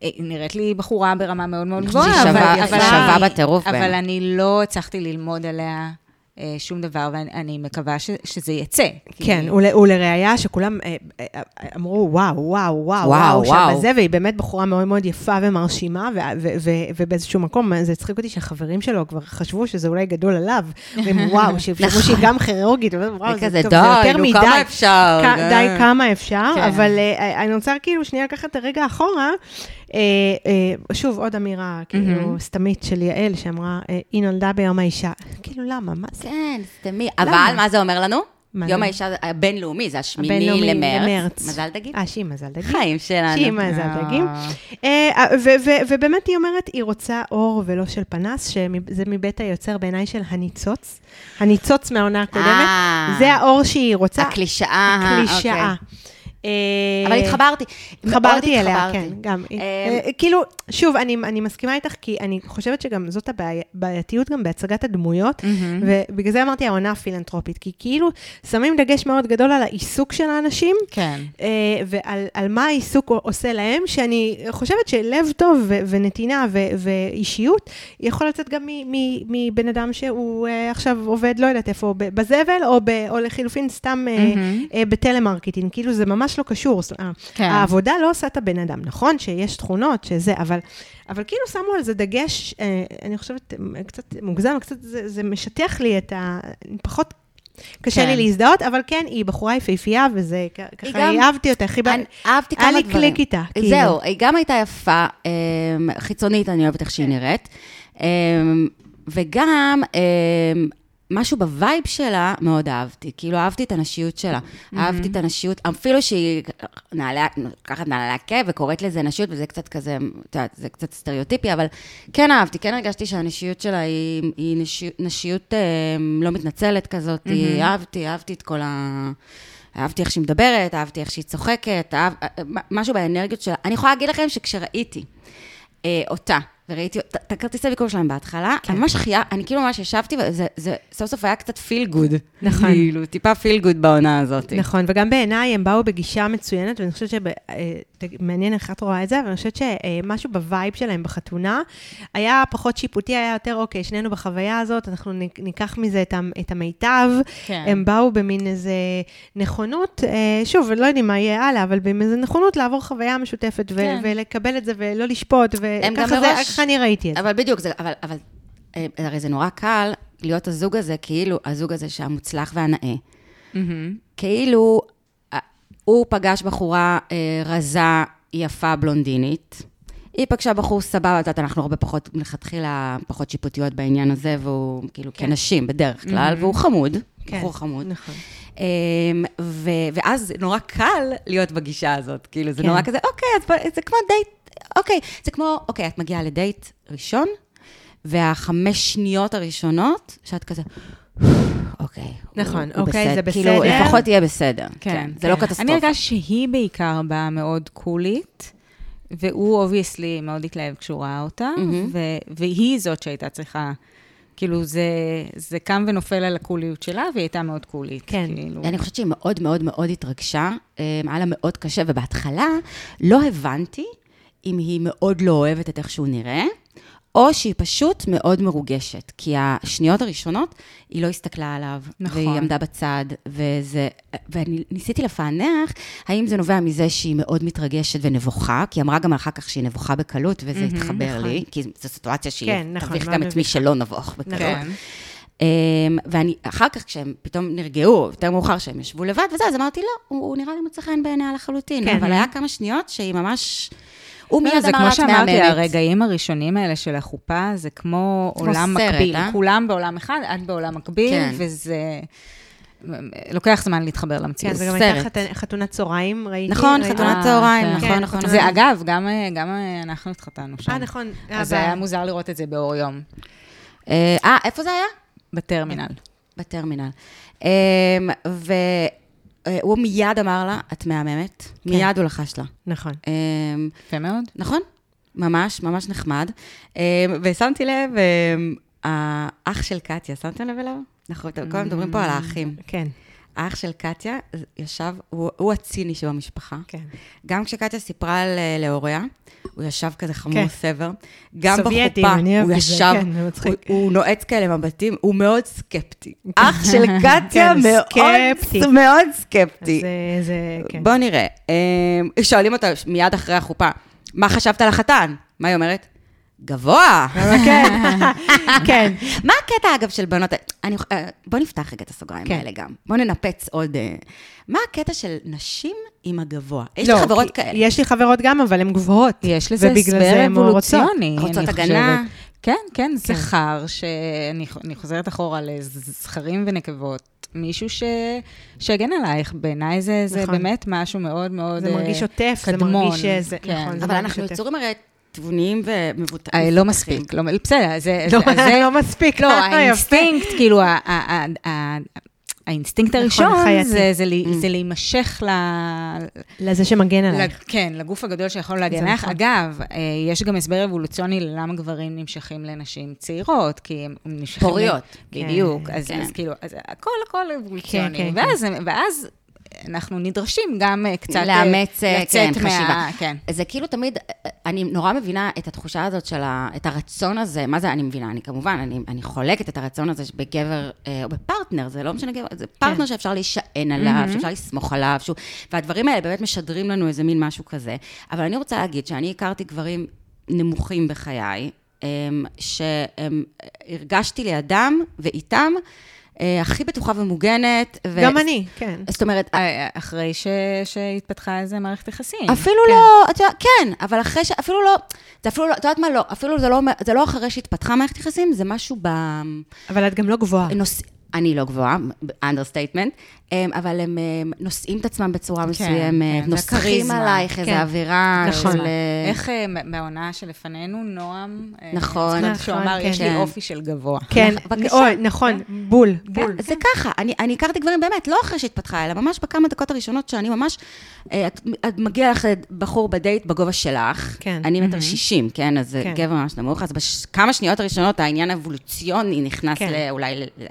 Speaker 3: היא נראית לי בחורה ברמה מאוד מאוד
Speaker 1: חושבת
Speaker 3: גבוהה,
Speaker 1: שהיא שווה-
Speaker 3: אבל- אבל
Speaker 1: שווה
Speaker 3: אני-
Speaker 1: בטירוף
Speaker 3: אבל
Speaker 1: בעיניי.
Speaker 3: אני לא הצלחתי ללמוד עליה אה, שום דבר, ואני אני מקווה ש- שזה יצא. כי-
Speaker 2: כן, ול, ולראיה שכולם אה, אה, אה, אמרו, וואו, וואו, וואו, וואו,
Speaker 1: וואו,
Speaker 2: שם
Speaker 1: וואו."
Speaker 2: בזה, והיא באמת בחורה מאוד מאוד יפה ומרשימה, ו, ו, ו, ובאיזשהו מקום, זה הצחיק אותי שהחברים שלו כבר חשבו שזה אולי גדול עליו, והם וואו, שחשבו שהיא גם כירורגית, והם, וואו,
Speaker 1: נכון. זה
Speaker 2: זה,
Speaker 1: כזה,
Speaker 2: טוב,
Speaker 1: די,
Speaker 2: זה יותר
Speaker 1: נו,
Speaker 2: מדי.
Speaker 1: כמה אפשר?
Speaker 2: כ-
Speaker 1: די.
Speaker 2: די כמה אפשר,
Speaker 3: כן.
Speaker 2: אבל אה, אני רוצה כאילו שנייה לקחת את הרגע אחורה. אה, אה, שוב, עוד אמירה, כאילו, סתמית של יעל, שאמרה, אה, היא נולדה ביום האישה. כאילו, למה? מה זה?
Speaker 1: כן, סתמי. אבל מה זה אומר לנו?
Speaker 2: מה
Speaker 1: יום
Speaker 2: זה?
Speaker 1: האישה הבינלאומי, זה השמיני
Speaker 2: הבינלאומי
Speaker 1: למרץ. מזל דגים.
Speaker 2: אה, שהיא מזל דגים.
Speaker 1: חיים שלנו.
Speaker 2: שהיא מזל דגים. אה, ו- ו- ובאמת היא אומרת, היא רוצה אור ולא של פנס, שזה מבית היוצר בעיניי של הניצוץ. הניצוץ מהעונה הקודמת.
Speaker 1: אה.
Speaker 2: זה האור שהיא רוצה.
Speaker 1: הקלישאה.
Speaker 2: הקלישאה.
Speaker 1: אוקיי.
Speaker 2: אה,
Speaker 1: אבל התחברתי.
Speaker 2: התחברתי
Speaker 1: מאוד
Speaker 2: אליה,
Speaker 1: התחברתי.
Speaker 2: כן, גם.
Speaker 1: אמ,
Speaker 2: אה, כאילו, שוב, אני, אני מסכימה איתך, כי אני חושבת שגם זאת הבעייתיות גם בהצגת הדמויות, ובגלל זה אמרתי העונה הפילנטרופית, כי כאילו שמים דגש מאוד גדול על העיסוק של האנשים,
Speaker 3: כן.
Speaker 2: אה, ועל על מה העיסוק עושה להם, שאני חושבת שלב טוב ו- ונתינה ו- ואישיות יכול לצאת גם מ- מ- מבן אדם שהוא אה, עכשיו עובד, לא יודעת איפה, ב- בזבל, או, ב- או לחילופין סתם אה, אה, בטלמרקטינג, כאילו זה ממש לא קשור. זאת- אה,
Speaker 3: כן.
Speaker 2: העבודה לא עושה את הבן אדם, נכון שיש תכונות, שזה, אבל, אבל כאילו שמו על זה דגש, אה, אני חושבת, אה, קצת מוגזם, קצת זה, זה משטח לי את ה... פחות... קשה
Speaker 3: כן.
Speaker 2: לי להזדהות, אבל כן, היא בחורה יפהפייה, וזה כ- ככה,
Speaker 1: גם-
Speaker 2: היא אהבתי אותה, חיבה...
Speaker 1: אני- אהבתי כמה
Speaker 2: היה לי
Speaker 1: דברים.
Speaker 2: קליק איתה, כאילו.
Speaker 1: זהו, היא גם הייתה יפה, אמ, חיצונית, אני אוהבת איך
Speaker 2: כן.
Speaker 1: שהיא נראית. אמ, וגם אמ, משהו בווייב שלה מאוד אהבתי. כאילו, אהבתי את הנשיות שלה.
Speaker 2: Mm-hmm.
Speaker 1: אהבתי את הנשיות, אפילו שהיא נעלה- לוקחת נעלי עקב וקוראת לזה נשיות, וזה קצת כזה, את יודעת, זה קצת סטריאוטיפי, אבל כן אהבתי, כן הרגשתי שהנשיות שלה היא היא נשי- נשיות אמ, לא מתנצלת כזאת.
Speaker 2: Mm-hmm.
Speaker 1: אהבתי, אהבתי את כל ה... אהבתי איך שהיא מדברת, אהבתי איך שהיא צוחקת, אהב, אה, משהו באנרגיות שלה. אני יכולה להגיד לכם שכשראיתי אה, אותה וראיתי את- את הכרטיסי ביקור שלהם בהתחלה,
Speaker 2: כן.
Speaker 1: אני ממש חייה, אני כאילו ממש ישבתי, וזה זה סוף סוף היה קצת פיל גוד.
Speaker 2: נכון.
Speaker 1: כאילו, טיפה פיל גוד בעונה הזאת.
Speaker 2: נכון, וגם בעיניי הם באו בגישה מצוינת, ואני חושבת שמעניין איך את רואה את זה, אבל אני חושבת שמשהו בווייב שלהם בחתונה היה פחות שיפוטי, היה יותר, אוקיי, שנינו בחוויה הזאת, אנחנו נ- ניקח מזה את ה- את המיטב.
Speaker 3: כן.
Speaker 2: הם באו במין איזה נכונות, אה, שוב, לא יודעים מה יהיה הלאה, אבל במין איזה נכונות לעבור חוויה משותפת, ו-
Speaker 3: כן.
Speaker 2: ולקבל את זה ולא לשפוט,
Speaker 1: הם גם
Speaker 2: וככה זה,
Speaker 1: מראש-
Speaker 2: ככה אני ראיתי את זה.
Speaker 1: אבל בדיוק, זה, אבל, אבל אה, הרי זה נורא קל להיות הזוג הזה, כאילו, הזוג הזה שהמוצלח והנאה.
Speaker 3: מהמם.
Speaker 1: כאילו, אה, הוא פגש בחורה אה, רזה, יפה, בלונדינית. היא פגשה בחור סבבה, את יודעת, אנחנו הרבה פחות, מלכתחילה פחות שיפוטיות בעניין הזה, והוא כאילו
Speaker 2: כן.
Speaker 1: כנשים בדרך כלל, והוא חמוד, בחור חמוד.
Speaker 2: נכון.
Speaker 1: אמ, ו, ואז זה נורא קל להיות בגישה הזאת, כאילו, זה
Speaker 2: כן.
Speaker 1: נורא כזה, אוקיי, אז בוא- זה כמו דייט, אוקיי, זה כמו, אוקיי, את מגיעה לדייט ראשון, והחמש שניות הראשונות, שאת כזה, אוקיי, הוא-
Speaker 2: נכון,
Speaker 1: הוא
Speaker 2: אוקיי, זה
Speaker 1: כאילו,
Speaker 2: בסדר.
Speaker 1: לפחות יהיה בסדר,
Speaker 3: כן,
Speaker 1: כן, זה
Speaker 3: כן.
Speaker 1: לא קטסטרופה.
Speaker 3: אני הרגשתי שהיא בעיקר באה מאוד קולית, והוא אובייסלי מאוד התלהב כשהוא ראה אותה,
Speaker 1: מהמם.
Speaker 3: ו- והיא זאת שהייתה צריכה, כאילו זה, זה קם ונופל על הקוליות שלה, והיא הייתה מאוד קולית.
Speaker 2: כן.
Speaker 3: כאילו.
Speaker 1: אני חושבת שהיא מאוד מאוד מאוד התרגשה, אמ, היה לה מאוד קשה, ובהתחלה לא הבנתי אם היא מאוד לא אוהבת את איך שהוא נראה, או שהיא פשוט מאוד מרוגשת, כי השניות הראשונות, היא לא הסתכלה עליו,
Speaker 3: נכון.
Speaker 1: והיא עמדה בצד, וזה, ואני ניסיתי לפענח האם זה נובע מזה שהיא מאוד מתרגשת ונבוכה, כי היא אמרה גם אחר כך שהיא נבוכה בקלות, וזה
Speaker 3: מהמם,
Speaker 1: התחבר
Speaker 2: נכון.
Speaker 1: לי, כי זו סיטואציה שהיא
Speaker 2: כן, נכון,
Speaker 1: תביך
Speaker 2: מאוד
Speaker 1: גם את מי
Speaker 2: מביכה.
Speaker 1: שלא נבוך בקלות.
Speaker 3: לא כן.
Speaker 1: אמ, ואני, אחר כך, כשהם פתאום נרגעו, יותר מאוחר שהם ישבו לבד וזה, אז אמרתי, לא, הוא, הוא נראה לי מוצא חן בעיניה לחלוטין.
Speaker 2: כן.
Speaker 1: כן. אבל היה כמה שניות שהיא ממש... הוא מיד
Speaker 3: לא,
Speaker 1: אמר
Speaker 3: זה
Speaker 1: לה,
Speaker 3: כמו
Speaker 1: את מהממת.
Speaker 3: שאמרתי, הרגעים הראשונים האלה של החופה, זה כמו
Speaker 1: כמו
Speaker 3: עולם
Speaker 1: סרט,
Speaker 3: מקביל.
Speaker 1: אה?
Speaker 3: כולם בעולם אחד, את בעולם מקביל,
Speaker 1: כן.
Speaker 3: וזה... לוקח זמן להתחבר
Speaker 2: כן,
Speaker 3: למציאות.
Speaker 2: זה גם הייתה
Speaker 1: סרט.
Speaker 2: חת- חתונת צהריים, ראיתי.
Speaker 1: נכון,
Speaker 2: ראיתי.
Speaker 1: חתונת
Speaker 3: אה,
Speaker 1: צהריים,
Speaker 3: כן.
Speaker 1: נכון,
Speaker 2: כן,
Speaker 1: נכון.
Speaker 2: חתונת-
Speaker 1: זה
Speaker 3: זה
Speaker 1: אגב...
Speaker 3: אגב, גם, גם אנחנו התחתנו שם.
Speaker 2: אה, נכון.
Speaker 3: אז זה
Speaker 2: אבל-
Speaker 3: היה מוזר לראות את זה באור יום,
Speaker 1: אה, איפה זה היה?
Speaker 3: בטרמינל.
Speaker 1: בטרמינל. אמ, והוא מיד אמר לה, את מהממת.
Speaker 3: כן.
Speaker 1: מיד הוא לחש לה.
Speaker 2: נכון.
Speaker 1: אמ,
Speaker 3: יפה מאוד.
Speaker 1: נכון, ממש, ממש נחמד. אמ, ושמתי לב, אמ, האח של קטיה, שמתם לב אליו? אנחנו כל הזמן מדברים פה על האחים.
Speaker 2: כן,
Speaker 1: האח של קטיה אה, ישב, הוא, הוא הציני שבמשפחה.
Speaker 2: כן.
Speaker 1: גם כשקטיה סיפרה ל- להוריה, הוא ישב כזה חמור
Speaker 2: כן.
Speaker 1: סבר. גם
Speaker 2: סובייטים,
Speaker 1: בחופה,
Speaker 2: אני
Speaker 1: הוא
Speaker 2: אוהבת את זה,
Speaker 1: ישב,
Speaker 2: כן, זה מצחיק.
Speaker 1: הוא, הוא נועץ כאלה מבטים, הוא מאוד סקפטי. אח של קטיה
Speaker 2: כן, סקפטי.
Speaker 1: מאוד, מאוד סקפטי.
Speaker 2: אז אה, זה, כן.
Speaker 1: בוא נראה. אמ, שואלים אותה ש- מיד אחרי החופה, מה חשבת על החתן? מה היא אומרת? גבוה.
Speaker 2: כן, כן.
Speaker 1: מה הקטע, אגב, של בנות... אני... אה, בוא נפתח רגע את הסוגריים
Speaker 2: כן.
Speaker 1: האלה גם. בוא ננפץ עוד... אה, מה הקטע של נשים עם הגבוה? יש
Speaker 2: לא,
Speaker 1: לי חברות
Speaker 2: כי-
Speaker 1: כאלה.
Speaker 2: יש לי חברות גם, אבל הן גבוהות.
Speaker 3: יש לזה
Speaker 2: ובגלל זה
Speaker 3: הסבר
Speaker 2: הן לא רוצות.
Speaker 3: אבולוציוני, אני
Speaker 1: רוצות
Speaker 3: חושבת.
Speaker 1: הגנה.
Speaker 3: כן, כן, זכר, שאני ח- אני חוזרת אחורה לזכרים ונקבות. מישהו ש... שהגן עלייך, בעיניי זה, זה
Speaker 2: נכון.
Speaker 3: באמת משהו מאוד מאוד
Speaker 2: זה
Speaker 3: אה,
Speaker 2: מרגיש עוטף, זה
Speaker 3: קדמון. כן.
Speaker 2: מרגיש שזה- נכון, זה
Speaker 1: אבל
Speaker 2: מרגיש
Speaker 1: אנחנו
Speaker 2: יותר.
Speaker 1: יצורים הרי תבוניים ומבוטחים.
Speaker 3: אה, לא מספיק, לא, בסדר, זה,
Speaker 2: לא,
Speaker 3: אז
Speaker 2: זה לא מספיק.
Speaker 3: לא,
Speaker 2: יפה.
Speaker 3: האינסטינקט, כאילו, ה- ה- ה- ה- האינסטינקט
Speaker 2: נכון,
Speaker 3: הראשון
Speaker 2: החייתי. Mm.
Speaker 3: זה- זה לי- זה להימשך ל...
Speaker 2: לזה שמגן
Speaker 3: ל-
Speaker 2: עלייך.
Speaker 3: כן, לגוף הגדול שיכול להגן עליך.
Speaker 2: נכון.
Speaker 3: אגב, אה, יש גם הסבר אבולוציוני ללמה גברים נמשכים לנשים צעירות, כי הם הם נמשכים...
Speaker 1: פוריות.
Speaker 3: ל- בדיוק.
Speaker 2: כן,
Speaker 3: אז
Speaker 1: כן.
Speaker 3: אז כאילו, אז הכל הכל
Speaker 2: כן,
Speaker 3: אבולוציוני.
Speaker 2: כן.
Speaker 3: ואז- ואז אנחנו נדרשים גם אה, קצת... אה,
Speaker 1: לאמץ, אה,
Speaker 3: לצאת
Speaker 1: כן,
Speaker 3: מה-
Speaker 1: חשיבה.
Speaker 3: כן.
Speaker 1: זה כאילו תמיד, אני נורא מבינה את התחושה הזאת של ה... את הרצון הזה, מה זה אני מבינה? אני כמובן, אני, אני חולקת את הרצון הזה בגבר, אה, או בפרטנר, זה לא משנה גבר,
Speaker 2: כן.
Speaker 1: זה פרטנר שאפשר להישען עליו, שאפשר לסמוך עליו, שהוא... והדברים האלה באמת משדרים לנו איזה מין משהו כזה. אבל אני רוצה להגיד שאני הכרתי גברים נמוכים בחיי, אמ, שהם, אה, הרגשתי לידם ואיתם, אה, הכי בטוחה ומוגנת. ו...
Speaker 2: גם אני, כן.
Speaker 1: זאת אומרת,
Speaker 3: אה, אחרי ש- שהתפתחה איזה מערכת יחסים.
Speaker 1: אפילו
Speaker 2: כן.
Speaker 1: לא, את יודעת, כן, אבל אחרי ש... אפילו לא, זה אפילו לא, את יודעת מה, לא, אפילו זה לא, אומר- זה לא אחרי שהתפתחה מערכת יחסים, זה משהו
Speaker 2: אבל את גם לא גבוהה.
Speaker 3: נכון,
Speaker 1: בנושא... אני לא גבוהה, אנדרסטייטמנט, אבל הם אמ, נושאים את עצמם בצורה מסוימת,
Speaker 3: כן,
Speaker 1: נוסחים
Speaker 3: והכריזמה,
Speaker 1: עלייך
Speaker 3: כן.
Speaker 1: איזו אווירה.
Speaker 2: נכון.
Speaker 1: של, אה,
Speaker 3: איך אה, בהונאה שלפנינו, נועם... אה,
Speaker 1: נכון.
Speaker 3: אני זוכרת שהוא
Speaker 2: נכון,
Speaker 3: אמר,
Speaker 2: כן.
Speaker 3: יש לי
Speaker 1: כן.
Speaker 3: אופי של גבוה.
Speaker 2: כן,
Speaker 1: נכ- בבקשה.
Speaker 2: אוי, נכון, בול, בול.
Speaker 1: כן, זה ככה, אני, אני הכרתי גברים באמת, לא אחרי שהתפתחה, אלא ממש בכמה דקות הראשונות שאני ממש, אה, את, את מגיע לך בחור בדייט בגובה שלך,
Speaker 2: כן.
Speaker 1: אני מטר שישים, כן, אז
Speaker 2: כן.
Speaker 1: כן. גבר ממש נמוך, אז בכמה שניות הראשונות העניין האבולוציוני נכנס
Speaker 2: כן.
Speaker 1: כן. לאולי, ל- ל-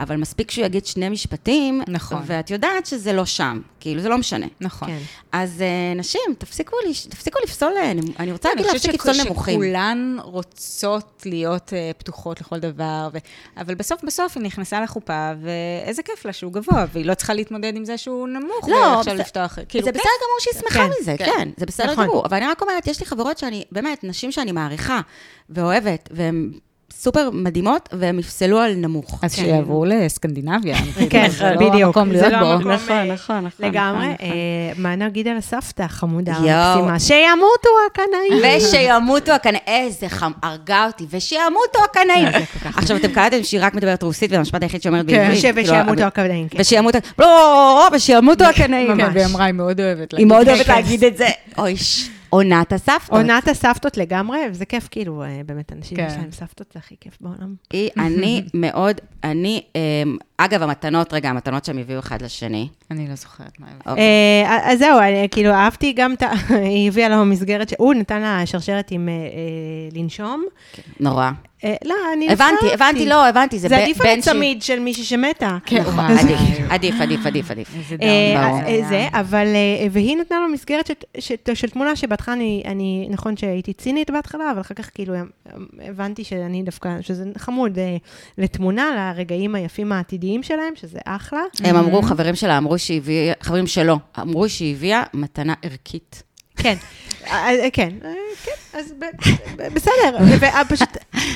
Speaker 1: אבל מספיק שהוא יגיד שני משפטים,
Speaker 3: נכון.
Speaker 1: ואת יודעת שזה לא שם, כאילו זה לא משנה.
Speaker 3: נכון.
Speaker 2: כן.
Speaker 1: אז אה, נשים, תפסיקו, לש- תפסיקו לפסול, אה, נמ- אני
Speaker 2: כן,
Speaker 1: רוצה להגיד להפסיק
Speaker 3: שכ-
Speaker 1: לפסול נמוכים.
Speaker 3: שכולן רוצות להיות אה, פתוחות לכל דבר, ו... אבל בסוף בסוף היא נכנסה לחופה, ואיזה כיף לה שהוא גבוה, והיא לא צריכה להתמודד עם זה שהוא נמוך, ועכשיו
Speaker 1: זה-
Speaker 3: לפתוח,
Speaker 1: זה
Speaker 3: כאילו,
Speaker 1: לא, בסדר גמור שהיא שמחה
Speaker 2: כן,
Speaker 1: מזה,
Speaker 3: כן.
Speaker 1: כן, זה בסדר
Speaker 2: נכון.
Speaker 1: גמור. אבל אני רק אומרת, יש לי חברות שאני, באמת, נשים שאני מעריכה ואוהבת, והן סופר מדהימות, והן יפסלו על נמוך. כן.
Speaker 3: אז שיעברו לסקנדינביה.
Speaker 2: כן,
Speaker 3: אני כאילו, זה לא
Speaker 2: בדיוק.
Speaker 3: המקום
Speaker 2: זה
Speaker 3: להיות
Speaker 2: לא
Speaker 3: בו.
Speaker 2: המקום.
Speaker 1: נכון,
Speaker 2: אה,
Speaker 1: נכון, נכון.
Speaker 2: לגמרי.
Speaker 1: נכון, נכון.
Speaker 2: אה, מה נגיד על הסבתא החמודה
Speaker 1: יואו.
Speaker 2: המקסימה? שימותו הקנאים.
Speaker 1: ושימותו הקנאים, איזה חם, הרגה אותי, ושימותו הקנאים. עכשיו, אתם קלטתם שהיא רק מדברת רוסית, והמשפט היחיד שאומרת
Speaker 3: כן.
Speaker 1: בעברית.
Speaker 2: וש-
Speaker 1: כאילו,
Speaker 3: לא,
Speaker 2: כן, ושימותו הקנאים. כן.
Speaker 1: ושימותו, לא, ושימותו הקנאים.
Speaker 3: כן, והיא אמרה, היא מאוד אוהבת
Speaker 1: היא מאוד
Speaker 2: כן,
Speaker 1: אוהבת
Speaker 2: כן.
Speaker 1: להגיד את זה. אוי, ש- עונת הסבתות.
Speaker 2: עונת הסבתות לגמרי, וזה כיף, כאילו, אה, באמת, אנשים
Speaker 3: כן.
Speaker 2: יש להם סבתות, זה הכי כיף בעולם.
Speaker 1: היא, אני מאוד, אני, אמ, אגב, המתנות, רגע, המתנות שהם הביאו אחד לשני.
Speaker 3: אני לא זוכרת מה הבאת.
Speaker 1: אוקיי.
Speaker 2: אה, אז זהו, אני, כאילו, אהבתי גם את ה... היא הביאה לו מסגרת, ש- הוא נתן לה שרשרת עם אה, אה, לנשום.
Speaker 1: נורא.
Speaker 2: אה, לא, אני
Speaker 1: הבנתי, הבנתי, לא, הבנתי, זה
Speaker 2: זה
Speaker 1: ב-
Speaker 2: עדיף על
Speaker 1: בן שהיא-
Speaker 2: הצמיד של מישהי שמתה.
Speaker 3: כן,
Speaker 1: נכון,
Speaker 3: וואי.
Speaker 1: עדיף, עדיף, עדיף, עדיף, עדיף.
Speaker 3: איזה
Speaker 2: אה,
Speaker 1: כן, ברור.
Speaker 2: אה, אה, זה, אבל, אה, והיא נתנה לו מסגרת של- של- של תמונה שבהתחלה אני, אני, נכון שהייתי צינית בהתחלה, אבל אחר כך כאילו אה, הבנתי שאני דווקא, שזה חמוד, אה, לתמונה, לרגעים היפים העתידיים שלהם, שזה אחלה.
Speaker 1: הם אמרו, חברים שלה אמרו שהיא הביאה, חברים שלו, אמרו שהיא הביאה מתנה ערכית.
Speaker 2: כן, אה, אה, כן, אה, כן, אז ב- ב- בסדר, ו- אה, פשוט,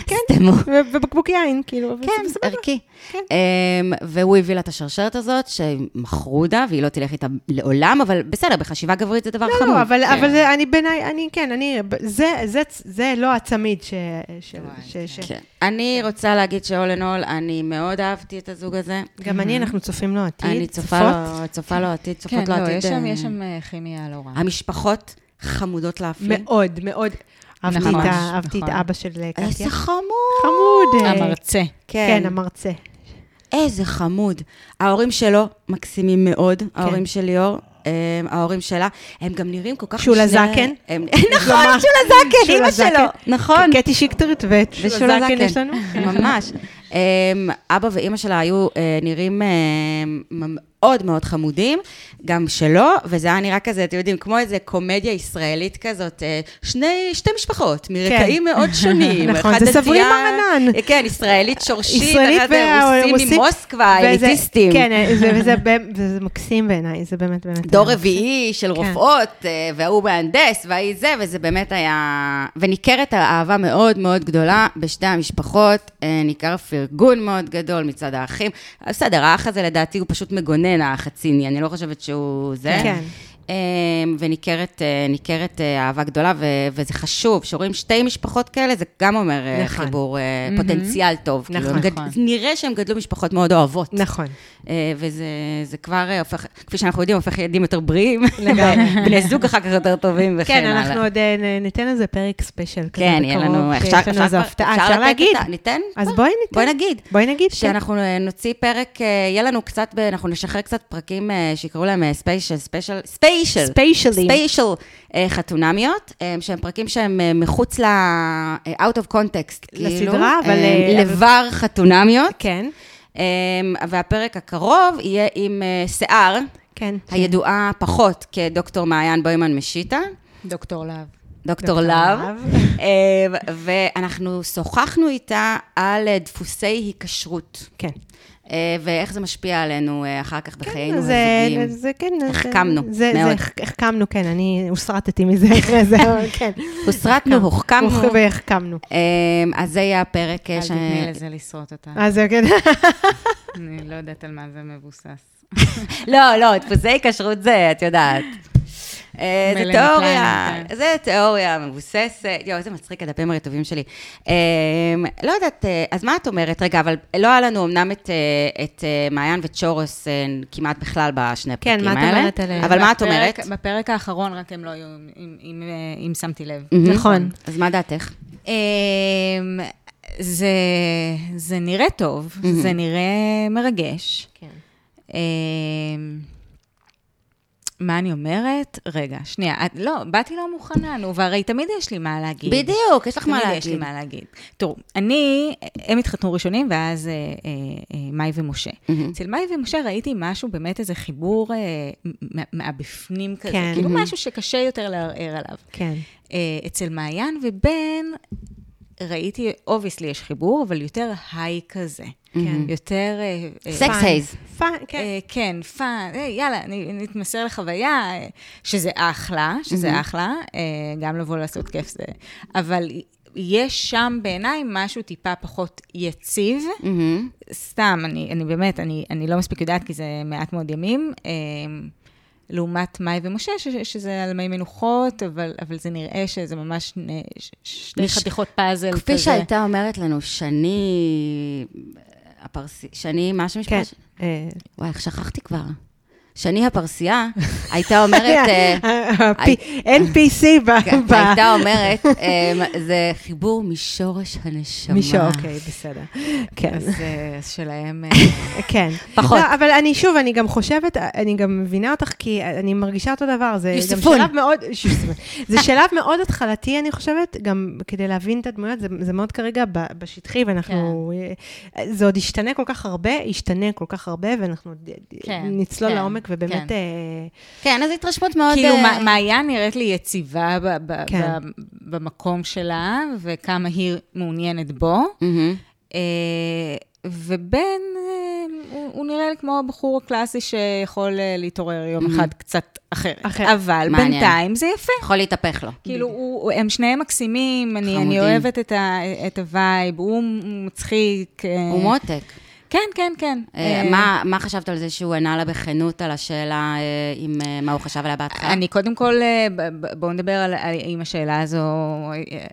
Speaker 2: כן,
Speaker 1: סתמו.
Speaker 2: ו- ובקבוק יין, כאילו, אבל
Speaker 1: כן,
Speaker 2: סבבה.
Speaker 1: ערכי.
Speaker 2: כן.
Speaker 1: אמ, והוא הביא לה את השרשרת הזאת, שמכרו דה, והיא לא תלך איתה לעולם, אבל בסדר, בחשיבה גברית זה דבר חמור.
Speaker 2: לא, אבל,
Speaker 1: כן.
Speaker 2: אבל זה- אני בעיניי, אני, כן, אני, זה, זה, זה לא הצמיד ש... של-
Speaker 3: וואי,
Speaker 2: ש-
Speaker 3: כן.
Speaker 2: ש-
Speaker 1: כן. אני רוצה להגיד ש-all in all, אני מאוד אהבתי את הזוג הזה.
Speaker 2: גם אני, אנחנו צופים לו עתיד.
Speaker 1: אני צופה
Speaker 2: צופות.
Speaker 1: לו, צופה לו עתיד,
Speaker 3: כן,
Speaker 1: צופות לו
Speaker 3: לא,
Speaker 1: עתיד.
Speaker 3: יש שם-
Speaker 1: אה,
Speaker 3: יש שם אה, כימיה לא רעה.
Speaker 1: המשפחות חמודות להפליא.
Speaker 2: מאוד, מאוד. אהבתי
Speaker 3: נכון,
Speaker 2: את ה- אהבתי את
Speaker 3: נכון.
Speaker 2: אבא של אה,
Speaker 1: איזה
Speaker 2: קטיה.
Speaker 1: חמוד.
Speaker 2: חמוד. אה,
Speaker 3: המרצה.
Speaker 2: כן, המרצה.
Speaker 1: איזה חמוד. ההורים שלו מקסימים מאוד,
Speaker 2: כן.
Speaker 1: ההורים של ליאור. הם, ההורים שלה, הם גם נראים כל כך...
Speaker 2: שולה
Speaker 1: משני-
Speaker 2: זקן?
Speaker 1: הם- נכון,
Speaker 2: כלומר,
Speaker 1: שולה זקן,
Speaker 2: שולה
Speaker 1: אימא
Speaker 2: זקן.
Speaker 1: שלו. נכון.
Speaker 2: קטי שיקטרית ושולה זקן יש לנו.
Speaker 1: ממש. אמ, אבא ואימא שלה היו אה, נראים אה, מאוד מאוד חמודים, גם שלו, וזה היה נראה כזה, אתם יודעים, כמו איזה קומדיה ישראלית כזאת, אה, שני, שתי משפחות, מרקעים מאוד שונים.
Speaker 2: כן. נכון,
Speaker 1: אחת
Speaker 2: זה סברי
Speaker 1: דתייה-
Speaker 2: מרנן.
Speaker 1: אה, כן, ישראלית שורשית,
Speaker 2: ישראלית
Speaker 1: אחת אה, רוסים
Speaker 2: והרוסית.
Speaker 1: ממוסקבה,
Speaker 2: וזה-
Speaker 1: אליטיסטים.
Speaker 2: כן, אה, זה- וזה באמת- וזה מקסים בעיניי, זה באמת באמת.
Speaker 1: דור
Speaker 2: באמת.
Speaker 1: רביעי של
Speaker 2: כן.
Speaker 1: רופאות, אה, וההוא מהנדס, וההיא זה, וזה באמת היה... וניכרת אהבה מאוד מאוד גדולה בשתי המשפחות, אה, ניכר פרגון מאוד גדול מצד האחים. אה, בסדר, האח הזה לדעתי הוא פשוט מגונן, האח הציני, אני לא חושבת שהוא זה.
Speaker 2: כן.
Speaker 1: אה, וניכרת אה, ניכרת, אה, אהבה גדולה, ו- וזה חשוב, שרואים שתי משפחות כאלה, זה גם אומר אה,
Speaker 2: נכון.
Speaker 1: חיבור, אה, פוטנציאל טוב. כאילו,
Speaker 2: נכון.
Speaker 1: הם גד- נראה שהם גדלו משפחות מאוד אוהבות.
Speaker 2: נכון.
Speaker 1: אה, וזה זה כבר אה, הופך, כפי שאנחנו יודעים, הופך ילדים יותר בריאים.
Speaker 2: לגמרי.
Speaker 1: בני זוג אחר כך יותר טובים וכן
Speaker 2: כן,
Speaker 1: הלאה.
Speaker 2: אנחנו עוד אה, נ- ניתן לזה פרק ספיישל כזה
Speaker 1: כן, יהיה לנו,
Speaker 2: בקרוב, שיש
Speaker 1: אפשר-
Speaker 2: לנו איזו
Speaker 1: אפשר-
Speaker 2: הפתעה,
Speaker 1: אפשר
Speaker 2: אפשר
Speaker 1: לתת
Speaker 2: להגיד.
Speaker 1: אותה, ניתן?
Speaker 2: אז
Speaker 1: כבר.
Speaker 2: בואי ניתן.
Speaker 1: בואי נגיד.
Speaker 2: בואי נגיד, כן.
Speaker 1: שאנחנו אה, נוציא פרק, אה, יהיה לנו קצת, ב- אנחנו נשחרר קצת פרקים אה, שיקראו להם אה, ספיישל, ספיישל, ספיישל.
Speaker 2: ספיישלים.
Speaker 1: ספיישל אה, חתונמיות, אה, שהם פרקים שהם אה, מחוץ ל... אה, out of context, כאילו.
Speaker 2: לסדרה, אבל,
Speaker 1: אה,
Speaker 2: אה, אבל-
Speaker 1: לבר חתונמיות.
Speaker 2: כן,
Speaker 1: אה, והפרק הקרוב יהיה עם אה, שיער.
Speaker 2: כן.
Speaker 1: הידועה פחות כדוקטור מעיין בוימן משיטה,
Speaker 3: דוקטור להב.
Speaker 1: דוקטור
Speaker 2: להב.
Speaker 1: להב, אה, ואנחנו שוחחנו איתה על אה, דפוסי היקשרות,
Speaker 2: כן.
Speaker 1: אה, ואיך זה משפיע עלינו אה, אחר כך בחיינו
Speaker 2: זה-
Speaker 1: הזוגיים.
Speaker 2: זה כן. זה-
Speaker 1: החכמנו,
Speaker 2: זה- זה
Speaker 1: מאוד.
Speaker 2: הח- החכמנו, כן, אני הוסרטתי מזה אחרי זה, אבל כן.
Speaker 1: הוסרטנו, הוחכמנו.
Speaker 2: הוח- והחכמנו.
Speaker 1: אה, אז זה יהיה הפרק אה,
Speaker 3: אל
Speaker 1: ש...
Speaker 3: תתני לזה לשרוט אותה.
Speaker 2: אז זה כן.
Speaker 3: אני לא יודעת על מה זה מבוסס.
Speaker 1: לא, לא, דפוסי היקשרות זה, את יודעת. אה, זה
Speaker 3: מלן
Speaker 1: תיאוריה,
Speaker 3: קליין, כן.
Speaker 1: זה תיאוריה מבוססת. יואו, איזה מצחיק הדפים הרטובים שלי. אה, לא יודעת, אה, אז מה את אומרת? רגע, אבל לא היה לנו אמנם את, אה, את אה, מעיין וצ'ורס אה, כמעט בכלל בשני
Speaker 2: כן,
Speaker 1: הפרקים
Speaker 2: מה את
Speaker 1: האלה.
Speaker 2: אומרת עליהם?
Speaker 1: אבל מה את אומרת?
Speaker 3: בפרק- בפרק האחרון רק הם לא היו, אם- אם אה, אם שמתי לב.
Speaker 1: מהמם.
Speaker 2: נכון.
Speaker 1: אז מה דעתך?
Speaker 3: אמ, זה, זה נראה טוב, זה נראה מרגש.
Speaker 2: כן.
Speaker 3: אמ, מה אני אומרת? רגע, שנייה. את, לא, באתי לא מוכנה, נו, והרי תמיד יש לי מה להגיד.
Speaker 1: בדיוק, יש לך מה
Speaker 3: תמיד יש לי
Speaker 1: להגיד.
Speaker 3: מה להגיד. תראו, אני, הם התחתנו ראשונים, ואז אה, אה, אה, מאי ומשה.
Speaker 2: Mm-hmm.
Speaker 3: אצל מאי ומשה ראיתי משהו, באמת איזה חיבור אה, מה- מהבפנים כזה.
Speaker 2: כן.
Speaker 3: כאילו משהו שקשה יותר לערער עליו.
Speaker 2: כן.
Speaker 3: אה, אצל מעיין ובן, ראיתי, אובייסלי יש חיבור, אבל יותר היי כזה.
Speaker 2: כן.
Speaker 3: יותר... אה, אה,
Speaker 1: סקס
Speaker 2: פאן.
Speaker 1: הייז.
Speaker 2: פאן, כן.
Speaker 3: אה, כן, פאן, אה, יאללה, אני- נתמסר לחוויה, אה, שזה אחלה,
Speaker 2: Mm-hmm.
Speaker 3: שזה אחלה, אה, גם לבוא לעשות כיף זה, אבל יש שם בעיניי משהו טיפה פחות יציב,
Speaker 1: מהמם.
Speaker 3: סתם, אני, אני באמת, אני, אני לא מספיק יודעת, כי זה מעט מאוד ימים, אה, לעומת מאי ומשה, ש, שזה על מי מנוחות, אבל, אבל זה נראה שזה ממש שני- ש- שני
Speaker 1: מש-
Speaker 3: חתיכות פאזל כזה.
Speaker 1: כפי שהייתה אומרת לנו, שני... אה, הפרסי... שני, מה שם
Speaker 2: כן.
Speaker 1: משפט?
Speaker 2: אה,
Speaker 1: וואי, איך שכחתי כבר. שני הפרסייה הייתה אומרת... אה, כן,
Speaker 2: הפי- אין PC ב... ב-
Speaker 1: הייתה אומרת, אמ, זה חיבור משורש הנשמה.
Speaker 2: מישהו, אוקיי, בסדר. כן.
Speaker 3: אז, אה, אז שלהם... אה,
Speaker 2: כן.
Speaker 1: פחות.
Speaker 2: לא, אבל אני שוב, אני גם חושבת, אני גם מבינה אותך, כי אני מרגישה אותו דבר. זה גם
Speaker 1: יוסיפון.
Speaker 2: שלב מאוד, יוסיפון. זה שלב מאוד התחלתי, אני חושבת, גם כדי להבין את הדמויות, זה, זה מאוד כרגע ב- בשטחי, ואנחנו...
Speaker 3: כן.
Speaker 2: זה עוד ישתנה כל כך הרבה, ישתנה כל כך הרבה, ואנחנו עוד
Speaker 3: כן,
Speaker 2: נצלול
Speaker 3: כן,
Speaker 2: לעומק, ובאמת...
Speaker 3: כן.
Speaker 2: אה,
Speaker 1: כן, אז התרשמות מאוד...
Speaker 3: כאילו,
Speaker 1: אה,
Speaker 3: מע- מעיין נראית לי יציבה ב- ב-
Speaker 2: כן.
Speaker 3: ב- במקום שלה, וכמה היא מעוניינת בו.
Speaker 1: מהמם.
Speaker 3: אה, ובן, אה, הוא, הוא נראה לי כמו הבחור הקלאסי שיכול אה, להתעורר יום אחד קצת אחרת.
Speaker 2: אחרת.
Speaker 3: אבל
Speaker 1: מעניין.
Speaker 3: בינתיים זה יפה.
Speaker 1: יכול להתהפך לו.
Speaker 3: כאילו, הוא, הם שניהם מקסימים, אני,
Speaker 1: חמודים.
Speaker 3: אני אוהבת את, ה, את הווייב, הוא מצחיק. אה,
Speaker 1: הוא מותק.
Speaker 3: כן, כן, כן.
Speaker 1: אה,
Speaker 3: אה,
Speaker 1: מה- מה חשבת על זה שהוא ענה לה בכנות על השאלה אה, עם אה, מה הוא חשב עליה בהתחלה?
Speaker 3: אני קודם כל, אה, ב- ב- בואו נדבר על על אם השאלה הזו אה,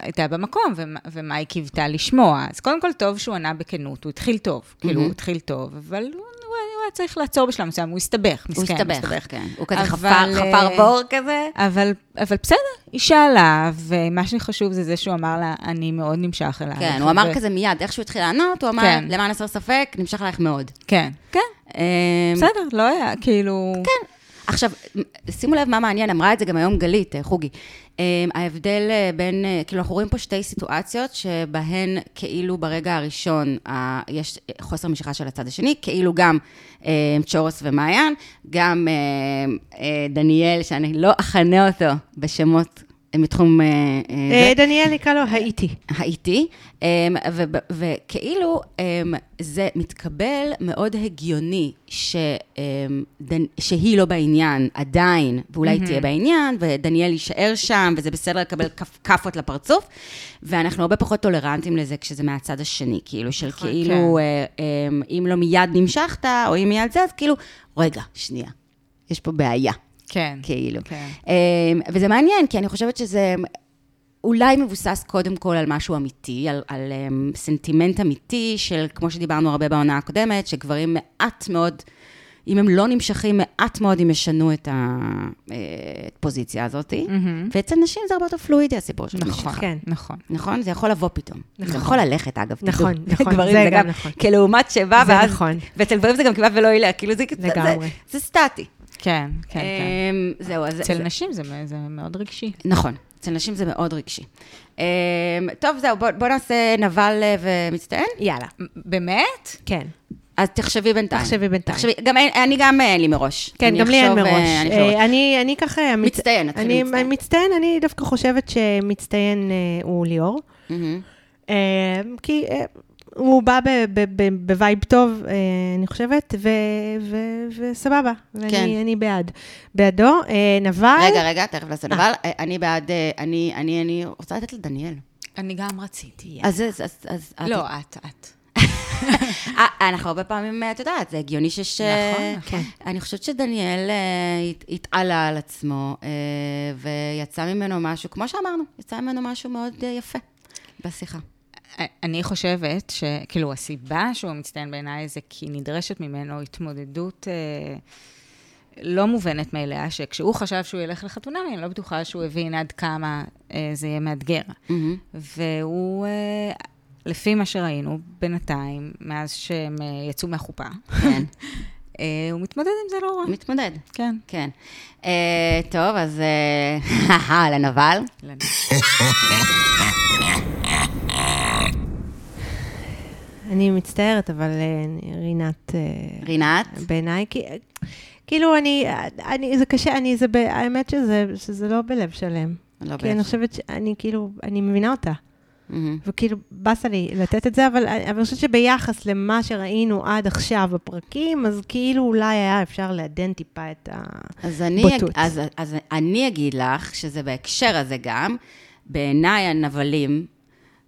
Speaker 3: הייתה במקום, ומה- ומה היא קיוותה לשמוע. אז קודם כל, טוב שהוא ענה בכנות, הוא התחיל טוב. כאילו, הוא התחיל טוב, אבל הוא הוא היה צריך לעצור בשלב מסוים, הוא הסתבך,
Speaker 1: הוא
Speaker 3: מסכן,
Speaker 1: הסתבך, כן. הוא כזה
Speaker 3: אבל,
Speaker 1: חפר
Speaker 3: אה,
Speaker 1: חפר בור כזה.
Speaker 3: אבל, אבל בסדר, היא שאלה, ומה שחשוב זה זה שהוא אמר לה, אני מאוד נמשך אלייך.
Speaker 1: כן, הוא אמר
Speaker 3: ו-
Speaker 1: כזה מיד, איך שהוא התחיל לענות, הוא אמר,
Speaker 3: אה, כן.
Speaker 1: למען הסר ספק, נמשך עלייך מאוד.
Speaker 3: כן, כן,
Speaker 1: אה,
Speaker 3: בסדר, לא היה, כאילו...
Speaker 1: כן. עכשיו, שימו לב מה מעניין, אמרה את זה גם היום גלית, אה, חוגי. אה, ההבדל אה, בין, אה, כאילו, אנחנו רואים פה שתי סיטואציות שבהן כאילו ברגע הראשון אה, יש חוסר משיכה של הצד השני, כאילו גם אה, צ'ורס ומעיין, גם אה, אה, דניאל, שאני לא אכנה אותו בשמות אה, מתחום... אה, אה, זה.
Speaker 2: אה, דניאל נקרא לו האיטי.
Speaker 1: האיטי, אמ, וב- וכאילו אמ, זה מתקבל מאוד הגיוני ש, אמ, דנ- שהיא לא בעניין עדיין, ואולי תהיה בעניין, ודניאל יישאר שם, וזה בסדר לקבל כפ- כאפות לפרצוף, ואנחנו הרבה פחות טולרנטים לזה כשזה מהצד השני, כאילו, של כאילו, אה, אמ, אם לא מיד נמשכת, או אם מיד זה, אז כאילו, רגע, שנייה, יש פה בעיה.
Speaker 3: כן.
Speaker 1: כאילו.
Speaker 3: כן.
Speaker 1: אמ, וזה מעניין, כי אני חושבת שזה אולי מבוסס קודם כל על משהו אמיתי, על, על אמ, סנטימנט אמיתי של, כמו שדיברנו הרבה בעונה הקודמת, שגברים מעט מאוד, אם הם לא נמשכים, מעט מאוד הם ישנו את אה, הפוזיציה הזאת. ואצל נשים זה הרבה יותר פלואידי, הסיפור של המשיכה.
Speaker 3: נכון,
Speaker 2: כן.
Speaker 3: נכון.
Speaker 1: נכון? זה יכול לבוא פתאום. זה יכול ללכת, אגב. תדעו.
Speaker 2: נכון, נכון,
Speaker 1: גברים
Speaker 2: זה גם נכון.
Speaker 1: כלעומת שבא,
Speaker 2: זה
Speaker 1: ואז...
Speaker 2: נכון.
Speaker 1: ואצל גברים זה גם כמעט ולא ילך, כאילו זה... זה-
Speaker 2: לגמרי.
Speaker 1: זה סטטי.
Speaker 3: כן, כן, כן.
Speaker 1: אמ, זהו, אז...
Speaker 3: אצל
Speaker 1: זה-
Speaker 3: נשים זה- זה מאוד רגשי.
Speaker 1: נכון, אצל נשים זה מאוד רגשי. אמ, טוב, זהו, בוא, בוא נעשה נבל אה, ומצטיין.
Speaker 2: יאללה.
Speaker 3: באמת?
Speaker 2: כן.
Speaker 1: אז תחשבי בינתיים.
Speaker 2: תחשבי בינתיים.
Speaker 1: תחשבי, גם אין, אני גם אה, אין לי מראש.
Speaker 2: כן,
Speaker 1: אני
Speaker 2: גם לי אין
Speaker 1: אחשוב,
Speaker 2: מראש.
Speaker 1: אה, אני אחשוב.
Speaker 2: אה, אני אני ככה... המצ-
Speaker 1: מצטיין, נתחיל
Speaker 2: אני-
Speaker 1: מצטיין.
Speaker 2: מצטיין, אני דווקא חושבת שמצטיין אה, הוא ליאור.
Speaker 1: מהמם.
Speaker 2: אה, כי אה, הוא בא ב- ב- ב- בווייב טוב, אה, אני חושבת, ו- ו- וסבבה.
Speaker 1: כן.
Speaker 2: ואני אני בעד. בעדו, אה, נבל...
Speaker 1: רגע, רגע, תכף נעשה נבל. אה, אני בעד, אה, אני, אני, אני רוצה לתת לדניאל.
Speaker 3: אני גם רציתי.
Speaker 1: אז, אז, אז, אז לא, את-
Speaker 3: לא, את, את.
Speaker 1: אה, אנחנו הרבה פעמים, את יודעת, זה הגיוני שיש... אה, כן.
Speaker 3: נכון, נכון.
Speaker 1: אני חושבת שדניאל אה, הת- התעלה על עצמו, אה, ויצא ממנו משהו, כמו שאמרנו, יצא ממנו משהו מאוד אה, יפה בשיחה.
Speaker 3: אני חושבת שכאילו הסיבה שהוא מצטיין בעיניי זה כי נדרשת ממנו התמודדות אה, לא מובנת מאליה, שכשהוא חשב שהוא ילך לחתונה, אני לא בטוחה שהוא הבין עד כמה אה, זה יהיה מאתגר.
Speaker 1: מהמם.
Speaker 3: והוא, אה, לפי מה שראינו בינתיים, מאז שהם אה, יצאו מהחופה,
Speaker 1: כן.
Speaker 3: אה, הוא מתמודד עם זה לא רע.
Speaker 1: מתמודד.
Speaker 3: כן.
Speaker 1: כן. אה, טוב, אז... אה, לנבל.
Speaker 2: כן. אני מצטערת, אבל אה, רינת... אה,
Speaker 1: רינת.
Speaker 2: בעיניי, כי... כאילו, אני, אני, זה קשה, אני, זה, ב- האמת שזה, שזה לא בלב שלם.
Speaker 1: לא
Speaker 2: כי אני
Speaker 1: בטח.
Speaker 2: חושבת שאני, כאילו, אני מבינה אותה.
Speaker 1: מהמם.
Speaker 2: וכאילו, באסה לי לתת את זה, אבל, אבל אני חושבת שביחס למה שראינו עד עכשיו בפרקים, אז כאילו אולי היה אפשר לעדן טיפה את ה...
Speaker 1: אז אני,
Speaker 2: בוטות.
Speaker 1: אז, אז אני אגיד לך שזה בהקשר הזה גם, בעיניי הנבלים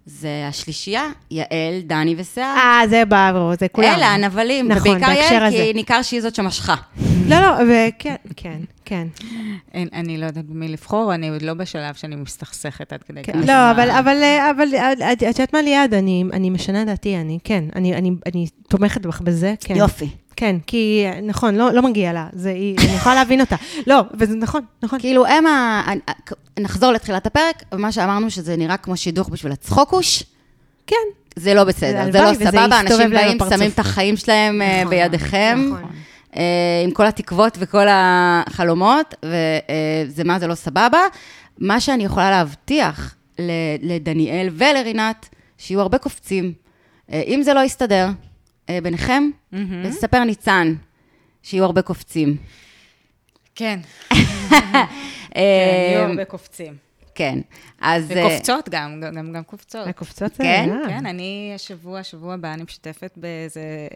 Speaker 1: זה השלישייה, יעל, דני ושיער.
Speaker 2: אה, זה בעברו, זה כולם.
Speaker 1: אלה הנבלים,
Speaker 2: נכון,
Speaker 1: ובעיקר
Speaker 2: בהקשר
Speaker 1: יעל,
Speaker 2: הזה.
Speaker 1: כי ניכר שהיא זאת שמשכה.
Speaker 2: לא, לא, וכן, כן, כן.
Speaker 3: אין, אני לא יודעת במי לבחור, אני עוד לא בשלב שאני מסתכסכת עד כדי
Speaker 2: כן.
Speaker 3: כך.
Speaker 2: לא, אבל, אבל, אה, אבל, אה, את את יודעת מה ליעד, אני, אני משנה דעתי, אני, כן, אני, אני, אני תומכת בך בזה, כן.
Speaker 1: יופי.
Speaker 2: כן, כי אה, נכון, לא, לא מגיע לה, זה, היא, אני יכולה להבין אותה. לא, וזה נכון, נכון.
Speaker 1: כאילו, הם ה... נחזור לתחילת הפרק, ומה שאמרנו שזה נראה כמו שידוך בשביל הצחוקוש,
Speaker 2: כן,
Speaker 1: זה לא
Speaker 2: זה
Speaker 1: בסדר, זה
Speaker 2: הלוואי
Speaker 1: לא
Speaker 2: וזה
Speaker 1: סבבה, אנשים
Speaker 2: יסתובב להם
Speaker 1: באים,
Speaker 2: בפרצוף.
Speaker 1: שמים את החיים שלהם אה,
Speaker 3: נכון,
Speaker 1: בידיכם,
Speaker 2: נכון.
Speaker 1: אה, עם כל התקוות וכל החלומות, וזה מה זה לא סבבה. מה שאני יכולה להבטיח ל- לדניאל ולרינת, שיהיו הרבה קופצים. אה, אם זה לא יסתדר אה, ביניכם,
Speaker 3: Mm-hmm.
Speaker 1: לספר ניצן שיהיו הרבה קופצים.
Speaker 2: אמ,
Speaker 3: כן,
Speaker 1: אה,
Speaker 3: יהיו הרבה קופצים.
Speaker 1: כן, אז... אה,
Speaker 3: וקופצות גם, גם- גם, גם קופצות.
Speaker 2: הקופצות זה...
Speaker 1: כן,
Speaker 2: אה,
Speaker 3: כן, אני השבוע, שבוע הבא, אני משתתפת באיזה אה,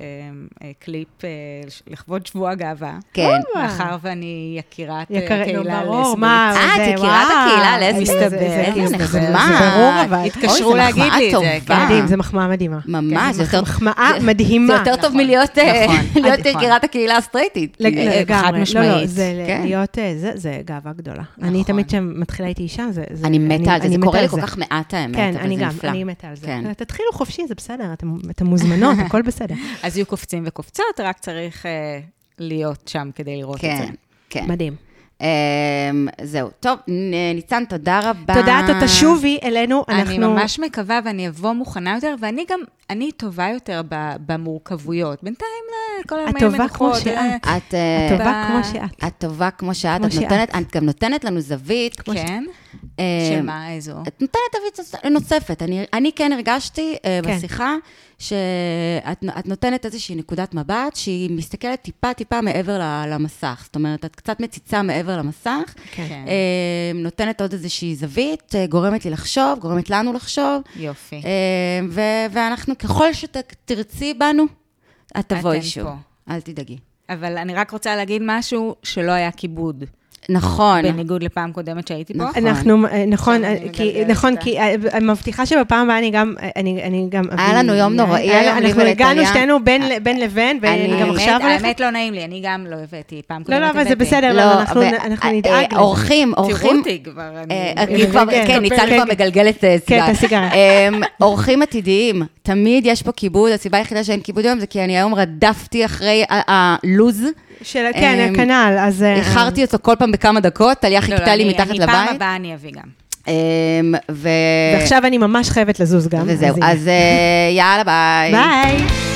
Speaker 3: אה, קליפ אה, לש- לכבוד שבוע הגאווה.
Speaker 1: כן.
Speaker 3: מאחר ואני יקירת אה,
Speaker 2: יקר- נו,
Speaker 3: קהילה
Speaker 2: ברור,
Speaker 3: לסבית.
Speaker 2: מה,
Speaker 1: אה, את
Speaker 2: זה,
Speaker 1: יקירת
Speaker 2: וואו.
Speaker 1: הקהילה
Speaker 2: איזה-
Speaker 1: הלסבית,
Speaker 3: מסתבר.
Speaker 2: איזה-
Speaker 3: איזה
Speaker 2: איזה-
Speaker 1: נחמד.
Speaker 2: זה ברור, אבל...
Speaker 3: התקשרו
Speaker 1: אוי, זה
Speaker 3: להגיד
Speaker 1: מחמאה
Speaker 3: לי את זה,
Speaker 1: טובה.
Speaker 3: כן.
Speaker 2: מדהים, זה מחמאה מדהימה.
Speaker 1: אה.
Speaker 2: כן,
Speaker 1: ממש, זה יותר-
Speaker 2: מחמאה
Speaker 1: זה-
Speaker 2: מדהימה.
Speaker 1: זה יותר טוב
Speaker 3: נכון,
Speaker 1: מלהיות אה,
Speaker 3: נכון,
Speaker 1: להיות
Speaker 3: נכון.
Speaker 1: יקירת הקהילה הסטרייטית.
Speaker 2: לג-
Speaker 1: אה,
Speaker 2: לגמרי,
Speaker 3: חד משמעית.
Speaker 2: לא, לא, זה
Speaker 1: כן.
Speaker 2: להיות, אה, זה- זה גאווה גדולה. אני
Speaker 3: נכון.
Speaker 2: תמיד כשמתחילה איתי אישה, זה... זה-
Speaker 1: אני מתה על זה,
Speaker 2: אני
Speaker 1: זה
Speaker 2: מתה
Speaker 1: קורה
Speaker 2: על
Speaker 1: לי כל
Speaker 2: זה.
Speaker 1: כך מעט האמת,
Speaker 2: כן,
Speaker 1: אבל
Speaker 2: אני
Speaker 1: זה
Speaker 2: גם,
Speaker 1: נפלא.
Speaker 2: אני מתה על זה.
Speaker 1: כן.
Speaker 2: תתחילו חופשי, זה בסדר, אתם- אתם מוזמנות, הכל בסדר.
Speaker 3: אז יהיו קופצים וקופצות, רק צריך אה, להיות שם כדי לראות את זה.
Speaker 1: כן, כן.
Speaker 2: מדהים.
Speaker 1: אמ, זהו. טוב, נ- ניצן, תודה רבה.
Speaker 2: תודה, אתה תשובי אלינו, אנחנו...
Speaker 3: אני ממש מקווה ואני אבוא מוכנה יותר, ואני גם, אני טובה יותר ב- במורכבויות. בינתיים, אה, כל
Speaker 2: את
Speaker 3: היום
Speaker 2: טובה כמו שאת.
Speaker 1: את אה,
Speaker 2: את טובה
Speaker 3: ב-
Speaker 2: כמו שאת.
Speaker 1: את טובה כמו שאת,
Speaker 2: כמו
Speaker 1: את נותנת, את גם נותנת לנו זווית.
Speaker 3: כן?
Speaker 2: אמ,
Speaker 1: אה,
Speaker 3: של מה איזו?
Speaker 1: את נותנת תווית נוס- נוספת. אני, אני כן הרגשתי uh,
Speaker 2: כן.
Speaker 1: כן. בשיחה שאת את נותנת איזושהי נקודת מבט שהיא מסתכלת טיפה-טיפה מעבר ל- למסך. זאת אומרת, את קצת מציצה מעבר למסך,
Speaker 3: כן.
Speaker 1: כן.
Speaker 2: אה,
Speaker 1: uh, נותנת עוד איזושהי זווית, uh, גורמת לי לחשוב, גורמת לנו לחשוב,
Speaker 3: יופי.
Speaker 1: uh, ו- ואנחנו, ככל שתרצי בנו, את תבואי
Speaker 3: אתן
Speaker 1: שוב.
Speaker 3: פה.
Speaker 1: אל תדאגי.
Speaker 3: אבל אני רק רוצה להגיד משהו שלא היה כיבוד,
Speaker 1: נכון.
Speaker 3: בניגוד לפעם קודמת שהייתי פה.
Speaker 1: נכון.
Speaker 2: אנחנו, אה, נכון,
Speaker 3: שאני
Speaker 2: אה, כי,
Speaker 3: מגלגלת
Speaker 2: נכון,
Speaker 3: אותה.
Speaker 2: כי אה, אני מבטיחה שבפעם הבאה אני גם, אה, אני אני גם...
Speaker 1: היה לנו יום
Speaker 2: אה,
Speaker 1: נוראי
Speaker 2: היה-
Speaker 1: היום, לי
Speaker 2: אנחנו
Speaker 1: ולטליה.
Speaker 2: הגענו שתינו בין ל- בין לבין, ואני
Speaker 1: אני-
Speaker 2: גם
Speaker 3: האמת-
Speaker 2: עכשיו הולכת.
Speaker 3: האמת לא נעים לי, אני גם לא הבאתי פעם
Speaker 2: לא,
Speaker 3: קודמת.
Speaker 2: לא, אבל זה
Speaker 3: הבאתי.
Speaker 2: בסדר, לא, אנחנו
Speaker 1: ו-
Speaker 2: אנחנו
Speaker 1: אה,
Speaker 2: נדאג.
Speaker 1: אה,
Speaker 2: לזה.
Speaker 1: אורחים,
Speaker 3: תראו
Speaker 1: אורחים,
Speaker 3: אותי כבר, אני... לא,
Speaker 1: אה, היא כבר,
Speaker 2: כן,
Speaker 1: כן, ניצן
Speaker 2: כן,
Speaker 1: כבר
Speaker 2: כן.
Speaker 1: מגלגלת אה, סיגריה.
Speaker 2: את הסיגריה.
Speaker 1: אמ, אורחים עתידיים, תמיד יש פה כיבוד, הסיבה היחידה שאין כיבוד היום זה כי אני היום רדפתי אחרי ה- הלו"ז,
Speaker 2: של- כן,
Speaker 1: אמ,
Speaker 2: כנ"ל, אז... אה,
Speaker 1: איחרתי אותו כל פעם בכמה דקות, טליה
Speaker 3: לא, לא,
Speaker 1: חיכתה לי
Speaker 3: אני-
Speaker 1: מתחת
Speaker 3: אני פעם
Speaker 1: לבית.
Speaker 3: הבאה אני אביא גם.
Speaker 1: אמ, ו-
Speaker 2: ועכשיו אני ממש חייבת לזוז גם.
Speaker 1: וזהו,
Speaker 2: הנה.
Speaker 1: אז אה, יאללה ביי.
Speaker 2: ביי.